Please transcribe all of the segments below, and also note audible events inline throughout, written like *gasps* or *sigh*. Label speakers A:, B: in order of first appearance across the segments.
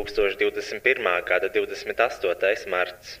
A: 2021. gada 28. marts.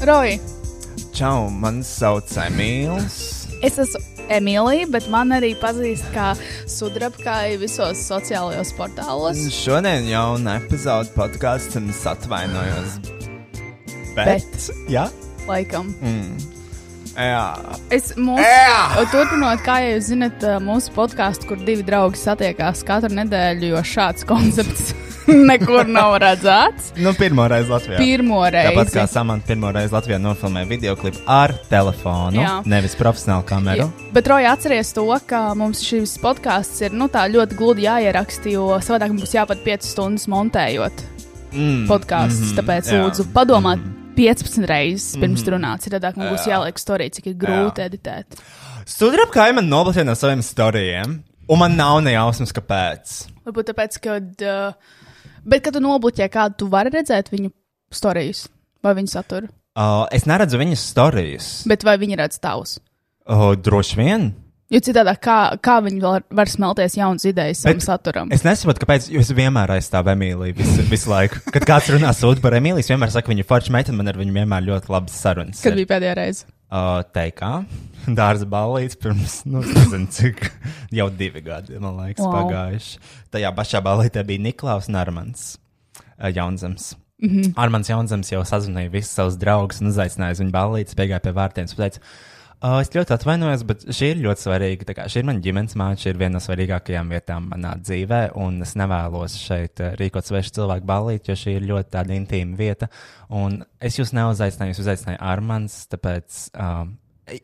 B: Roji,
C: Čau, man sauc Emīls.
B: es esmu Emīlija, bet man arī pazīst kā sudrabkāja visos sociālajos
C: Mm.
B: portālos.
C: Šodien jau un epizode podkāstam atvainojos.
B: Bet.
C: Jā,
B: Laikam.
C: jā.
B: Es mūsu,
C: Ea!
B: turpinot, kā jau jūs zinat, mūsu podkāstu, kur divi draugi satiekās katru nedēļu, jo šāds koncepts *laughs* nekur nav redzēts.
C: Nu, pirmā reize Latvijā.
B: Pirmo
C: Tāpat
B: reizi.
C: kā Samants pirmo reizi Latvijā nofilmēja video klipu ar telefonu, jā.
B: Jā.
C: nevis profesionālu kameru.
B: Ja- Bet, Roja, atcerieties to, ka mums šis podkāsts ir nu, tā ļoti gludi jāieraksta, jo savādāk mums būs jāpat 5 stundas montējot
C: Mm.
B: podkāstus.
C: mhm,
B: Tāpēc,
C: jā. Mhm.
B: lūdzu, padomāt 15 reizes pirms runāt. Citādāk mums būs jāliek storija, cik ir grūti editēt.
C: Sudrabkājai man noblakstē no saviem stāstiem, un man nav ne jausmas, kāpēc.
B: Varbūt tāpēc, ka. Uh, bet, kad tu nobloķē kādu, tu vari redzēt viņu stāstus vai viņu saturu.
C: Uh, es neredzu viņas stāstus.
B: Bet vai viņi redz tavus?
C: Uh, droši vien.
B: Jo citādi, kā, kā viņi var, var smelties jaunas idejas savam
C: Bet
B: saturam?
C: Es nesaprotu, kāpēc jūs vienmēr aizstāvat Emīliju visu, visu laiku. Kad kāds runā sūdu par Emīliju, es vienmēr saku, viņa forša meitene, man ar viņu vienmēr ļoti labas sarunas.
B: Kad bija pēdējā reize?
C: Uh, teikā, *laughs* dārza balīts pirms, nu, es nezinu, cik *laughs* jau divi gadi, man liekas,
B: Wow.
C: wow. pagājuši. Tajā pašā balītē bija Niklaus un Armants uh, Jaunzems. Mm -hmm. Armants Jaunzems jau sazināja visus savus draugus un uzaicināja viņu balīti, piegāja pie vārtiem. un Teica, uh, es ļoti atvainojos, bet šī ir ļoti svarīga. tā kā Šī ir mana ģimenes māte, šī ir viena no svarīgākajām vietām manā dzīvē, un es nevēlos šeit uh, rīkot svešu cilvēku balīti, jo šī ir ļoti tāda intīma vieta. Un es jūs neuzaicināju, jūs uzaicināju Armants, tāpēc. Um,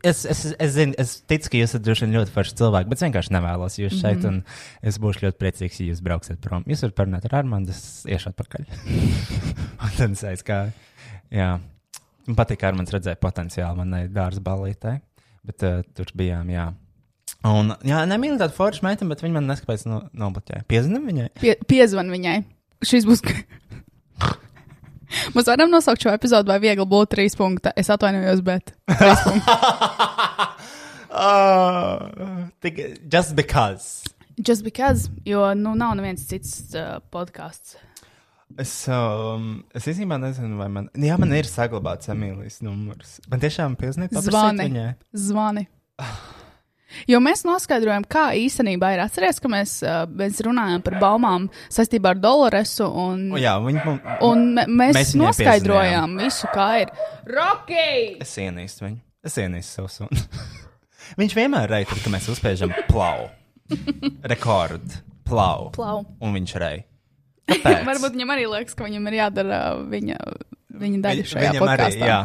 C: Es, es, es, zinu, es ticu, ka jūs esat droši vien ļoti forši cilvēki, bet es vienkārši nevēlos jūs šeit. Mm -hmm. Es būšu ļoti priecīgs, ja jūs brauksiet prom. Jūs varat parunāt ar Armānu, es iešu atpakaļ. Un tad es aizgāju. Jā, man patīk, kā Armāns redzēja potenciālu manai dārza balītē, bet uh, tur bijām. Jā. Un, jā, nemīlu tādu foršu meiteni, bet viņa man neskaidrs, no, nobloķēja. Piezinām *laughs* viņai?
B: Pie, piezvan viņai. Šis būs. *laughs* Mēs varam nosaukt šo epizodu, vai viegli būtu trīs punkti. Es atvainojos, bet.
C: Uh, tik, just because.
B: eh, Just because, jo nu, nav neviens cits uh, podkāsts.
C: Es, um, es īstenībā nezinu, vai man, jā, man ir saglabāts Emīlijas numurs. Man tiešām pilsnīgi
B: Zvani.
C: viņai.
B: Zvani. Jo mēs noskaidrojam, kā īstenībā ir. Atcerieties, ka mēs, uh, mēs runājam par baumām saistībā ar Doloresu. Un,
C: O, Jā, viņa man,
B: un me- mēs,
C: Mēs
B: mēs
C: viņai
B: noskaidrojām visu, kā ir. Rocky!
C: es ienīstu viņu. Es ienīstu savu sunu. *laughs* Viņš vienmēr rei, tad, kad mēs uzspiežam plau.
B: *laughs*
C: Rekordu. Plau.
B: Plau.
C: Un viņš
B: *laughs*
C: rei.
B: Varbūt viņam arī liekas, ka viņam ir jādara uh, viņa, viņa daļa šajā
C: Viņam arī,
B: podkāstā.
C: jā.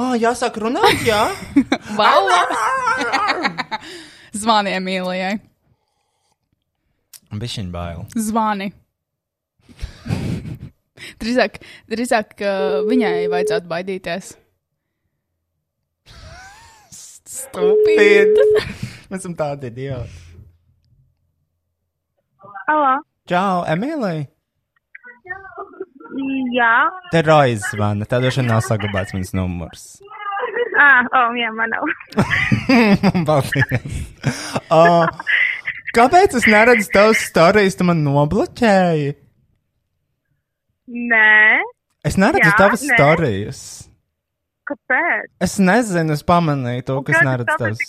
C: Ah, jāsāk runāt,
B: *laughs*
C: jā.
B: Vau! Zvani Emīlijai.
C: Bišķiņ bail.
B: Zvani. drīzāk, drīzāk uh, viņai vajadzētu baidīties. Stupid.
C: Mēs esam tādi idioti.
D: Алло.
C: Čau, Emīlija.
D: Jā.
C: Te Rojas zvana, tā droši vien nav saglabāts mans numurs. *laughs*
D: À, o, jā, man nav.
C: Paldies. Uh, kāpēc es neredzu tavas stāstus? Tu man nobloķēji.
D: Nē.
C: Es neredzu
D: Jā,
C: tavas
D: nē.
C: stāstus.
D: Kāpēc?
C: Es nezinu, es pamanīju to, kas neredz tavas.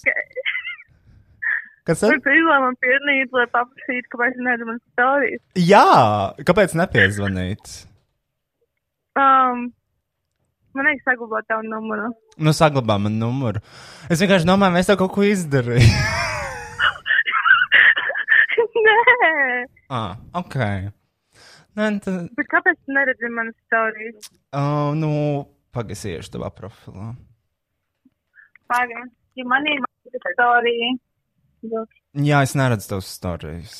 C: Kas ir?
D: Tur bija man pierādījums, lai paprasītu, kāpēc nezinu manas stāstījis.
C: Jā, kāpēc nepiezvanīt?
D: Um, man liekas, saglabāt tavu *laughs* numuru.
C: Nu, saglabā man numuru. Es vienkārši domāju, mēs tev kaut ko izdarījām.
D: Nē.
C: *laughs* ah, ok. Nē, tad,
D: Bet kāpēc tu neredzi manas stāstījis?
C: uh, nu, pagasiešu tavā profilā.
D: Pagaidām. Ja man ir stāstījis.
C: Jā, es neredzu tavas stāstus.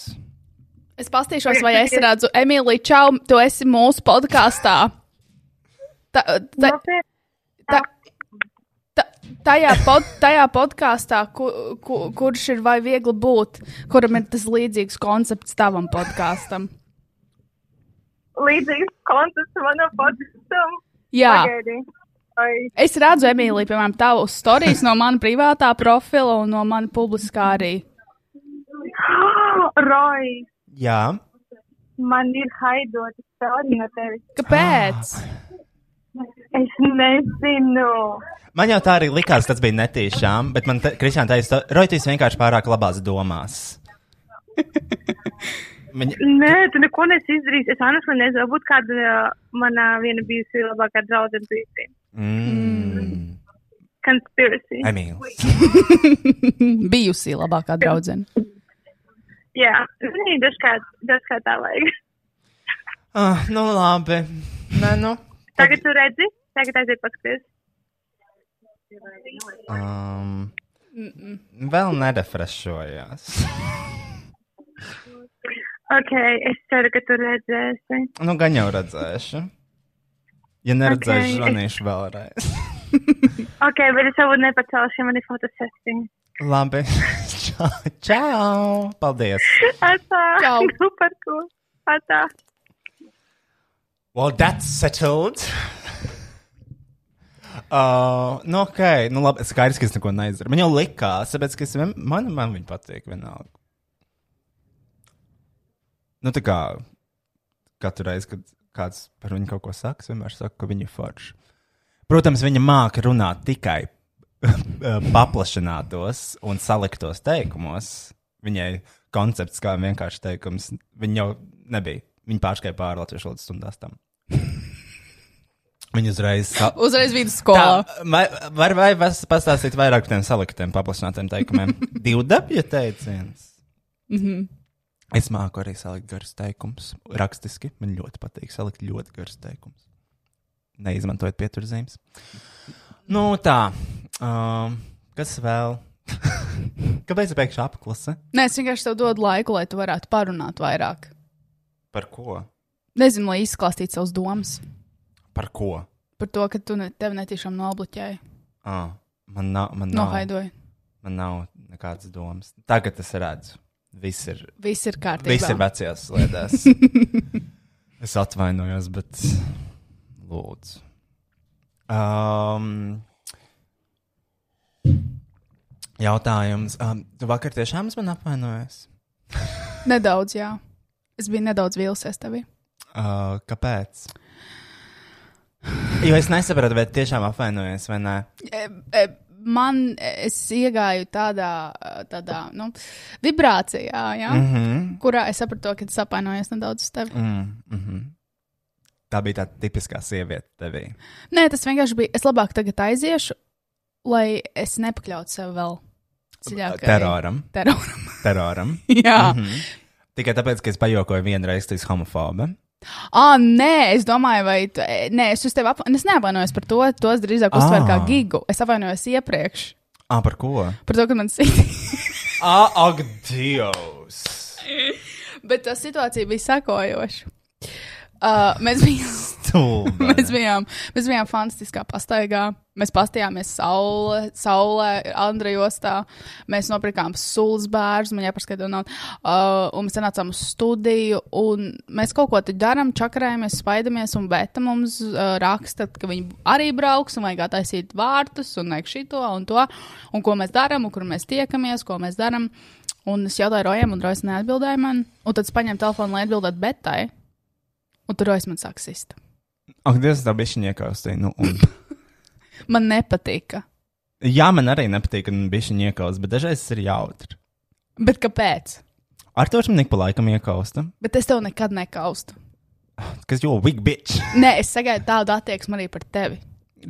B: Es paskatīšos, vai es redzu, Emīlija, čau, tu esi mūsu podkāstā. Ta, ta,
D: Nu,
B: ta, ta, tajā pod, tajā podkāstā, ku, ku, kurš ir vai viegli būt, kuram ir tas līdzīgs koncepts tavam podkāstam.
D: Līdzīgs koncepts manam podkastam.
B: Jā,
D: Pagaidi. *gasps* Vai
B: es redzu, Emīlija, piemēram, tavu stāstu no mana privātā profila un no mana publiskā arī.
D: Roji,
C: Jā,
D: man ir haidota stāstījuma no tevis.
B: Kāpēc?
C: Ah.
D: Es nezinu.
C: man jau tā arī likās, tas bija netīšām, bet man te- Kristiāna teica, Roitīs vienkārši pārāk labās domās. Viņa,
D: Nē, tu neko nesi izdarījis. Es honestly nezinu, varbūt kāda uh, mana viena bijusi labākā draudzene bijusi.
C: mm,
D: Conspiracy.
C: Emīlija.
B: Bijusi labākā draudzene.
D: Jā, nē, dažkārt, dažkārt tā vajag.
C: Ah, nu labi. Nē, nu.
D: Tagad tu redzi, tagad aiziet paskaties.
C: Um, vēl nerefrešojās.
D: Ok, es ceru, ka tu redzēsi.
C: Nu, gan jau *laughs* redzēšu. Ja neredzēšu,
D: Ok.
C: zvanīšu *laughs* vēlreiz.
D: Ok, bet es varbūt nepacelšu, ja man ir fotosesija. *laughs*
C: *laughs* Labi. Čau. Čau. Paldies.
D: Atā,
B: Čau.
D: nu par ko? Atā.
C: Well, that's settled. Uh, nu, ok, nu, labi, skaidrs, ka es neko neizdaru. Man jau likās, tāpēc, ka es vien... man, man viņa patīk vienalga. Nu, tā kā katru reizi, kad kāds par viņu kaut ko saka, es vienmēr saku, ka viņa ir forša. Protams, viņa māca runāt tikai *laughs* eh, paplašinātos un saliktos teikumos. Viņai koncepts kā vienkārši teikums, viņa jau nebija. Viņa pārskrēja pāri latviešu valodas stundās tam. *laughs* Viņa uzreiz. Sa...
B: Uzreiz vidusskolā.
C: Vai, vai, vai vas- pastāstīt vairāk par tiem saliktiem, paplašinātiem teikumiem? Divdabja teiciens.
B: Mhm.
C: Es māku arī salikt garus teikumus. Rakstiski man ļoti patīk salikt ļoti garus teikumus. Neizmantojot pieturzīmes. Nu, tā. Um, kas vēl? *laughs* Kāpēc pēkšņi apklase?
B: Nē, es vienkārši tev dodu laiku, lai tu varētu parunāt vairāk.
C: Par ko?
B: Nezinu, lai izklāstītu savas domas
C: Par ko?
B: par to, ka tu ne, tev netīšām nobloķēji,
C: Ah, man nav, man nav,
B: nohaidoji.
C: man nav nekādas domas. Tagad es redzu. Viss ir
B: Viss ir
C: Viss ir
B: kārtībā.
C: vecajās slēdēs. es atvainojos, bet lūdzu. Um, jautājums. Um, tu vakar tiešām esi man apvainojies?
B: Nedaudz, jā. Es biju nedaudz vīlusies tevī.
C: Uh, kāpēc? Jo es nesapratu, vai tiešām apvainojos vai nē.
B: e, man es iegāju tādā, e, tādā nu, vibrācijā, ja, mm -hmm.
C: Mhm.
B: kurā es sapratu, ka es apvainojos nedaudz uz tevi. Mm.
C: mhm. Tā bija tā tipiskā sieviete tevī.
B: Nē, tas vienkārši bija. Es labāk tagad aiziešu, lai es nepakļautu sev vēl dziļāk.
C: Teroram.
B: Teroram.
C: Teroram.
B: *laughs* Jā, mm -hmm.
C: Tikai tāpēc, ka es pajokoju vienreiz, tas ir homofoba.
B: ah, nē, es domāju, vai tu, e, nē, es uz tevi apvainojos. Es neapvainojos par to, tos drīzāk uztveru
C: Ah.
B: kā gigu. Es apvainojos iepriekš
C: Ah, par ko?
B: par to, ka man *laughs* sīk.
C: Ah, ak, Dievs!
B: Bet tā situācija bija sekojoša. Uh, mēs bijām
C: Stulba.
B: *laughs* Mēs bijām, mēs bijām fantastiskā pastaigā. Mēs pastījāmies saulē, saulē Andrejostā. Mēs nopirkām sulas bērnus, man jāpaskaidro naudu. Uh, un mēs nācām uz studiju, un mēs kaut ko te darām, čakarējamies, spaidamies, un Bēta mums uh, raksta, ka viņi arī brauks, un vajag attaisīt vārtus, un vajag šito un to, un ko mēs darām, un kur mēs tiekamies, ko mēs darām. Un es jautāju Rojam, un Rojas neatbildēja man, un tad es paņēmu telefonu, lai atbildētu Bētai, un tur Rojas man sāk sist.
C: *laughs* Ak, Dievs, tā bija viņa iekaustīja. Nu, un...
B: Man nepatika.
C: Jā, man arī nepatīk, kad bija viņa iekausta, bet dažreiz tas ir jautri.
B: Bet kāpēc?
C: Ar to man ik pa laikam iekausta.
B: Bet es tev nekad nekaustu.
C: Kas jau big bitch?
B: Nē, es sagaidu tādu attieksmi arī par tevi.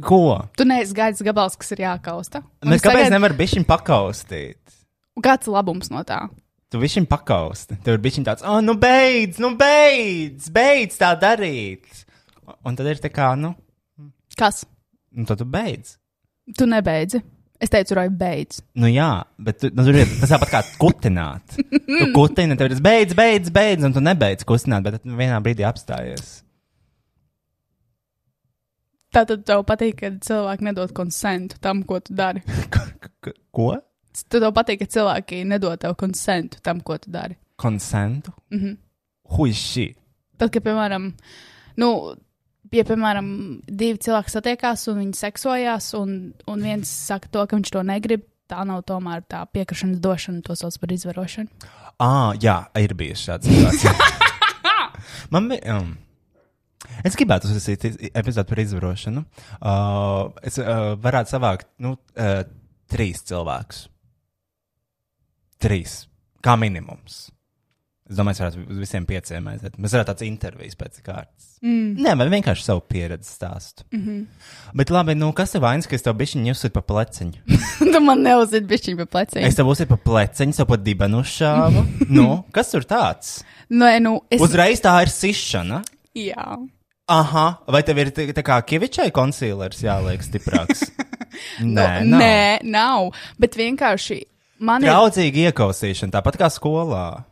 C: Ko?
B: Tu neesi gaidījis gabals, kas ir jākausta. Un
C: Bet
B: es
C: kāpēc
B: sagaidu-
C: nevar būt viņa pakaustīt?
B: Kāds ir labums no tā?
C: Tu viņam pakausti. Tev ir bijis tāds, ah, oh, nu beidz, nu beidz, beidz tā darīt. Un tad ir tā kā, nu,
B: Kas?
C: nu tad tu beidz.
B: Tu nebeidzi. Es teicu, Roja, beidz.
C: Nu jā, bet tu, nu, tur ir tas tāpat kā kutināt. Tu kutini, tev ir tas beidz, beidz, beidz, un tu nebeidz kustināt, bet tad vienā brīdī apstājies.
B: Tā tad tev patīk, ka cilvēki nedod konsentu tam, ko tu dari.
C: K- k- Ko?
B: Tu tev patīk, ka cilvēki nedod tev konsentu tam, ko tu dari.
C: Konsentu? Mhm. Hui, šī.
B: Tad, kad, piemēram, nu, ja, piemēram, divi cilvēki satiekās un viņi seksojās, un, un viens saka to, ka viņš to negrib, tā nav tomēr tā piekrišanas došana, to sauc par izvarošanu. *laughs*
C: Ah, jā, ir bijusi šāda situācija. Man bija. Um, es gribētu uzsākt epizodi par izvarošanu. Uh, es uh, varētu savākt nu, uh, trīs cilvēkus. Trīs. Kā minimums. Es domāju, es varētu uz visiem pieciem aiziet. Mēs varētu tādas intervijas pēc kārtas. Mm. Nē, vai vienkārši savu pieredzi stāstu. Mm -hmm. Bet labi, nu kas ir vainas, ka es tev bišķiņu uzsver pa pleciņu?
B: tu man neuzzīdi pišķiņu pa pleciem.
C: Es
B: Es...
C: tev uzsveru pa pleciņu, savu pa dibenu šāvu. nu, kas tur tāds?
B: Nē, nu, es.
C: Uzreiz tā ir sišana.
B: Jā.
C: Aha, vai tev ir tā tā kā kivičai konsīlers jāliek
B: *laughs*
C: stiprāks? Nē,
B: nu,
C: nav.
B: nē, nav. Bet vienkārši man ir.
C: Draudzīgi iekausīšana, tāpat kā skolā.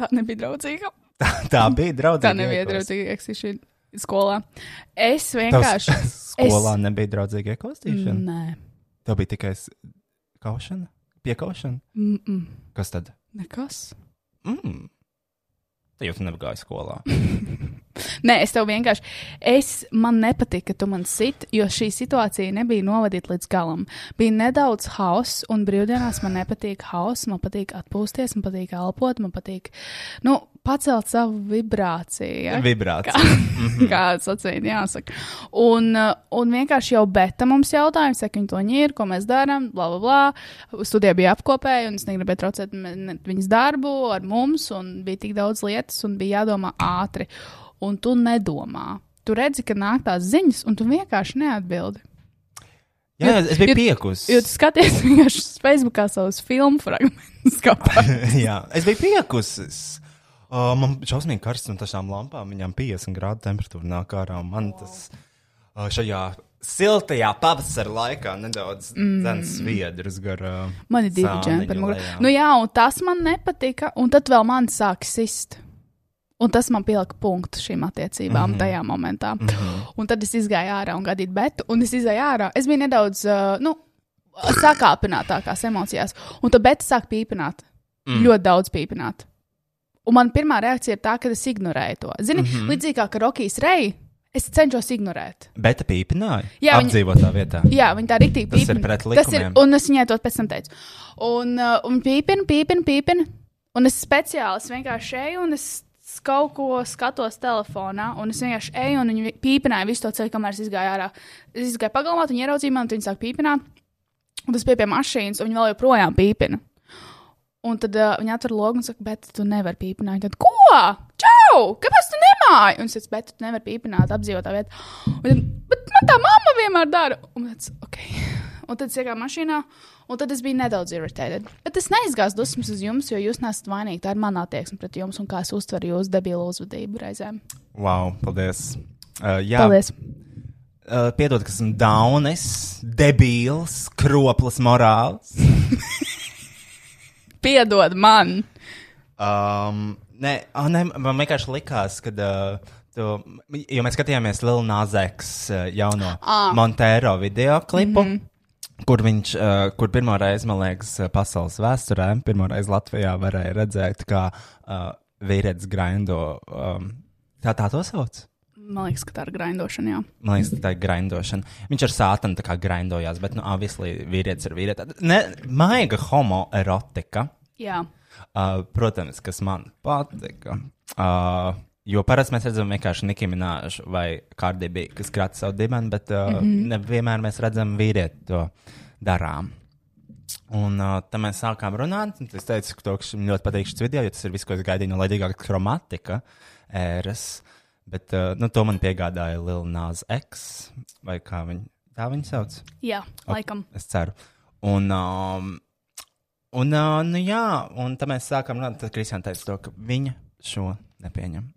B: Tā nebija draudzīga.
C: Tā,
B: *laughs*
C: tā bija draudzīga.
B: Tā nebija draudzīga eksīšana skolā. Es vienkārši.
C: Vienkārši. Skolā es... nebija draudzīga iekausīšana. Mm.
B: Nē,
C: Tev bija tikai s- kaušana, piekaušana.
B: mm -mm.
C: Kas tad?
B: nekas.
C: Mm. Tā jūs nebijāt skolā.
B: *laughs* Nē, es tev vienkārši. Es, man nepatika, ka tu man sit, jo šī situācija nebija novadīta līdz galam. Bija nedaudz hauss, un brīvdienās man nepatīk hauss. Man patīk atpūsties, man patīk elpot, man patīk nu, pacelt savu vibrāciju. Ja?
C: Vibrācija.
B: *clears throat* Kāds acīm jāsaka. Un, uh, un vienkārši jau beta mums jautājums, saka, viņi to ņēra, ko mēs darām, bla, bla, bla. Studija bija apkopēja, un es negribēju traucēt me- ne- viņas darbu ar mums, un bija tik daudz lietas, un bija jādomā ātri. Un tu nedomā. Tu redzi, ka nāk tās ziņas, un tu vienkārši neatbildi.
C: Jā, es biju
B: Jo-
C: piekus.
B: Jo tu skaties *laughs* vienkārši Facebookā savus filmu fragmentus. kāpēc.
C: *laughs* Jā, es biju piekusis. Uh, man bija šausmīgi karsts un tašām lampām. Viņām 50 grādu temperatūra nāk ārā. un Man wow. tas uh, šajā siltajā pavasara laikā nedaudz mm. sviedras garā.
B: Man ir divi
C: Sāniņu
B: džempļi.
C: lejā.
B: Nu jā, un tas man nepatika, un tad vēl man sāk sist. Un tas man pielika punktu šīm attiecībām mm -hmm. tajā momentā. Mm -hmm. Un tad es izgāju ārā un gadīju betu, un es izgāju ārā. Es biju nedaudz, uh, nu, sakāpinātākās emocijās. Un tad beta sāk pīpināt. Mm. Ļoti daudz pīpināt. Un man pirmā reakcija ir tā, ka es ignorēju to. Zini, mm -hmm. līdzīgi kā Rokijas reja, es cenšos ignorēt.
C: Bet pīpināja.
B: Jā, viņa-
C: apdzīvotā vietā.
B: Jā, viņa tā rīktīgi
C: Tas
B: pīpina.
C: ir pret
B: Tas ir,
C: likumiem.
B: un es viņai to pēc tam teicu. Un, uh, un pīpina, pīpina, pīpina. Un es speciāli es vienkārši eju un es kaut ko skatos telefonā, un es vienkārši eju un viņi pīpināja visu to ceļu, kamēr es izgāju ārā. Es izgāju pagalmā, viņi ieraudzīja mani, un viņi sāk pīpināt. Un tas bija pie mašīnas, un viņi vēl joprojām pīpina. Un tad uh, viņi atver logu un saka, bet tu nevari pīpināt. Tad, ko? Čau! Kāpēc tu nemāji? Un es teicu, bet tu nevari pīpināt apdzīvotā vietā. Un tad, bet man tā mamma vienmēr dara. Un tad, ok. Un tad es iegāju mašīnā, un tad es biju nedaudz irritēta. Bet es neizgāju dusmas uz jums, jo jūs nesat vainīgi. Tā ir mana attieksme pret jums un kā es uztveru jūsu debilu uzvedību reizēm.
C: Wow, paldies. Uh, jā,
B: Paldies!
C: Uh, piedod, ka esmu daunis, debils, kroplis morāls.
B: Piedod man!
C: Um, nē, oh, nē, man vienkārši likās, ka. Uh, Tu, jo mēs skatījāmies Lielā Nāzēkas jauno ah. Montero video klipu, mm -hmm. kur viņš, uh, kur pirmo reizi, man liekas, uh, pasaules vēsturē, pirmo reizi Latvijā varēja redzēt, kā uh, vīrietis graindo. Um, tā tā to sauc?
B: Man liekas, ka tā ir grindošana. Jā.
C: Man liekas, tā ir grindošana. Viņš ar sātanu tā kā grindojās, bet, nu, obviously, vīrietis ir vīrietis. Ne, maiga homoerotika.
B: jā.
C: Uh, protams, kas man patika. Uh, jo parasti mēs redzam vienkārši Nikiņu Nāžu vai Kārdībī, kas krāta savu dimenu, bet uh, mm -hmm. nevienmēr mēs redzam vīrieti to darām. Un uh, tad mēs sākām runāt, un es teicu, ka to, kas man ļoti patīk šis video, jo tas ir viss, ko es gaidīju no Latvijas gramatika ēras. Bet uh, nu, to man piegādāja Lil Nāz X, vai kā viņa, tā viņa sauc.
B: jā, laikam.
C: Es ceru. Un, um, un, uh, nu, jā, un tad mēs sākām runāt. Tad Kristiāna teica, to, ka viņa šo
B: *laughs*
C: nepieņem.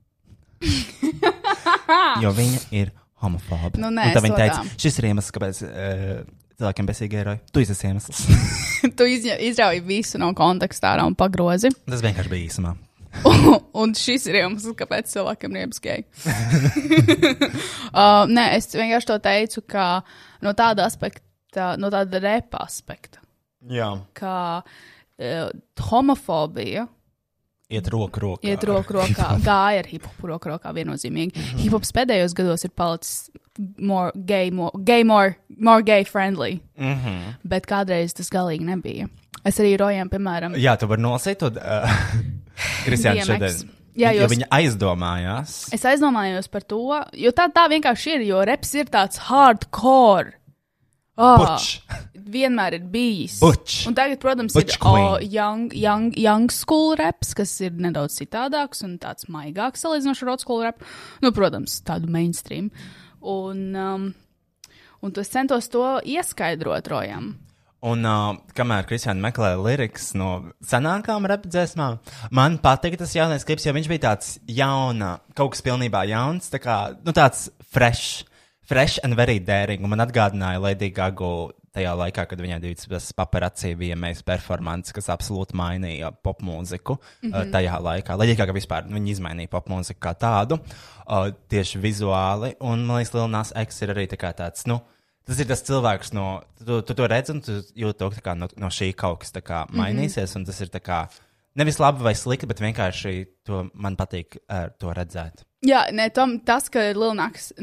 C: jo viņa ir homofoba.
B: Nu,
C: un
B: nē,
C: tad viņa
B: es to
C: teica,
B: tā.
C: šis ir iemesls, kāpēc uh, cilvēkiem besīgi ir eroji. Tu esi tas iemesls.
B: *laughs* tu izņa- izrauj visu no konteksta ārā un pagrozi.
C: *laughs* Tas vienkārši bija īsumā.
B: *laughs* un šis ir iemesls, kāpēc cilvēkam ir iebskēji. uh, nē, es vienkārši to teicu, ka no tāda aspekta, no tāda repa aspekta,
C: Jā,
B: ka uh, homofobija
C: iet roku rokā.
B: iet roku rokā, gāja ar hipopu roku rokā viennozīmīgi. Hipops pēdējos gados ir palicis more gay, more gay, more, more gay friendly,
C: Mm -hmm.
B: bet kādreiz tas galīgi nebija. Es arī rojām, piemēram,
C: *laughs* Jā, tu vari nolasīt to uh, Kristiāna
B: DMX.
C: šodien.
B: Jā,
C: jo
B: jūs-
C: viņa aizdomājās.
B: Es aizdomājos par to, jo tā, tā vienkārši ir. Jo reps ir tāds hardcore. Oh,
C: Puč!
B: vienmēr ir bijis.
C: Butch.
B: Un tagad, protams,
C: Butch
B: Butch ir
C: queen.
B: oh, young, young, young school reps, kas ir nedaudz citādāks un tāds maigāks salīdzinoši ar old school repu. Nu, protams, tādu mainstream. Un, um, un es centos to ieskaidrot rojam.
C: Un uh, kamēr Kristiāna meklē lirikas no senākām rapdzēsmām, man patīk tas jaunais klips, jo viņš bija tāds jauna, kaut kas pilnībā jauns, tā kā, nu tāds fresh, fresh and very daring. Un man atgādināja Lady Gaga tajā laikā, kad viņai bija tas paparacī VMAs performance, kas absolūti mainīja popmūziku mm -hmm. tajā laikā. Lady Gaga vispār, nu, viņa izmainīja popmūziku kā tādu, uh, tieši vizuāli. Un man liekas, Lil Nas X ir arī tā kā tāds, nu. Tas ir tas cilvēks, no, tu, tu to redz, un tu jūti, to, ka tā kā no, no šī kaut kas tā kā mainīsies. Mm -hmm. Tas ir tā kā, nevis labi vai slikti, bet vienkārši to man patīk uh, to redzēt.
B: Jā, nē, tam, tas, ka ir Lielnaks,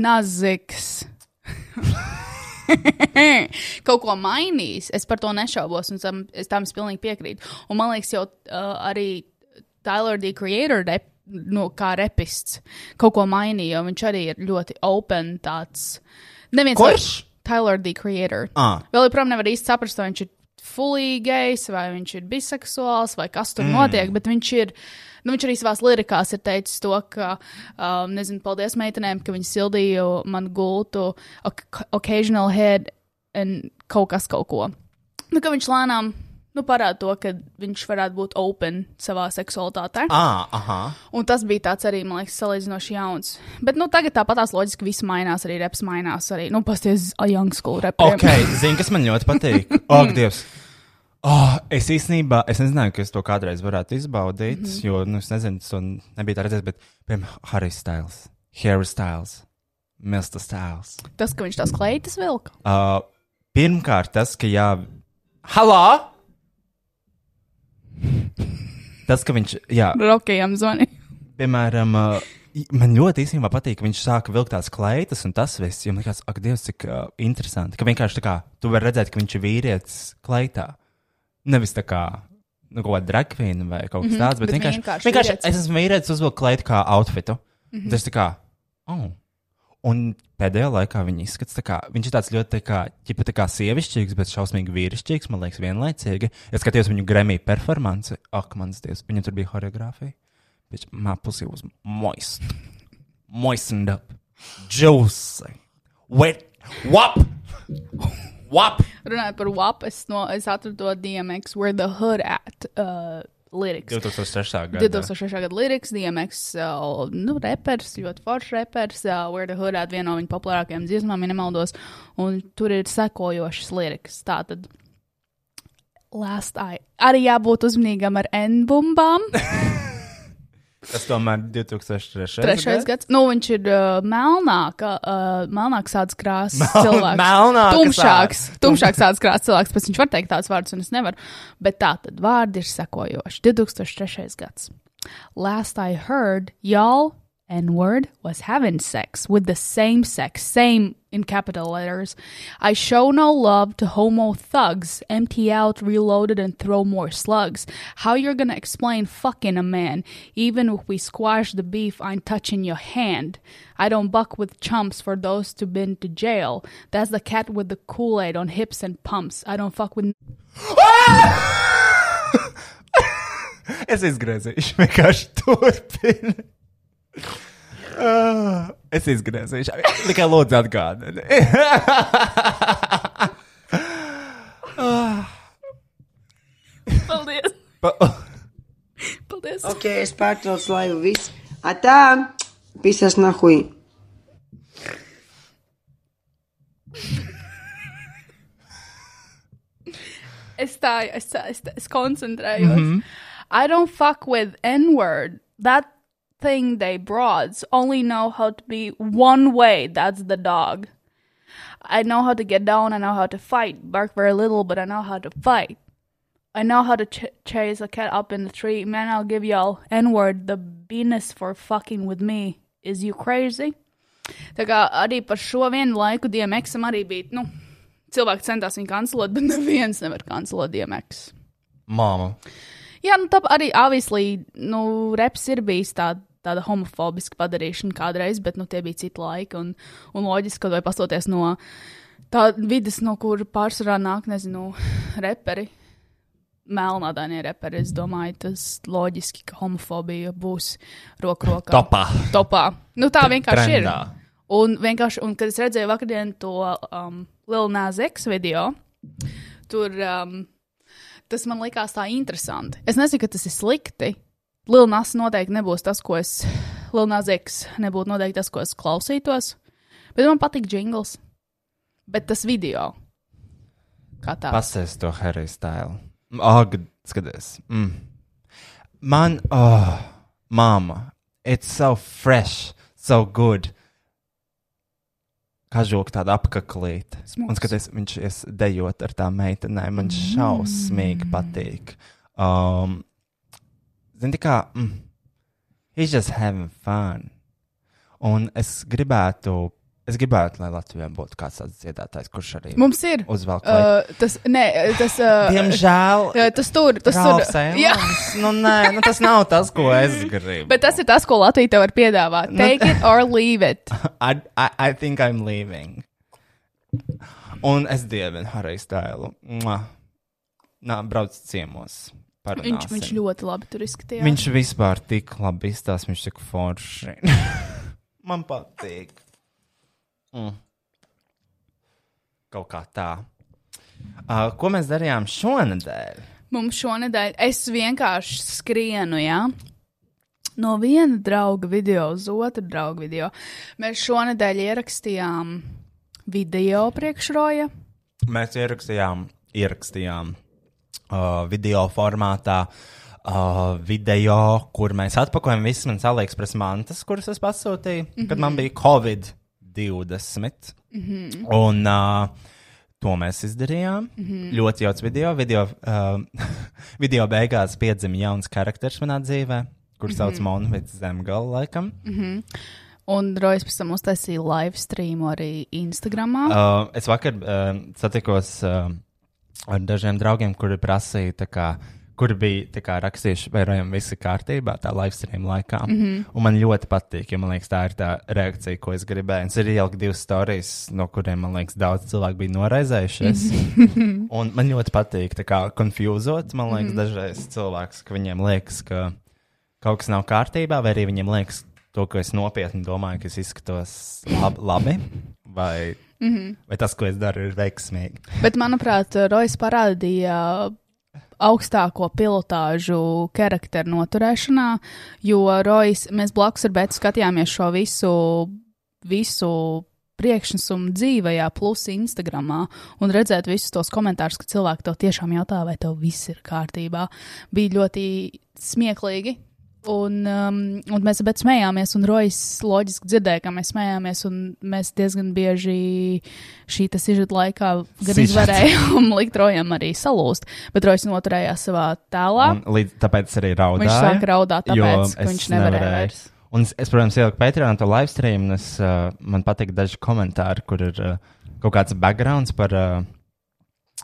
B: Naziks. *laughs* Kaut ko mainīs, es par to nešaubos, un tam es, tam es pilnīgi piekrītu. Un man liekas, jau uh, arī Tyler D. Creator rep, no, kā repists kaut ko mainīja, jo viņš arī ir ļoti open tāds. Neviens
C: Kurš?
B: Tyler D. Creator.
C: Ah.
B: Vēl joprojām nevar īsti saprast, vai viņš ir fully gejs, vai viņš ir biseksuāls, vai kas tur mm. notiek. Bet viņš ir, nu, viņš arī savā lirikās ir teicis to, ka, um, nezinu, paldies meitenēm, ka viņi sildīja man gultu, oc- occasional head un kaut kas kaut ko. Nu, ka viņš lēnām. Nu, parāda to, ka viņš varētu būt open savā seksualitātē.
C: Ah, aha.
B: Un tas bija tāds arī, man liekas, salīdzinoši jauns. Bet, nu, tagad tāpat tās loģiski viss mainās, arī reps mainās. Arī, nu, pasties, a young school repiem.
C: Ok, zini, kas man ļoti patīk. Ak, Dievs! Oh, es īstenībā es nezināju, ka es to kādreiz varētu izbaudīt, mm -hmm. jo, nu, es nezinu, tas to nebija tā redzēts, bet, piemēram, Harry Styles, Harry Styles, Milsta Styles.
B: Tas, ka viņš tās kleitas vilka.
C: Uh, pirmkārt, tas, ka jā, halā! Tas, ka viņš, jā,
B: Rokajam zvanīja.
C: piemēram, uh, i- man ļoti īstenībā patīk, ka viņš sāka vilkt tās kleitas un tas viss. Jo man liekas, ak, Dievs, cik uh, interesanti. Ka vienkārši tā kā tu vari redzēt, ka viņš ir vīrietis kleitā. Nevis tā kā nu, kaut kāda dragvīna vai kaut kas tāds. Bet
B: Mhm, bet
C: vienkārši,
B: vienkārši
C: vienkārši
B: vīrietis. Mhm.
C: es esmu vīrietis, uzvilku klaidu kā outfitu. Mm -hmm. Tas tā kā, oh. Un pēdējā laikā viņa izskatās, tā kā viņš ir tāds ļoti, tā kā, ķipa, tā kā sievišķīgs, bet šausmīgi vīrišķīgs, man liekas, vienlaicīgi. Es skatījos viņu Grammy performanci, ak, mans dievs, viņa tur bija horeogrāfija. Viņš man pusi uz moist, moistened up, juicy, wet, wap, wap.
B: Runājot par WAP, es, no, es atradu to DMX, where the hood at uh, lyrics.
C: 2006. gada.
B: 2006. gada liriks, DMX, uh, nu, reperis, ļoti foršs reperis, uh, Where the Hood at viena no viņa populārākajām dziesmām, ja nemaldos, un tur ir sekojošas lirikas. Tātad, last eye. Arī jābūt uzmanīgam ar N-bumbām.
C: Tas tomēr 2003.
B: Trešais gads. Nu, viņš ir uh, melnāka, uh, melnāks tāds krāsas cilvēks.
C: melnāka
B: Tumšāks,
C: sāds.
B: tumšāks tāds krāsas cilvēks, pēc viņš var teikt tāds vārds, un es nevaru. Bet tā tad vārdi ir sekojoši. 2003. gads. Last I heard, y'all N-word was having sex with the same sex, same in capital letters. I show no love to homo thugs, empty out, reloaded, and throw more slugs. How you're gonna explain fucking a man? Even if we squash the beef, I'm touching your hand. I don't buck with chumps for those to been to jail. That's the cat with the Kool-Aid on hips and pumps. I don't fuck with
C: Es izgriezīšu, vienkārši turpinu. Ah, Es izgriezīšu, tikai lūdzu atgādini.
B: Paldies!
C: Pa-
B: Paldies!
E: Ok, es pārtraucu laivu visu. Atā, pisas nahuj.
B: es tā, es, tā- es, tā- es koncentrējos. I don't fuck with N word. That thing they broads only know how to be one way. That's the dog. I know how to get down. I know how to fight. Bark very little, but I know how to fight. I know how to ch- chase a cat up in the tree. Man, I'll give y'all N word. The beanus for fucking with me. Is you crazy? Tā kā arī par šo vienu laiku DMX-am arī bija, nu, cilvēki centās viņu kancelēt, *laughs* bet neviens nevar kancelēt DMX.
C: Māma.
B: Jā, nu tāpat arī avīslī, nu, reps ir bijis tā, tāda homofobiska padarīšana kādreiz, bet nu, tie bija citi laiki. Un, un loģiski, ka vai pastoties no tā vidas, no kur pārsvarā nāk, nezinu, reperi. Melnādainie reperi, es domāju, tas loģiski, ka homofobija būs roku rokā.
C: Topā.
B: Topā. Nu, tā vienkārši ir.
C: trendā.
B: Un vienkārši, un kad es redzēju vakardien to um, Lil Nas X video, tur um, tas man likās tā interesanti. Es nesaku, ka tas ir slikti. Lil Nas noteikti nebūs tas, ko es, Lil Nas X nebūtu noteikti tas, ko es klausītos, bet man patīk jingls. Bet tas video, kā tāds.
C: Pasēs to Harry Style. Ak, skaties. Mm. Man, oh, māma, it's so fresh, so good. Kažok tāda apkaklīte. Un skaties, viņš ir dejot ar tām meitenēm. Man
B: Mm.
C: šausmīgi patīk. Um, Zini, tā kā, mm, he's just having fun. Un es gribētu, es gribētu, lai Latvijā būtu kāds tāds dziedātājs, kurš arī
B: Mums ir.
C: uzvelk. Uh,
B: Uh, tas, nē, tas, uh, *laughs*
C: Diemžēl.
B: uh, tas tur, tas tur.
C: Ralfs Eilans.
B: Jā.
C: nu, nē, nu, tas nav tas, ko
B: *laughs*
C: es gribu.
B: Bet tas ir tas, ko Latvija tev var piedāvāt. Take it or leave it.
C: I, I, I think I'm leaving. Un es dievinu Harry Stailu. Mua. Nā, brauc ciemos.
B: Viņš, viņš ļoti labi tur izskatījās.
C: Viņš vispār tik labi izstāsta, viņš tik forši. *laughs* Man patīk. Mm. Kaut kā tā. Uh, ko mēs darījām šonadēļ?
B: Mums šonadēļ, es vienkārši skrienu, jā. No viena drauga video uz otru draugu video. Mēs šonadēļ ierakstījām video priekšroja.
C: mēs ierakstījām, ierakstījām uh, video formātā. Uh, video, kur mēs atpakojam visas manas AliExpress mantas, kuras es pasūtīju, mm -hmm. kad man bija Covid-20. Mm -hmm. Un uh, to mēs izdarījām. Mm -hmm. Ļoti jauks video. Video, uh, *laughs* video beigās piedzima jauns karakters manā dzīvē, kurš mm -hmm. sauc Monvids Zemgala laikam. Mm -hmm.
B: Un Rojas pēc tam uztaisīja live streamu arī Instagramā.
C: Uh, es vakar uh, satikos uh, ar dažiem draugiem, kuri prasīja, tā kā, kur bija tā kā, rakstījuši, vai rojam viss ir kārtībā, tā live stream laikā. Mm -hmm. Un man ļoti patīk, jo man liekas, tā ir tā reakcija, ko es gribēju. Un Es arī ieliku divas stāstus, no kuriem man liekas, daudz cilvēku bija noraizējušies. un man ļoti patīk, tā kā konfūzot, man liekas, dažreiz cilvēks, ka viņiem liekas, ka kaut kas nav kārtībā, vai arī viņiem liekas, to, ka es nopietni domāju, ka es izskatos lab labi. Vai, mm -hmm. vai tas, ko es daru, ir veiksmīgi?
B: Bet, manuprāt, Rojas parādīja augstāko pilotāžu charakteru noturēšanā, jo Rojas, mēs blakus ar Bētu skatījāmies šo visu, visu priekšnesumu dzīvajā, plus Instagramā, un redzēt visus tos komentārus, ka cilvēki to tiešām jautā, vai tev viss ir kārtībā, bija ļoti smieklīgi. Un, um, un mēs abi smējāmies, un Rojas loģiski dzirdēja, ka mēs smējāmies, un mēs diezgan bieži šī tas izžūta laikā gan
C: Sižets.
B: izvarējām *laughs* likt Rojam arī salūst, bet Rojas noturējās savā tēlā.
C: Un līdz tāpēc arī raudāju.
B: Viņš sāka raudāt,
C: jo
B: tāpēc, ka
C: es
B: viņš nevarēja vairs.
C: Un es, es, protams, ieliku Patreon to live stream, un es, uh, man patīk daži komentāri, kur ir uh, kaut kāds backgrounds par, uh,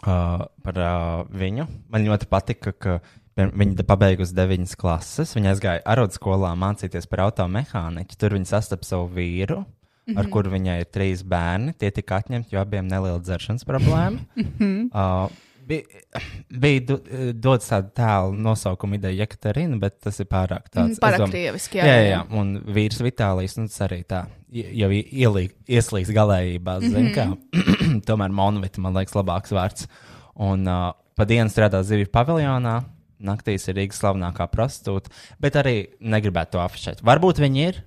C: uh, par uh, viņu. Man ļoti patika, ka piem- viņa te pabeigusi deviņas klases. Viņa aizgāja arodskolā mācīties par automehāniķu. Tur viņa sastapa savu vīru. Mm -hmm.
B: Mhm.
C: Ar kuru viņai ir trīs bērni, tie tika atņemti, jo abiem bija neliela dzeršanas problēma.
B: *clears throat*
C: Uh, bija *clears throat* bija do, dots tāda tēla nosaukuma ideja, Jekaterina, bet tas ir pārāk tāds.
B: Mm, pārāk
C: es domāju-
B: krieviski, jā,
C: jā.
B: jā.
C: jā, jā. Un vīrs Vitālijas, nu tas arī tā, i- jau i- ielīg, ieslīgs galējībā,
B: Mhm.
C: zin kā. *clears throat* Tomēr Monvita, man liekas, labāks vārds. Un uh, pa dienu strādā zivju paviljonā. Naktīs ir Rīgas slavenākā prostitūta, bet arī negribētu to afišēt. Varbūt viņi ir,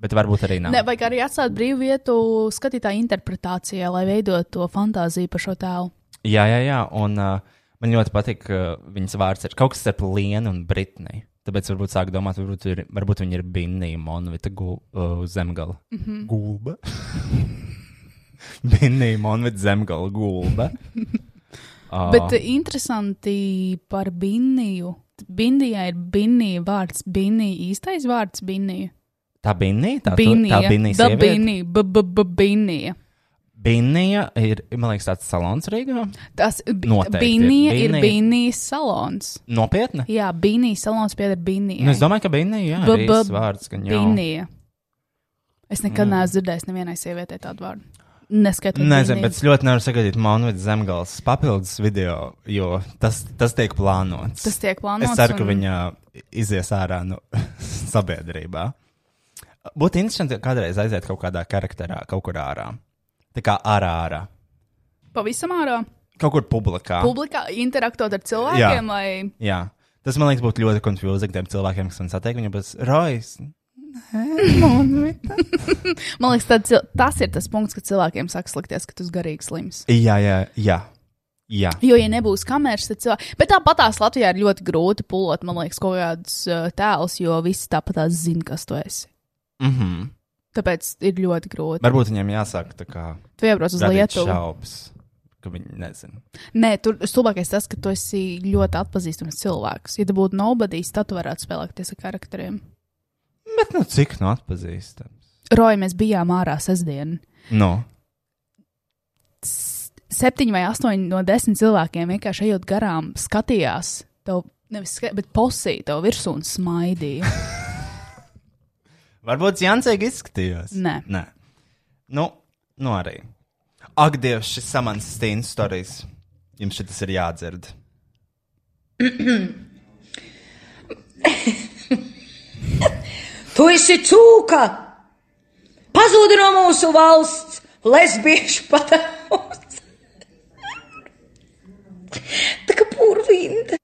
C: bet varbūt arī nav.
B: Ne, vajag arī atstāt brīvu vietu skatītāju interpretācijai, lai veidotu to fantāziju par šo tēlu.
C: Jā, jā, jā. un uh, man ļoti patīk, ka viņas vārds ir kaut kas starp Lienu un Britniju. Tāpēc varbūt sāk domāt, varbūt, ir, varbūt viņa ir Binnija Monvita gu, uh, zemgala mm
B: Mhm.
C: -hmm. *laughs* gulba. Binnija Monvita zemgala
B: *laughs*
C: gulba. Ah.
B: Oh. Bet eh, interesanti par Binniju. Bindijai ir Binnija vārds, Binnija īstais vārds Binnija.
C: Tā Binnija, tā, tu-
B: Binnija,
C: tā Binnija
B: da
C: sieviete.
B: Binnija, b- b- b- Binnija.
C: Binnija ir, man liekas, tāds salons Rīgā.
B: Tas bi-
C: Noteikti ir
B: Binnija ir
C: Binnija.
B: Binnijas salons.
C: Nopietni.
B: Jā, Binnija salons pieder Binnijai.
C: Nu, es domāju, ka Binnija ir
B: B-
C: tas
B: b-
C: vārds, ka viņa
B: Binnija. Es nekad mm. neesmu dzirdējis nevienai sievietei tādu vārdu. Neskatoties.
C: Nezinu, bet es ļoti nevaru sagaidīt Monvidas zemgāles papildus video, jo tas, tas tiek plānots.
B: Tas tiek plānots
C: Es ceru, ka
B: un-
C: viņa izies ārā no *laughs* sabiedrībā. Būtu interesanti kādreiz aiziet kaut kādā karakterā, kaut kur ārā. Tā kā ārā, ārā.
B: Pavisam ārā.
C: Kaut kur publikā.
B: publikā interaktot ar cilvēkiem,
C: Jā.
B: lai
C: Jā. Tas man liekas būtu ļoti konfūzīgi tiem cilvēkiem, kas man satiek. Viņu būs Rojas.
B: man liekas, tad, cil- tas ir tas punkts, kad cilvēkiem sāk slikties, ka tu esi garīgi slims.
C: Jā, jā, jā. jā.
B: Jo, ja nebūs kameras, tad cilvēki. Bet tāpatās Latvijā ir ļoti grūti pulot, man liekas, kaut kādus uh, tēlus, jo visi tāpatās zina, kas tu esi.
C: Mm -hmm.
B: Tāpēc ir ļoti grūti.
C: Varbūt viņiem jāsāk tā kā
B: Tu iebrauc uz
C: radīt
B: Lietuvu.
C: šaubas, ka viņi nezina.
B: Nē, tur stulbākais tas, ka tu esi ļoti atpazīstams cilvēks. Ja tu būtu nobadījis, tad tu varētu spēlēties ar karakteriem.
C: Bet nu cik no atpazīstams?
B: Roja, mēs bijām ārā sestdien.
C: Nu,
B: septiņi vai astoņi no desmit cilvēkiem vienkārši ejot garām, skatījās tev, nevis skatījās, bet posīja tev virsū un
C: *laughs*
B: smaidīja.
C: varbūt Jansēga izskatījās.
B: Nē.
C: Nē. Nu, nu arī. Ak, Dievs, šis samants stīns stāstījis. Jums šis ir jādzird.
F: Tu esi cūka! Pazūdi no mūsu valsts, lesbiešu patēvs! Tā kā purvīnta!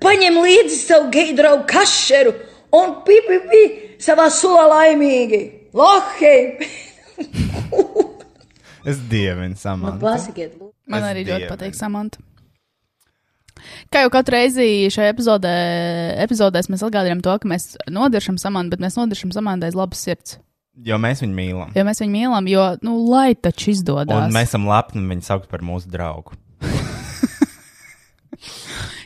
F: Paņem līdzi savu geju draugu kašeru un pipipi savā sulā laimīgi! Lohei!
C: Es dievinu
B: Nu,
C: samants.
F: Pasakiet, lūdzu!
B: Man
C: Es
B: arī ļoti
C: dievinu.
B: patīk samanta. Kā jau katru reizi šajā epizodē, epizodēs mēs atgādinām to, ka mēs nodiršam samantu, bet mēs nodiršam samantu aiz labas sirds.
C: Jo mēs viņu mīlam.
B: Jo mēs viņu mīlam, jo, nu, lai taču izdodas.
C: Un mēs esam lepni viņu saukt par mūsu draugu.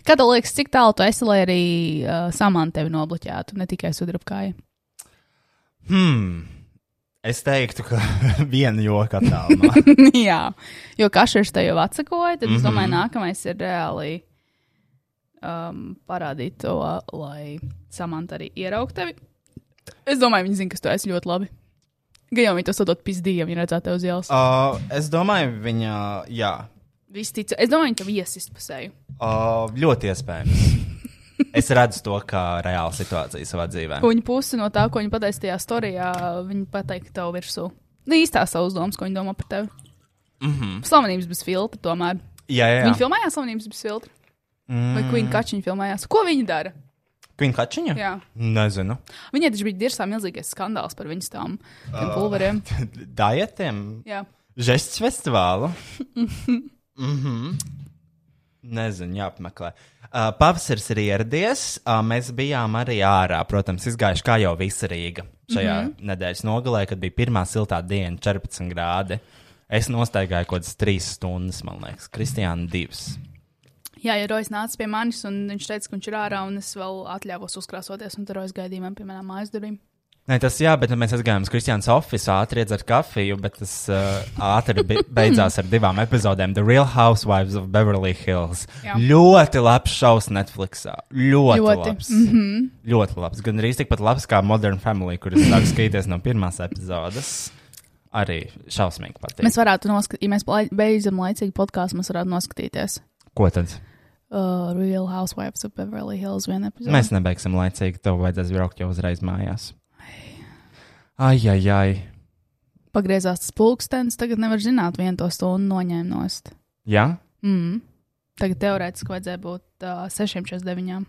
B: Kā tev liekas, cik tālu tu esi, lai arī uh, samanta tevi nobloķētu, ne tikai sudrabkāja?
C: Hmm. Es teiktu, ka *laughs* viena joka
B: *laughs*
C: tālumā.
B: Jā, jo kašers te jau atsakoja, tad mm -hmm. es domāju, nākamais ir reāli um, parādīt to, lai samanta arī ieraugtu tevi. Es domāju, viņi zina, kas tu esi ļoti labi. Gan jau viņi to sadod pizdījiem, ja redzētu tev uz ielas.
C: Uh, es domāju, viņa, jā,
B: Viss tic, es domāju, viņi tev iesispasēju.
C: uh, ļoti iespējams.
B: *laughs*
C: es redzu to kā reālu situāciju savā dzīvē.
B: Ko viņi pusi no tā, ko viņi pateica tajā storijā, viņi pateica tev virsū. Nu, īstās savas domas, ko viņi domā par tevi. Mm -hmm. Slavenības bez filtra, tomēr.
C: Jā, jā,
B: Jā. Viņi
C: jā.
B: filmējās slavenības bez filtra. Mm. Vai Queen Kačiņa filmējās? Ko viņi dara?
C: Viņa kačiņa?
B: Jā.
C: Nezinu. *laughs*
B: Viņai taču bija dirzā milzīgais skandāls par viņas tām tiem pulveriem.
C: Dietiem?
B: Jā.
C: Žests festivālu. mm -hmm. Nezinu, jāapmeklē. Uh, pavasaris ir ieradies. Uh, mēs bijām arī ārā. Protams, izgājuši kā jau visa Rīga. Šajā mm -hmm. nedēļas nogalē, kad bija pirmā siltā diena, 14 grādi. Es nostaigāju kaut kādas trīs stundas, man liekas, Kristiāna divas.
B: Jā, ja Rojas nāca pie manis un viņš teica, ka viņš ir ārā un es vēl atļāvos uzkrāsoties, un tur Rojas gaidīja man pie manām mājas durvīm.
C: Nē, tas jā, bet mēs aizgājām uz Kristiānas oficiālu, ātri iedzēru kafiju, bet tas uh, ātri bi- *laughs* beidzās ar divām epizodēm. The Real Housewives of Beverly Hills. Jā.
B: Jā.
C: Ļoti labs šovs Netflixā. Ļoti, ļoti.
B: Ļoti.
C: labs. Mm -hmm. Ļoti labs. Gan arī tikpat labs kā Modern Family, kuras sāk skatīties no pirmās epizodes. Arī šausmīgi patīk.
B: Mēs varētu noskatīties, ja mēs lai- beidzam laicīgi podkāstu, mēs varētu noskatīties
C: Ko tad?
B: uh, Real Housewives of Beverly Hills vienā epizodē.
C: Mēs nebeigsim laicīgi. Tev vajadzēs braukt jau uzreiz mājās. Ai, ai, ai.
B: Pagriezās tas pulkstenis, tagad nevar zināt, viena to stundu noņēma nost.
C: Jā?
B: Mm. Tagad teorētiski vajadzēja būt uh, 6,49.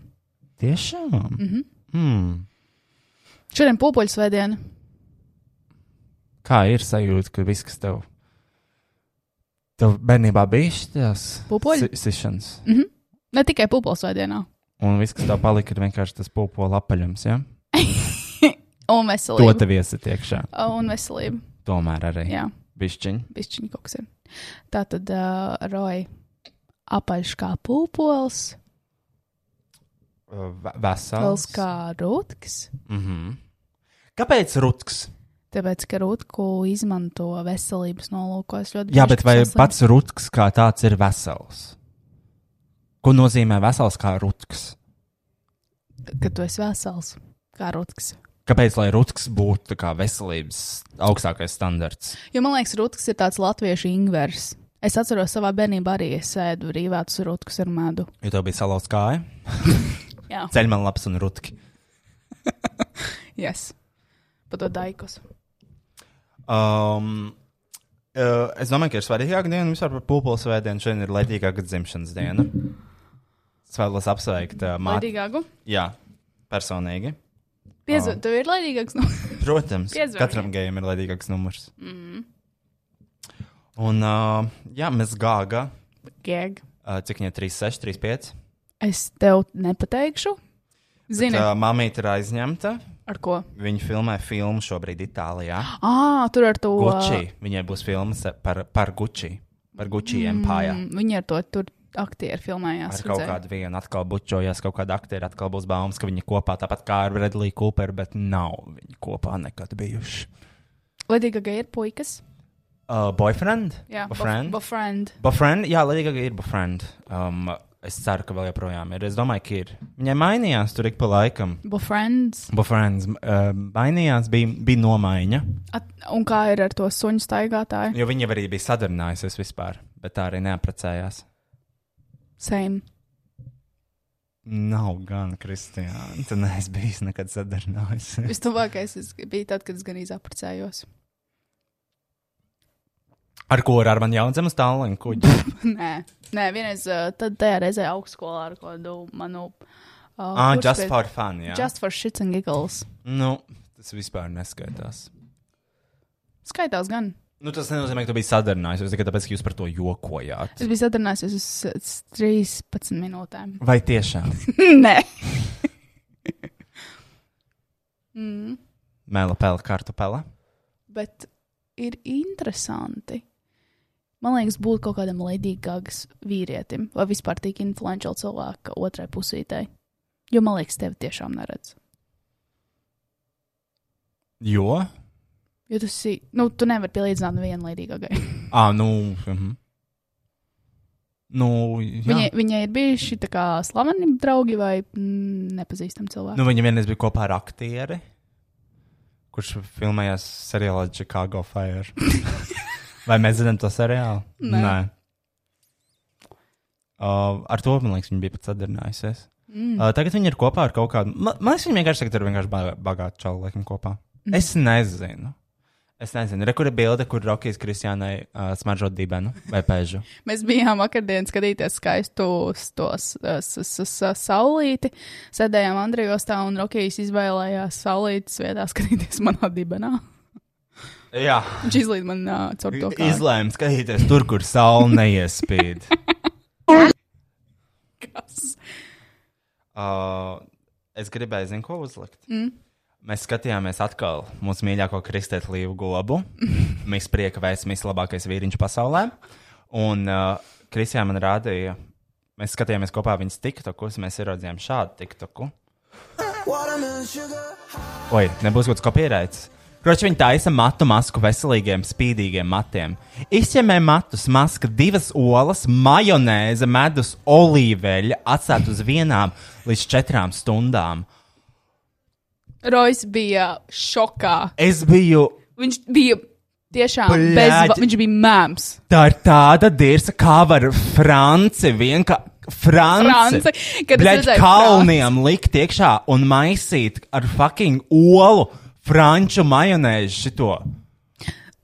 C: Tiešām? Mm -hmm. hmm.
B: Šodien pūpoļu svētdiena.
C: Kā ir sajūta, ka viss, kas tev, tev bērnībā bija šis
B: Pupuļi?
C: sišanas,
B: Ne tikai pūpoļu svētdienā.
C: un viss, kas tev palika, ir vienkārši tas popola apaļums, ja?
B: Un
C: To
B: veselība.
C: tev iesiet iekšā.
B: Un veselība.
C: Tomēr arī.
B: Jā,
C: Bišķiņ.
B: višķiņi kaut kas ir. Tā tad uh, roja apaļš kā pūpols,
C: V-
B: pils
C: Vesels.
B: kā rutks.
C: Mhm. Kāpēc rutks?
B: Tāpēc, ka rutku izmanto veselības nolūkos ļoti
C: Jā,
B: bieži,
C: bet
B: kad
C: vai
B: saslim.
C: pats rutks kā tāds ir vesels? Ko nozīmē vesels kā rutks?
B: Ka tu esi vesels, kā rutks.
C: Kāpēc, lai rutks būtu tā kā veselības augstākais standarts?
B: Jo man liekas, rutks ir tāds latviešu ingvers. Es atceros, savā bērnībā arī es ēdu rīvētus rutkus ar medu.
C: Jo tev bija salauzts kāja,
B: Jā,
C: ceļš man labs un rutki.
B: yes. pa to daikos.
C: Um, uh, es domāju, ka ir svarīgāka diena vispār par pūpolu svētdienu. Šodien ir laidīgāka dzimšanas diena. Es vēlos apsveikt uh, māti.
B: Laidīgāku?
C: Jā, personīgi.
B: Piezvan, tev ir laidīgāks. No... *laughs*
C: Protams,
B: Piezvaniet.
C: katram gejam ir laidīgāks numurs. Mm. Un uh, jā, mēs gāga,
B: Gag.
C: uh, cik viņai 3, 6, 3, 5.
B: Es tev nepateikšu. Zini,
C: Tā Uh, mamīte ir aizņemta.
B: ar ko?
C: Viņa filmē filmu šobrīd Itālijā.
B: Ah, tur ar to.
C: Gucci. Viņai būs filmas par, par Gucci. Par Gucci mm. empire.
B: Mm, Viņi ar to tur aktieri filmējās.
C: Ar kaut
B: redzēju.
C: kādu vienu atkal bučojās, kaut kāda aktiera atkal būs baumas, ka viņi kopā tāpat kā ar Redliju Cooperu, bet nav viņi kopā nekad bijuši.
B: Ledīga Gaga ir puikas.
C: Uh, boyfriend?
B: Jā,
C: boyfriend.
B: Bo bofriend.
C: Boyfriend? Jā, Lady Gaga ir boyfriend. Um, es ceru, ka vēl joprojām ir. Es domāju, ka ir. Viņai mainījās tur ik pa laikam.
B: Bofriends.
C: Boyfriends uh, mainījās, bija, bija nomaiņa,
B: At, un kā ir ar to suņu staigātāju?
C: jo viņa arī bija sadarinājusies vispār, bet tā arī neaprecējās.
B: Same.
C: Nav gan, Kristiāna, tu neesi bijis nekad sadarinājusies.
B: Vistuvākais es bija tad, kad es gan izapracējos.
C: Ar ko ir ar mani jaunzemes tālruņa kuģi?
B: *laughs* Nē, nē, vienreiz uh, tad tajā reizē augstskolā ar kādu manu. Uh,
C: Ah,
B: kursu
C: just
B: pie-
C: for fun, jā.
B: Just for shits and giggles.
C: Nu, tas vispār neskaitās.
B: Skaitās gan.
C: Nu, tas nenozīmē, ka tu biji sadarinājies. Es tikai tāpēc, ka jūs par to jokojāt.
B: Es biju sadarinājusies uz s- 13 minūtēm. *laughs*
C: Vai tiešām?
B: Nē.
C: Mēla pēla, kartupele.
B: bet ir interesanti. Man liekas, būt kaut kādam ledīgākam vīrietim, vai vispār tik influentiālam cilvēkam otrai pusītei. Jo man liekas, tevi tiešām neredz.
C: Jo?
B: Jo tu, si, nu, tu nevari pielīdzināt vienai ledīgākai.
C: Ah, nu. Mhm. Nu, jā.
B: *laughs* Viņai, viņai ir bijuši tā kā slaveni draugi vai mm, nepazīstami cilvēki.
C: Nu, viņa vienreiz bija kopā ar aktieri, kurš filmējās seriālā Chicago *laughs* Fire. Vai mēs zinām to seriālu? Nē. Nē. Uh, ar to, man liekas, viņa bija pat sadarinājusies. Mm. Uh, tagad viņi ir kopā ar kaut kādu. Man, man liekas, viņi vienkārši tagad ir vienkārši ba- bagāti čauli, laikam, kopā. Mm. Es nezinu. Es nezinu, Re, kur ir bilde, kur Rokijas Kristiānai uh, smaržo dibenu vai pēžu.
B: Nu. Mēs bijām vakardien skatīties skaistos tos eh, s- s- s- saulīti. Sēdējām Andrejostā un Rokijas izvēlējās saulītas vietā skatīties manā dibenā.
C: *laughs* Jā,
B: Viņš izlīd man uh, caur to kā.
C: izlēma skatīties tur, kur saule neiespīd.
B: Kas?
C: Uh, es gribēju, zinu, ko uzlikt. Mm. Mēs skatījāmies atkal mūsu mīļāko kristēta Līvu globu. Mēs prieka vēsmīs labākais vīriņš pasaulē. Un uh, Kristija man rādīja, mēs skatījāmies kopā viņas tiktokus, mēs ieraudzījām šādu tiktoku. Oi, nebūs kaut kas kopierēts. Kroči, viņi taisa matu masku veselīgiem, spīdīgiem matiem. Izņemē matus, maska, divas olas, majonēze, medus, olīveļa atstāt uz vienām līdz četrām stundām.
B: Rois bija šokā.
C: Es biju,
B: Viņš bija tiešām
C: Bļaģi.
B: bez. va- Viņš bija mēms.
C: tā ir tāda dirza, kā var Franci vienkārši. Franci,
B: Franci, kad es
C: Bļaģ,
B: redzēju
C: kalniem likt iekšā un maisīt ar fucking olu franču majonēzi šito.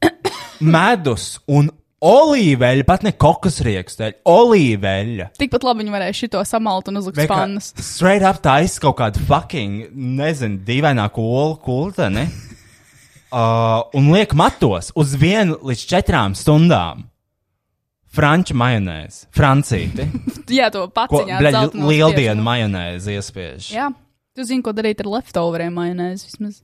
C: *coughs* Medus un olīveļu, pat ne kokas rieksteļu, olīveļu.
B: Tikpat labi viņi varēja šito samalt un uzlikt
C: Vienkār-
B: spannas. *laughs*
C: Straight up tā izsaka kaut kādu fucking, nezinu, dīvainā olu kulteni. Uh, un liek matos uz vienu līdz četrām stundām. Franču majonēzi, francīti.
B: Jā, to
C: Ko,
B: paciņā.
C: bļaļ,
B: dzeltenos
C: lieldienu
B: piešanu.
C: majonēzi iespiež.
B: Jā, tu zini, ko darīt ar leftoveriem majonēzi vismaz.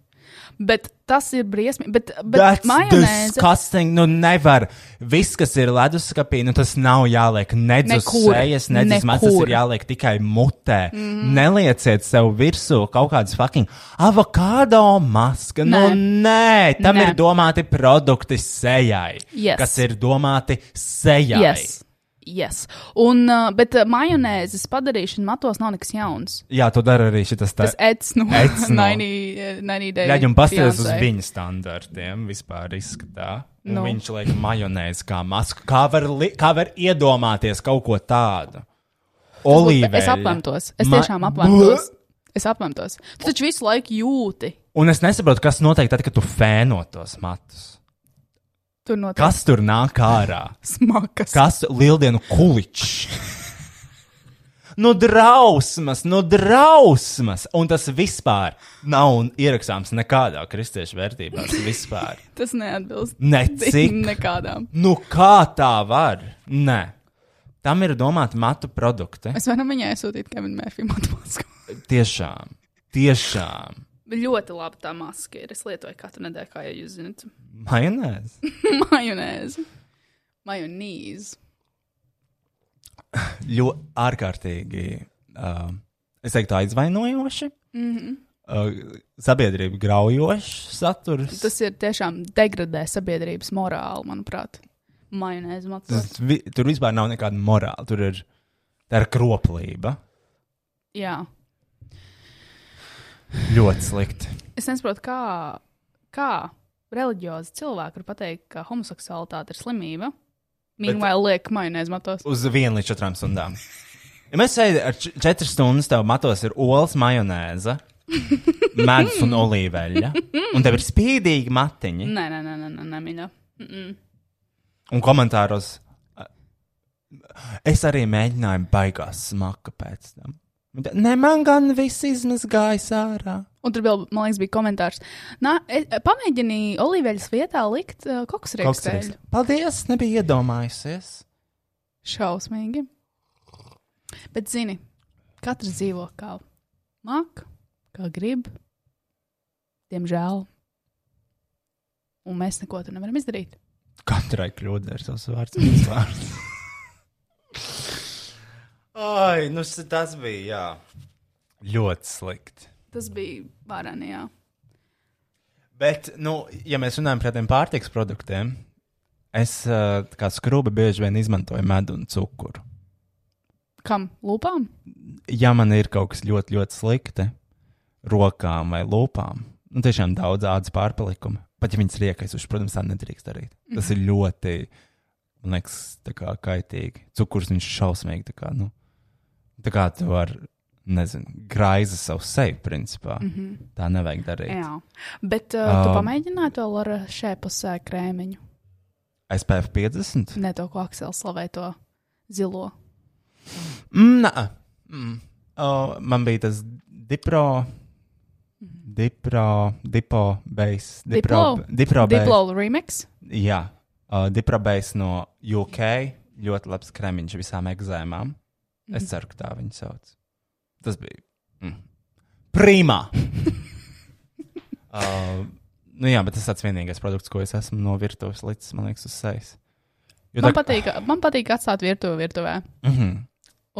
B: Bet tas ir briesmīgi. Bet, bet
C: Tas
B: majonēze
C: disgusting. Nu, nevar. Viss, kas ir leduskapī, nu, tas nav jāliek nedz uz
B: Nekur.
C: sejas, nedz uz malas. Tas
B: Nekur. Mhm.
C: ir jāliek tikai mutē. Mm. Nelieciet sev virsū kaut kādas fucking avokado maskas. Nu,
B: Nē.
C: nē, tam
B: Nē.
C: ir domāti produkti sejai.
B: Yes.
C: Kas ir domāti sejai.
B: Yes. Yes. Un, uh, bet uh, majonēzes padarīšana matos nav nekas jauns.
C: Jā, to dara arī šis
B: Tas
C: tāds.
B: ets no *laughs* E,
C: Ets no.
B: 90 day.
C: Ļaģi un paskatās uz
B: fiancé.
C: viņa standartiem vispār izskatā. Nu.
B: Nu.
C: Viņš liek majonēzi kā masku. Kā var, li- kā var iedomāties kaut ko tādu? Olīve.
B: Es aplemtos. Es tiešām aplemtos. Es aplemtos. Tu taču visu laiku jūti.
C: Un es nesaprotu, kas notiek tad, kad tu fēno tos matus.
B: Tur notiek
C: Kas tur nāk ārā?
B: smakas.
C: Kas lieldienu kuličs? *laughs* No drausmas, no drausmas, un tas vispār nav ierakstāms nekādā kristiešu vērtībās.
B: *laughs*
C: Vispār.
B: Tas neatbilst.
C: Necik.
B: Nekādām.
C: Nu, kā tā var? Nē, tam ir domāti matu produkti. Es...
B: Es varu viņai sūtīt Kevinu Mērfiju matmasku.
C: Tiešām, tiešām.
B: Ļoti labi tā maska ir. Es lietoju katru nedēļu, kā jau jūs zinat. *laughs*
C: Majonēze.
B: Majonēzi. Majonīzi.
C: Ļoti ārkārtīgi, uh, es teiktu, aizvainojoši. Mm -hmm. uh, sabiedrība graujošs saturs.
B: Tas ir tiešām degradē sabiedrības morāli, manuprāt. Majonēzi matos.
C: Tas vi, tur vispār nav nekāda morāla. Tur ir, tā ir kroplība.
B: Jā.
C: Ļoti slikti.
B: Es nesaprotu, kā, kā reliģiozi cilvēki var pateikt, ka homoseksualitāte ir slimība. Mīnvāl liek majonēzi matos.
C: Uz vienu līdz četrām stundām. Ja mēs šeit ar č- četras stundas tev matos ir olas majonēze, medus un olīveļa, un tev ir spīdīgi matiņi,
B: Nē, nē, nē, nē, nē, nē mīļā. Mm -mm.
C: un komentāros ā, es arī mēģināju baigās smaka pēc tam. Un tā, Ne, man gan viss izmazgājās ārā.
B: Un tur vēl, man liekas, bija komentārs. Nā, e, pamēģini olīveļas vietā likt uh,
C: Kaut kas
B: koksrieksteļu.
C: ir- Paldies, nebija iedomājusies.
B: Šausmīgi. Bet, zini, katrs dzīvo kā māk, kā grib. Diemžēl. Un mēs neko tur nevaram izdarīt.
C: Katrai kļūdai ir savs vārds un uzvārds. Ai, nu s- tas bija, jā. Ļoti slikti.
B: Tas bija Vāranijā.
C: Bet, nu, ja mēs runājam par tādiem eh, pārtiks produktiem, es uh, kā skrūbe bieži vien izmantoju medu un cukuru.
B: Kam? Lūpām?
C: ja man ir kaut kas ļoti, ļoti slikti, rokām vai lūpām, nu, tiešām daudz ādas pārpalikumu, pat ja viņas riekais, viņš, protams, tā nedrīkst darīt. Tas
B: Mhm.
C: ir ļoti, man liekas, tā kā kaitīgi. Cukurs viņš šausmīgi, tā kā, nu, tā kā tu vari, nezinu, graiza savu seju, principā. Mm -hmm. Tā nevajag darīt.
B: Mhm. Jā. Bet uh, tu
C: Um,
B: pamēģināji to ar šēpus uh, krēmiņu.
C: SPF 50?
B: Ne to, ko Aksels slavē to zilo. Mhm.
C: Mm, nā. Mm. O, man bija tas dipro. Dipro, dipo, base. Dipro, dipro, base.
B: Mhm. Diplo remix.
C: Jā, uh, diprabēs no UK. Ļoti labs kremiņš visām eksāmenām.
B: Mhm.
C: Es ceru, ka tā viņa sauc. Tas bija. Mm. Prima!
B: *laughs*
C: uh, nu jā, bet tas tāds vienīgais produkts, ko es esmu no virtuves līdz, man liekas, uz sejas. Jo
B: Man patīk, man patīk atstāt virtuvi virtuvē.
C: Mm -hmm.
B: Un-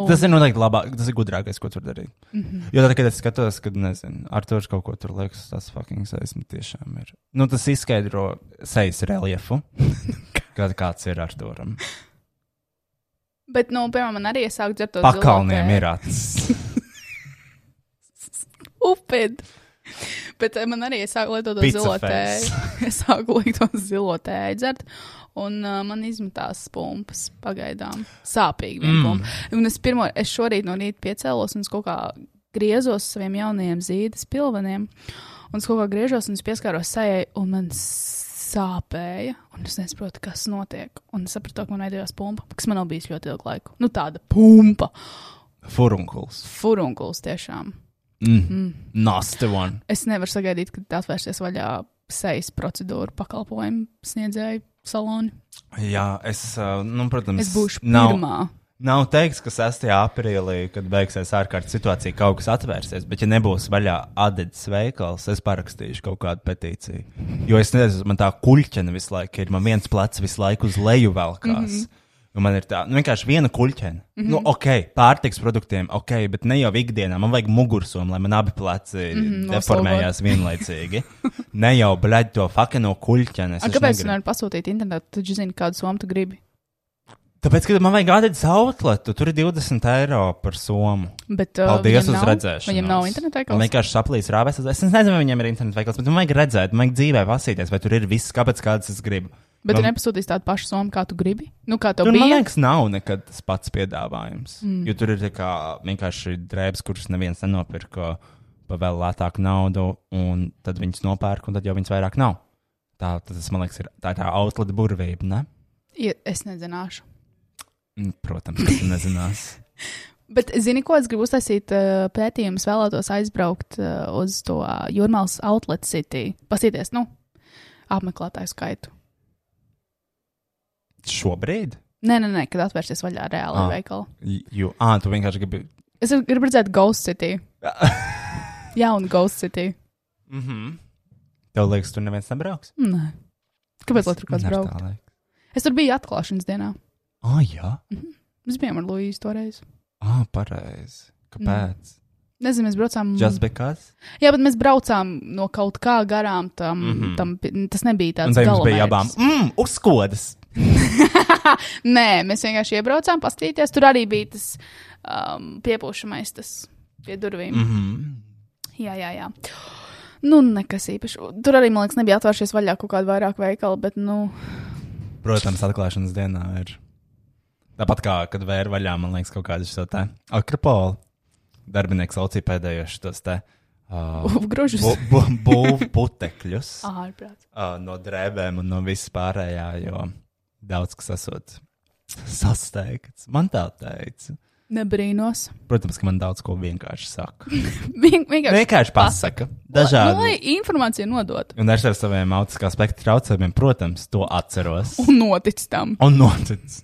B: Mhm.
C: Tas ir noteikti labāk, tas ir gudrākais, ko tu vari darīt. Mm -hmm. Jo tad, kad es skatos, kad nezinu, ar to kaut ko tur liekas, tas fucking saistība tiešām ir. Nu, tas izskaidro sejas
B: *laughs*
C: reliefu, kad kāds ir ar to tam.
B: Bet, nu, piemēram, man arī sāk dzert to zilo
C: Pakalniem
B: tē.
C: ir acis.
B: upid. Bet eh, man arī sāk lietot to
C: Pizza
B: zilo
C: face.
B: tēju. *laughs* Es sāku likt to zilo tēju dzert, un uh, man izmetās pumpas pagaidām. Sāpīgi viena mm. pumpa. Un es pirmo, es šorīt no rīta piecēlos un es kaut kā griezos saviem jaunajiem zīdes pilveniem, un es kaut kā griežos un es pieskāros sejai, un man sāpēja, un es nesaprotu, kas notiek. Un es sapratu, ka man veidojās pumpa, kas man nav bijis ļoti ilgu laiku. Nu, tāda pumpa,
C: Furunkuls.
B: furunkuls tiešām.
C: Nasta one.
B: Es nevaru sagaidīt, kad atvērsies vaļā sejas procedūra pakalpojumu sniedzēju saloni.
C: Jā, es, uh, nu, protams,
B: Es būšu
C: nav-
B: pirmā.
C: Nav teiks, ka 6. aprīlī, kad beigsies ārkārtas situācija, kaut kas atvērsies, bet, ja nebūs vaļā adata veikals, es parakstīšu kaut kādu petīciju. Jo es nezinu, man tā kuļķene visu laiku ir. Man viens plecs visu laiku uz leju velkās. Mm
B: Mhm.
C: -hmm. Man ir tā, nu, vienkārši viena kuļķene. Mm -hmm. Nu, ok, pārtiks produktiem, ok, bet ne jau ikdienā. Man vajag mugursomu, lai man abi pleci
B: Mhm,
C: mm -hmm, deformējās
B: *laughs*
C: vienlaicīgi. ne jau, blēģi, to fakeno kuļķenes.
B: A, kāpēc gan nevar pasūtīt internetā? Tad jūs zināt, kādu somu tu gribi.
C: Tāpēc, ka man vajag atdot outletu, tur ir 20 eiro par somu.
B: Bet, uh,
C: Paldies
B: viņiem
C: uz
B: nav-
C: redzēšanu.
B: Viņiem nav interneta
C: Man
B: veikals.
C: vienkārši saplīs rāpēs. Es nezinu, vai viņiem ir interneta veikals, bet man vajag redzēt, man vajag dzīvē pasīties, vai tur ir viss, kāpēc kādas es gribu.
B: Bet tu
C: man,
B: nepasūtīsi tādu pašu somu, kā tu gribi. Nu, kā tev
C: tur, man
B: bija?
C: liekas, nav nekad tas pats piedāvājums. Mm. Jo tur ir tā kā, vienkārši drēbes, kuras neviens nenopirka par vēl lētāku naudu, un tad viņas nopērk, un tad jau viņas vairāk nav. Tā, tas, man liekas, ir tā, tā outlet burvība, ne?
B: Ja, es nezināšu.
C: Mm, Protams, tas nezinās.
B: *laughs* Bet, zini, ko es gribu uztaisīt uh, pētījumus, vēlētos aizbraukt uh, uz to uh, Jurmālas Outlet City. Pasīties, nu, apmeklētāju skaitu.
C: Šobrīd?
B: Nē, nē, nē, kad atvērsies vaļā reāla
C: Ah.
B: ah. veikala.
C: Jo, ah, tu vienkārši gribi.
B: Es gribu redzēt Ghost City. *laughs* Jaunu Ghost City. Mhm.
C: Tev liekas, tur neviens nebrauks.
B: Nē. Kāpēc lai tur kāds
C: Man arī tā
B: braukt?
C: liekas.
B: Es tur biju atklāšanas dienā.
C: Ah, jā,
B: Mēs bijām ar Luīsu toreiz.
C: ah, pareizi. Kāpēc?
B: Mm. Nezinu, mēs braucām.
C: Mm. Just because.
B: Jā, bet mēs braucām no kaut kā garām tam. Mm -hmm. tam pi- tas nebija
C: Mhm. Un
B: tāds
C: tā jums
B: galamērķis.
C: bija abām. Mm, uzkodas!
B: Nē, mēs vienkārši iebraucām, paskatīties. Tur arī bija tas um, piepūšamais, tas pie durvīm. Mm -hmm.
C: Mhm.
B: Jā, jā, jā. Nu, nekas īpašs. Tur arī, man liekas, nebija atvēršies vaļā kaut kāda vairāk veikala, bet, nu, *laughs*
C: Protams, atklāšanas dienā ir. Tāpat kā, kad vēra vaļā, man liekas, kaut kāda šo te akropola darbinieks laucīja pēdējos tos te uh,
B: grožus.
C: bu- bu- būvputekļus
B: *laughs* Ah. Ārprāt.
C: uh, no drēbēm un no viss pārējā, jo daudz kas esot sasteigts. Man tā teica.
B: Nebrīnos.
C: Protams, ka man daudz ko vienkārši saka.
B: Vien, vienkārši
C: Vienkārši pasaka.
B: Nu,
C: Dažādi.
B: lai informācija nodot.
C: Un es ar saviem autiskā spektra traucējumiem, protams, to atceros.
B: Un notic tam.
C: Un notic.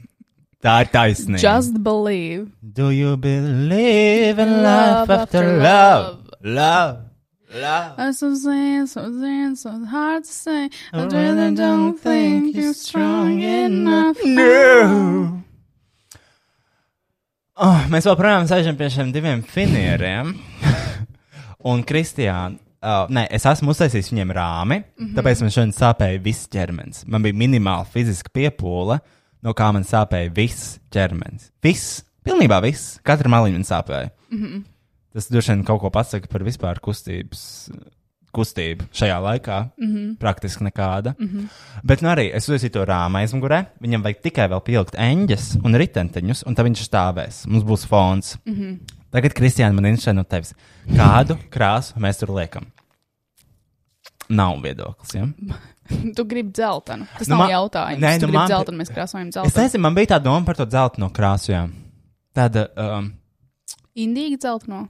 C: Tā ir taisnība.
B: Just believe.
C: Do you believe in love
B: Love
C: after
B: after
C: love? Love. love.
B: Esmu zins, un zins, un hard to say.
C: Oh,
B: I really don't think you're strong enough.
C: No. Oh, mēs joprojām sēžam pie šiem diviem finieriem. *laughs* Un, Kristiāna, uh, nē, es esmu uztaisījis viņiem rāmi, mm
B: Mhm.
C: -hmm. tāpēc man šodien sāpēja viss ķermenis. Man bija minimāla fiziska piepūle, no kā man sāpēja viss ķermenis. Viss Pilnībā viss. Katra maliņa man sāpēja. Mm -hmm.
B: Mhm.
C: Tas droši vien kaut ko pasaka par vispār kustības. Kustība šajā laikā mm -hmm. praktiski nekāda. Mm -hmm. Bet nu, arī es uzsācu to rāmu aizmugurē. Viņam vajag tikai vēl pielikt eņģes un ritenteņus, un tad viņš stāvēs. Mums būs fons. Mm -hmm. Tagad, Kristiāna, man ir interesē no tevis. Kādu krāsu mēs tur liekam? Nav viedoklis. Ja?
B: Tu gribi dzeltenu. Tas
C: Nu,
B: nu,
C: man-
B: nav jautājums.
C: Nē,
B: Nē, tu
C: nu,
B: gribi
C: man-
B: dzeltenu, mēs krāsojam
C: Es
B: dzeltenu.
C: nezinu, man bija tā doma par to dzelteno krāsu. Jā. Tāda, um,
B: Indīgi dzelteno.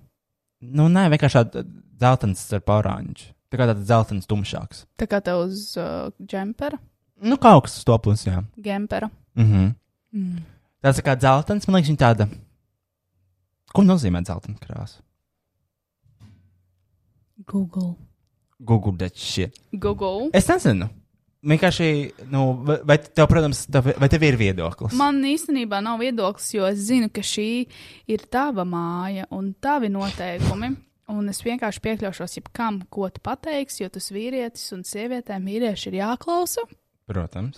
C: nu, nē, vienkārši tāda dzeltens ar oranžu. Tā kā tāds dzeltens tumšāks.
B: Tā kā tev uz uh, džempera,
C: Nu, kaut kas to plus, jā.
B: gempera.
C: Mm -hmm. mm. Tāds tā kā dzeltens, man liekas, viņa tāda. Ko nozīmē dzeltena krāsa?
B: Google.
C: Google that shit.
B: Google.
C: Es nezinu. Vienkārši, nu, vai- vai tev, protams, tev, vai tev ir viedoklis?
B: Man īstenībā nav viedoklis, jo es zinu, ka šī ir tava māja un tavi noteikumi. Un es vienkārši piekļaušos jebkam, ko tu pateiksi, jo tas vīrietis un sievietē mīļieši ir jāklausa.
C: Protams.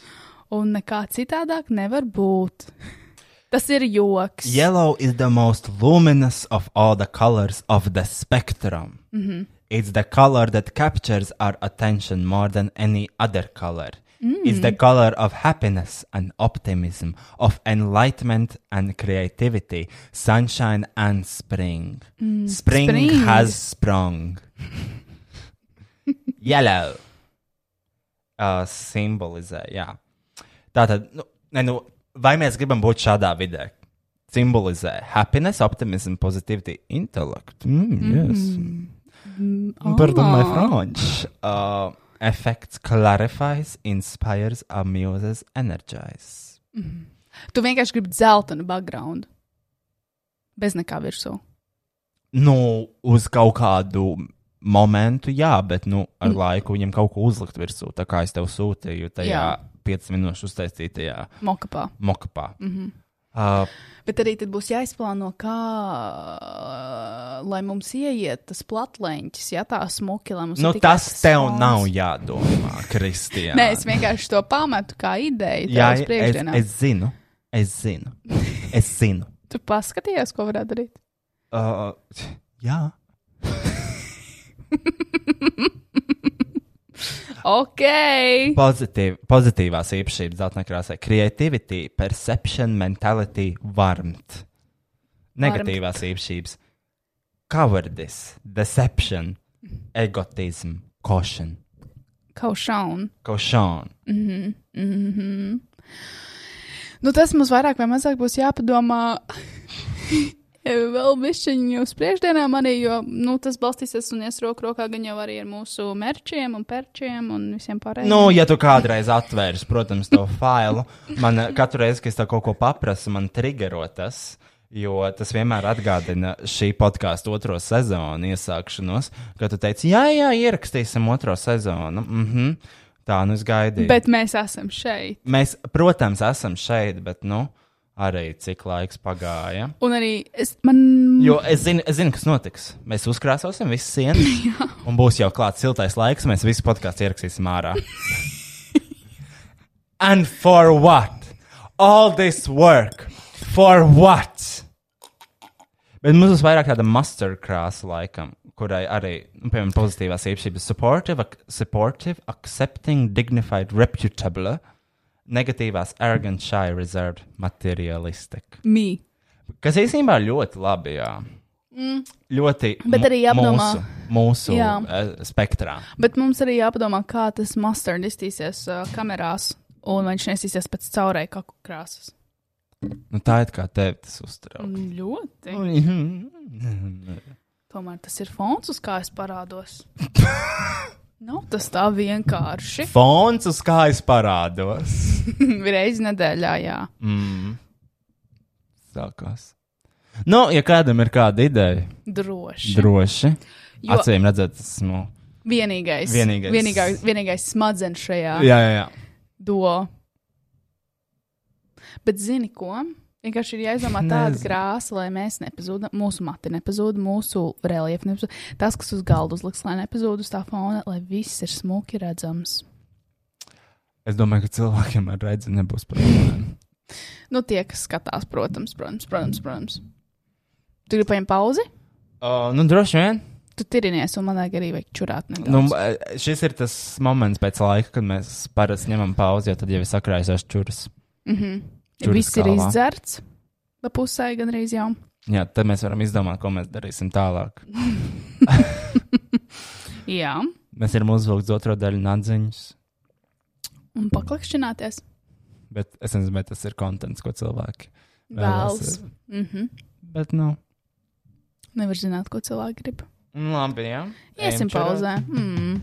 B: Un nekā citādāk nevar būt. *laughs* Tas ir joks.
C: Yellow is the most luminous of all the colors of the spectrum. It's the color that captures our attention more than any other color. It's the color of happiness and optimism, of enlightenment and creativity, sunshine and spring. Spring,
B: Spring.
C: has sprung. Yellow. Uh, symbolizē, jā. Tātad, nu, ne, nu, vai mēs gribam būt šādā vidē? Simbolizē happiness, optimism, positivity, intellect. Mm, yes. mm. Pardon my
B: Ah.
C: French. Uh, effects clarifies, inspires, amuses, energizes.
B: Tu vienkārši gribi dzeltenu background. Bez nekā virsū.
C: Nu, uz kaut kādu momentu, jā, bet nu, ar mm. laiku viņam kaut ko uzlikt virsū. Tā kā es tev sūtīju tajā
B: Jā.
C: 5 minūšu uztaisītajā
B: Mokapā.
C: mokapā. Mm
B: Mhm.
C: -hmm. uh,
B: Bet arī tad būs jāizplāno, kā lai mums ieiet tas platleņķis, ja tā smuki, lai mums ir
C: nu,
B: tikai
C: tas tev
B: fons.
C: nav jādomā, Kristija.
B: Nē, es vienkārši to pametu kā ideju. Jā,
C: Jā, es,
B: priekšdienā.
C: es zinu. Es zinu. Es
B: *laughs*
C: zinu.
B: Tu paskatījies, ko varētu darīt.
C: Uh, jā.
B: Ok,
C: Pozitīv, pozitīvās īpašības dzeltenā krāsā - creativity, perception, mentality, warmth. Negatīvās īpašības - cowardice, deception, egotism, caution.
B: kaušaun.
C: Caution.
B: Nu, tas mums vairāk vai mazāk būs jāpadomā. *laughs* Vēl bišķiņu uz priekšdienām arī, jo nu, tas balstīsies un ies roku rokā gan jau arī ar mūsu mērķiem un perčiem un visiem pārējiem.
C: Nu, ja tu kādreiz atvērsi, protams, to failu, man eh, katru reizi, kad es tev kaut ko paprasu, man triggero tas. Jo tas vienmēr atgādina šī podkāstu otro sezonu iesākšanos, kad tu teici, jā, jā, ierakstīsim otro sezonu. Mm -hmm. Tā nu es gaidīju.
B: Bet mēs esam šeit.
C: Mēs, protams, esam šeit, bet nu, arī cik laiks pagāja.
B: Un arī es, man
C: Jo es zinu, es zinu kas notiks. Mēs uzkrāsosim visas sienas, un būs jau klāts siltais laiks, mēs visu podkāstu ierakstīsim ārā. And for what? All this work. For what? Bet mums būs vairāk tāda mustard krāsa, laikam, kurai arī, nu, piemēram, pozitīvās īpašības - supportive, ac supportive, accepting, dignified, reputable, negatīvās, arrogant, shy, reserved, materialistic.
B: mī.
C: Kas īstenībā ir ļoti labi. Jā. Ļoti
B: Mm. Bet
C: mu-
B: arī jāpadomā.
C: mūsu, mūsu
B: Jā.
C: eh, spektrā.
B: Bet mums arī jāpadomā, kā tas mustard iztīsies uh, kamerās, un vai viņš nesīsies pēc caurēju kaku krāsas.
C: Nu, tā ir kā tevi tas uztrauc.
B: Ļoti. Tomēr tas ir fons, uz kā
C: *laughs*
B: es parādos. Nav tas tā vienkārši. *laughs*
C: Fons uz kājas parādos.
B: Reiz nedēļā, jā.
C: Sākās. Nu, ja kādam ir kāda ideja,
B: Droši.
C: droši.
B: Jo-
C: Jo... Acīm redzēt, tas nu, esmu.
B: vienīgais.
C: Vienīgais.
B: Vienīgais, vienīgais smadzenes šajā
C: Jā, jā, jā.
B: do. Bet zini ko? Vienkārši ir jāizdomā
C: *laughs*
B: tāda
C: Nezinu.
B: krāsa, lai mēs nepazūdam, mūsu mati nepazūd, mūsu reliefu nepazūd. Tas, kas uz galda uzliks, lai nepazūd uz tā fona, lai viss ir smuki redzams.
C: Es domāju, ka cilvēkiem ar redzi nebūs problēma.
B: Nu, tie, kas skatās, protams, protams, protams. protams. Tu gribi paņemt pauzi?
C: Uh, nu, droši vien.
B: Tu tirinies, un man vajag arī vajag čurāt.
C: Nu,
B: nedaudz.
C: eh, šis ir tas moments pēc laika, kad mēs parasti ņemam pauzi, jo tad jau ir sakrājusies čūras. čuras
B: Viss ir
C: galvā.
B: izdzerts. Pa pusē gandrīz jau.
C: Jā, tad mēs varam izdomāt, ko mēs darīsim tālāk.
B: Jā,
C: Mēs varam uzvilkt otro daļu nodziņas,
B: un paklakšķināties.
C: bet es nezinu, vai tas ir konteksts, ko cilvēki
B: Vēlas. Mm -hmm.
C: Bet, nu,
B: Nevar zināt, ko cilvēki grib.
C: nu, labi, jā. Ejam
B: Iesim
C: čurāt.
B: pauzē.
C: *laughs*
B: Mm.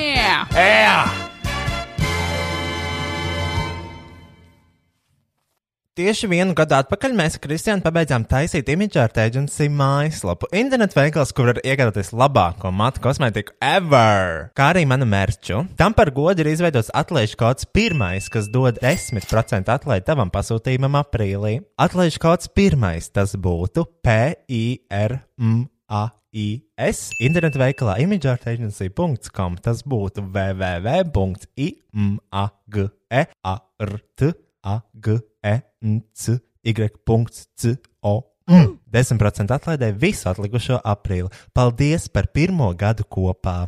B: Jā,
C: Tieši vienu gadu atpakaļ mēs ar Kristiānu pabeidzām taisīt imidžāta aģentūras mājaslapu. Internetu veikals, kur var iegādāties labāko matu kosmētiku ever, kā arī manu mērķu. Tam par godu ir izveidots atlaižu kods pirmais, kas dod 10% atlaidi tavam pasūtījumam aprīlī. Atlaižu kods pirmais tas būtu PIRMA. IS internetu veikalā imageartagency.com tas būtu E www.image.com a g e n c y.co. 10% atlaidē visu atlikušo aprīli. Paldies par pirmo gadu kopā!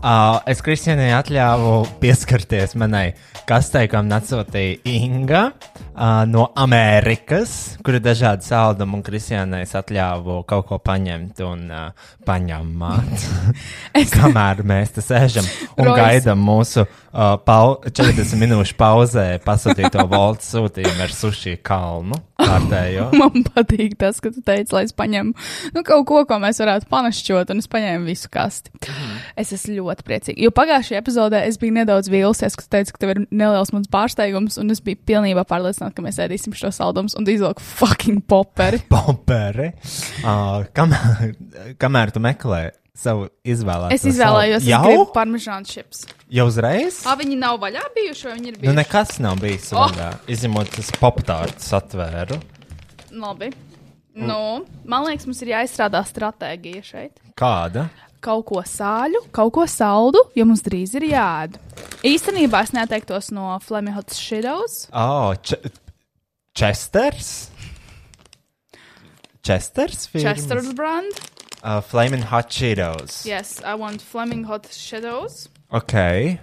C: Uh, es Kristianai atļāvu pieskarties manai kastei, ko man atsūtīja Inga uh, no Amerikas, kur ir dažādi saldumi. Un Kristianai es atļāvu kaut ko paņemt un uh,
B: *laughs*
C: paņemt. Kamēr mēs te sēžam un
B: Rois.
C: gaidām mūsu uh, pau 40 minūšu pauzē pasūtīto voltu sūtījumu ar sushi kalnu
B: *laughs*
C: kārtējo.
B: man patīk tas, ka tu teici, lai es paņemu nu, kaut ko, ko mēs varētu panašķot, un es paņēmu visu kasti.
C: Mhm.
B: Es esmu ļoti priecīga. Jo pagājušajā epizodē es biju nedaudz vīlusies, ka tu teici, ka tev ir neliels mans pārsteigums, un es biju pilnībā pārliecināta, ka mēs ēdīsim šo saldumus, un tu izvilki fucking poperi.
C: Pomperi. Uh, kamēr, kamēr tu meklē savu izvēlēto
B: Es izvēlējos
C: jau,
B: parmežānu chips.
C: jau uzreiz?
B: Ah, viņi nav vaļā bijuši, vai viņi ir
C: Nu,
B: bijuši?
C: nekas nav bijis
B: Oh!
C: vaļā, izņemot tas poptārts atvēru.
B: Labi. Nu, man liekas, mums ir jāizstrādā stratēģija šeit.
C: Kāda?
B: kaut ko sāļu, kaut ko saldu, jo mums drīz ir jāēd. Īstenībā es neteiktos no Fleming Hot Shadows.
C: Oh, če Chesters? Chesters?
B: Chester's brand.
C: Uh, Flaming Hot Cheetos.
B: Yes, I want Fleming Hot Shadows.
C: Ok.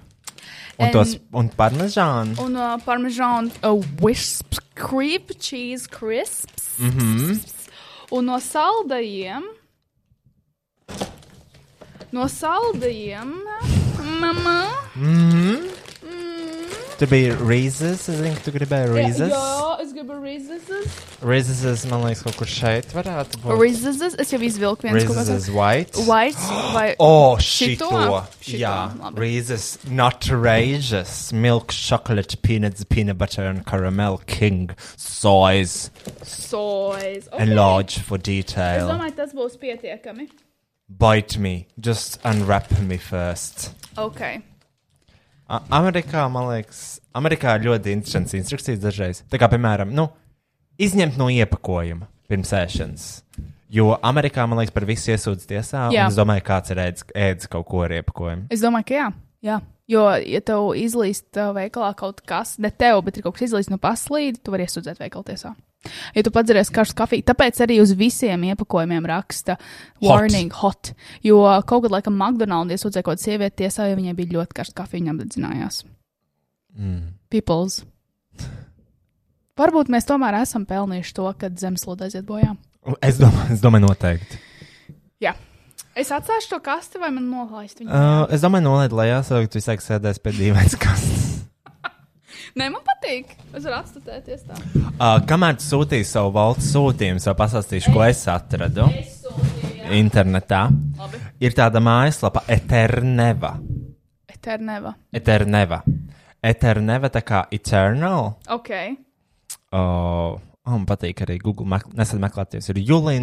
C: Un,
B: And-
C: tos, un parmezānu.
B: Un uh, parmežāna uh, wisp creep cheese crisps. Mm -hmm. Un no saldajiem. No saldajiem. Mamā.
C: Tur bija Reese's. Es zinu, ka tu gribēji Reese's.
B: Jā, es gribu rīzes.
C: Reese's, man liekas, kaut kur šeit varētu būt.
B: Rīzes, es jau izvilku viens kaut kāds.
C: Reese's White.
B: White vai
C: *gasps* Oh,
B: Šito?
C: šito!
B: Šito,
C: Jā,
B: labi.
C: Reese's Nutrageous Milk Chocolate Peanuts Peanut Butter and Caramel King Size
B: sojas. Okay.
C: Enlarge for
B: Es
C: detail
B: domāju, tas būs pietiekami.
C: Bite me, just unwrap me first
B: Ok.
C: A Amerikā, man liekas, Amerikā ir ļoti interesants instrukcijas dažreiz Tā kā, piemēram, nu, izņemt no iepakojuma pirms ēšanas Jo Amerikā, man liekas, par visu iesūdz tiesā
B: Jā.
C: Un es domāju, kāds ir ēdis, ēdis kaut ko ar iepakojumu
B: Es domāju, ka jā. jā. Jo, ja tev izlīst ā, veikalā kaut kas, ne tev, bet ir kaut kas izlīst no paslīdes, tu vari iesūdzēt veikaltiesā. Ja tu padzeries karstu kafiju, tāpēc arī uz visiem iepakojumiem raksta warning hot. Jo kaut kad laikam McDonald's iesūdzēja kaut kādu sievieti tiesā, jo viņai bija ļoti karsta kafija, viņa apdzinājās.
C: Mm.
B: Peoples. Varbūt mēs tomēr esam pelnījuši to, ka zemeslodes aiziet bojā.
C: Es domāju, es domāju noteikti.
B: Jā. Es atstāšu to kasti, vai man nolaist viņu?
C: Uh, es domāju, nolaid lejā, sākt visāk sēdēs pie dīvainas kastes.
B: Nē, man patīk. Es varu atstatēties tā.
C: Uh, kamēr tu sūtīji savu valsts sūtījumu, jau pastāstīšu, ko es atradu internetā.
B: Labi.
C: Ir tāda mājaslapa Eterneva.
B: Eterneva.
C: Eterneva. Eterneva tā kā Eternal.
B: Ok.
C: Oh, man patīk arī Google. Mek Nesen meklēties, ir Julija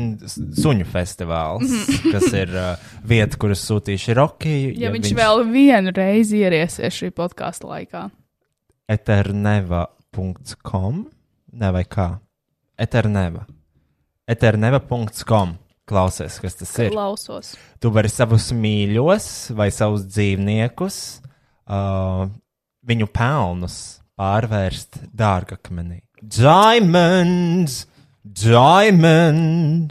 C: Suņu festivāls, kas ir uh, vieta, kur es sūtīšu Rokiju.
B: Mhm. Ja, ja viņš, viņš vēl vienu reizi ieriesies šī podkāstu laikā.
C: eterneva.com, ne vai kā? Eterneva. Eterneva.com.
G: klausies, kas tas ir.
B: Klausos.
G: Tu vari savus mīļos vai savus dzīvniekus, uh, viņu pelnus pārvērst dārgakmenī. Diamonds! Diamond!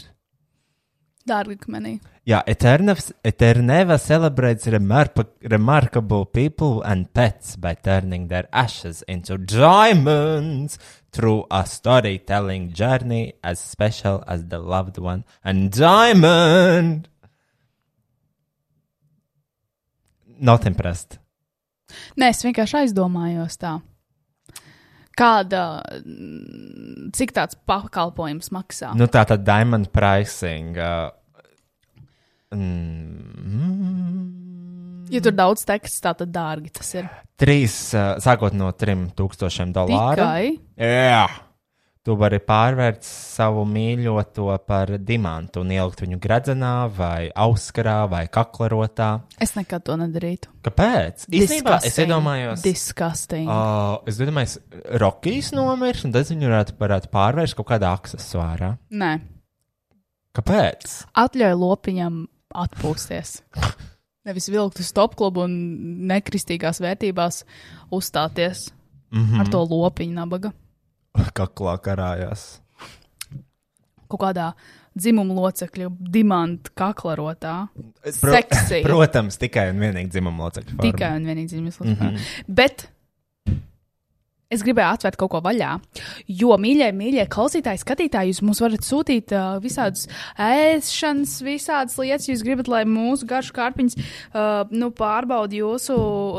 B: Dārgakmenī.
G: Yeah, Eternevs- Eterneva celebrates remarp- remarkable people and pets by turning their ashes into diamonds through a storytelling journey as special as the loved one and diamond. Not impressed.
B: Nē, es vienkārši aizdomājos tā. Kāda, mm, cik tāds pakalpojums maksā?
G: Nu, tā tad diamond pricing. Uh,
B: Ja tur daudz teksta, tā tad dārgi tas ir.
G: trīs, uh, sākot no 3000 dolāru.
B: Tikai
G: Jā, tu vari pārvērt savu mīļoto par dimantu un ielikt viņu gredzenā, vai auskarā, vai kaklarotā.
B: es nekad to nedarītu.
G: Kāpēc? Īstenībā es
B: Disgusting.
G: iedomājos.
B: Disgusting. Uh,
G: Uh, es domāju, ka Rukijs nomirst, un tad viņu varētu, varētu pārvērst kaut kādā aksesuārā.
B: Nē,
G: Kāpēc?
B: atļauj lopiņam atpūsties. Nevis vilkt uz top klubu un nekristīgās vērtībās uzstāties mm -hmm. ar to lopiņu nabaga.
G: Kaklā karājās.
B: Kaut kādā dzimuma locekļu dimanta kaklarotā. Seksī.
G: *laughs* protams, tikai un vienīgi dzimuma locekļu. forma.
B: Tikai un vienīgi zīmēs Latvijā. Mm -hmm. Bet es gribēju atvērt kaut ko vaļā, jo, mīļie, mīļie klausītāji, skatītāji, jūs mums varat sūtīt uh, visādus ēšanas, visādas lietas. Jūs gribat, lai mūsu garšu kārpiņas uh, nu, pārbauda jūsu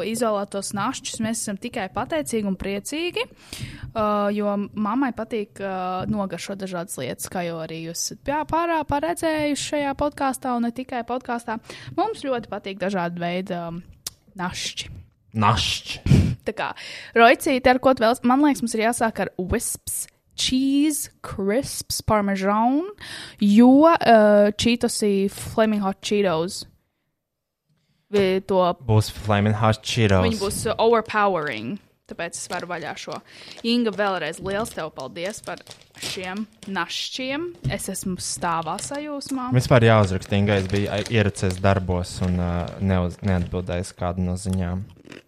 B: izolētos našķus. Mēs esam tikai pateicīgi un priecīgi, uh, jo mammai patīk uh, nogaršot dažādas lietas, kā jau arī jūs esat pā- pārā paredzējuši šajā podkāstā un ne tikai podkāstā. Mums ļoti patīk dažādi veidi. Um, Našķi.
G: Našķi.
B: Tā kā roicīte, ar ko tu vēlas, man liekas, mums ir jāsāk ar wisps. Cheese, crisps, parmesan, jo uh, čītos ir flaming hot cheetos. Vi to
G: Būs Flaming Hot Cheetos.
B: viņi būs uh, overpowering, tāpēc es varu vaļā šo. Inga, vēlreiz liels tev paldies par šiem našķiem. Es esmu stāvā sajūsmā.
G: Vispār jāuzraksta, ka es biju ieracies darbos un uh, neuz, neatbildēju uz kādu no ziņām. Mm.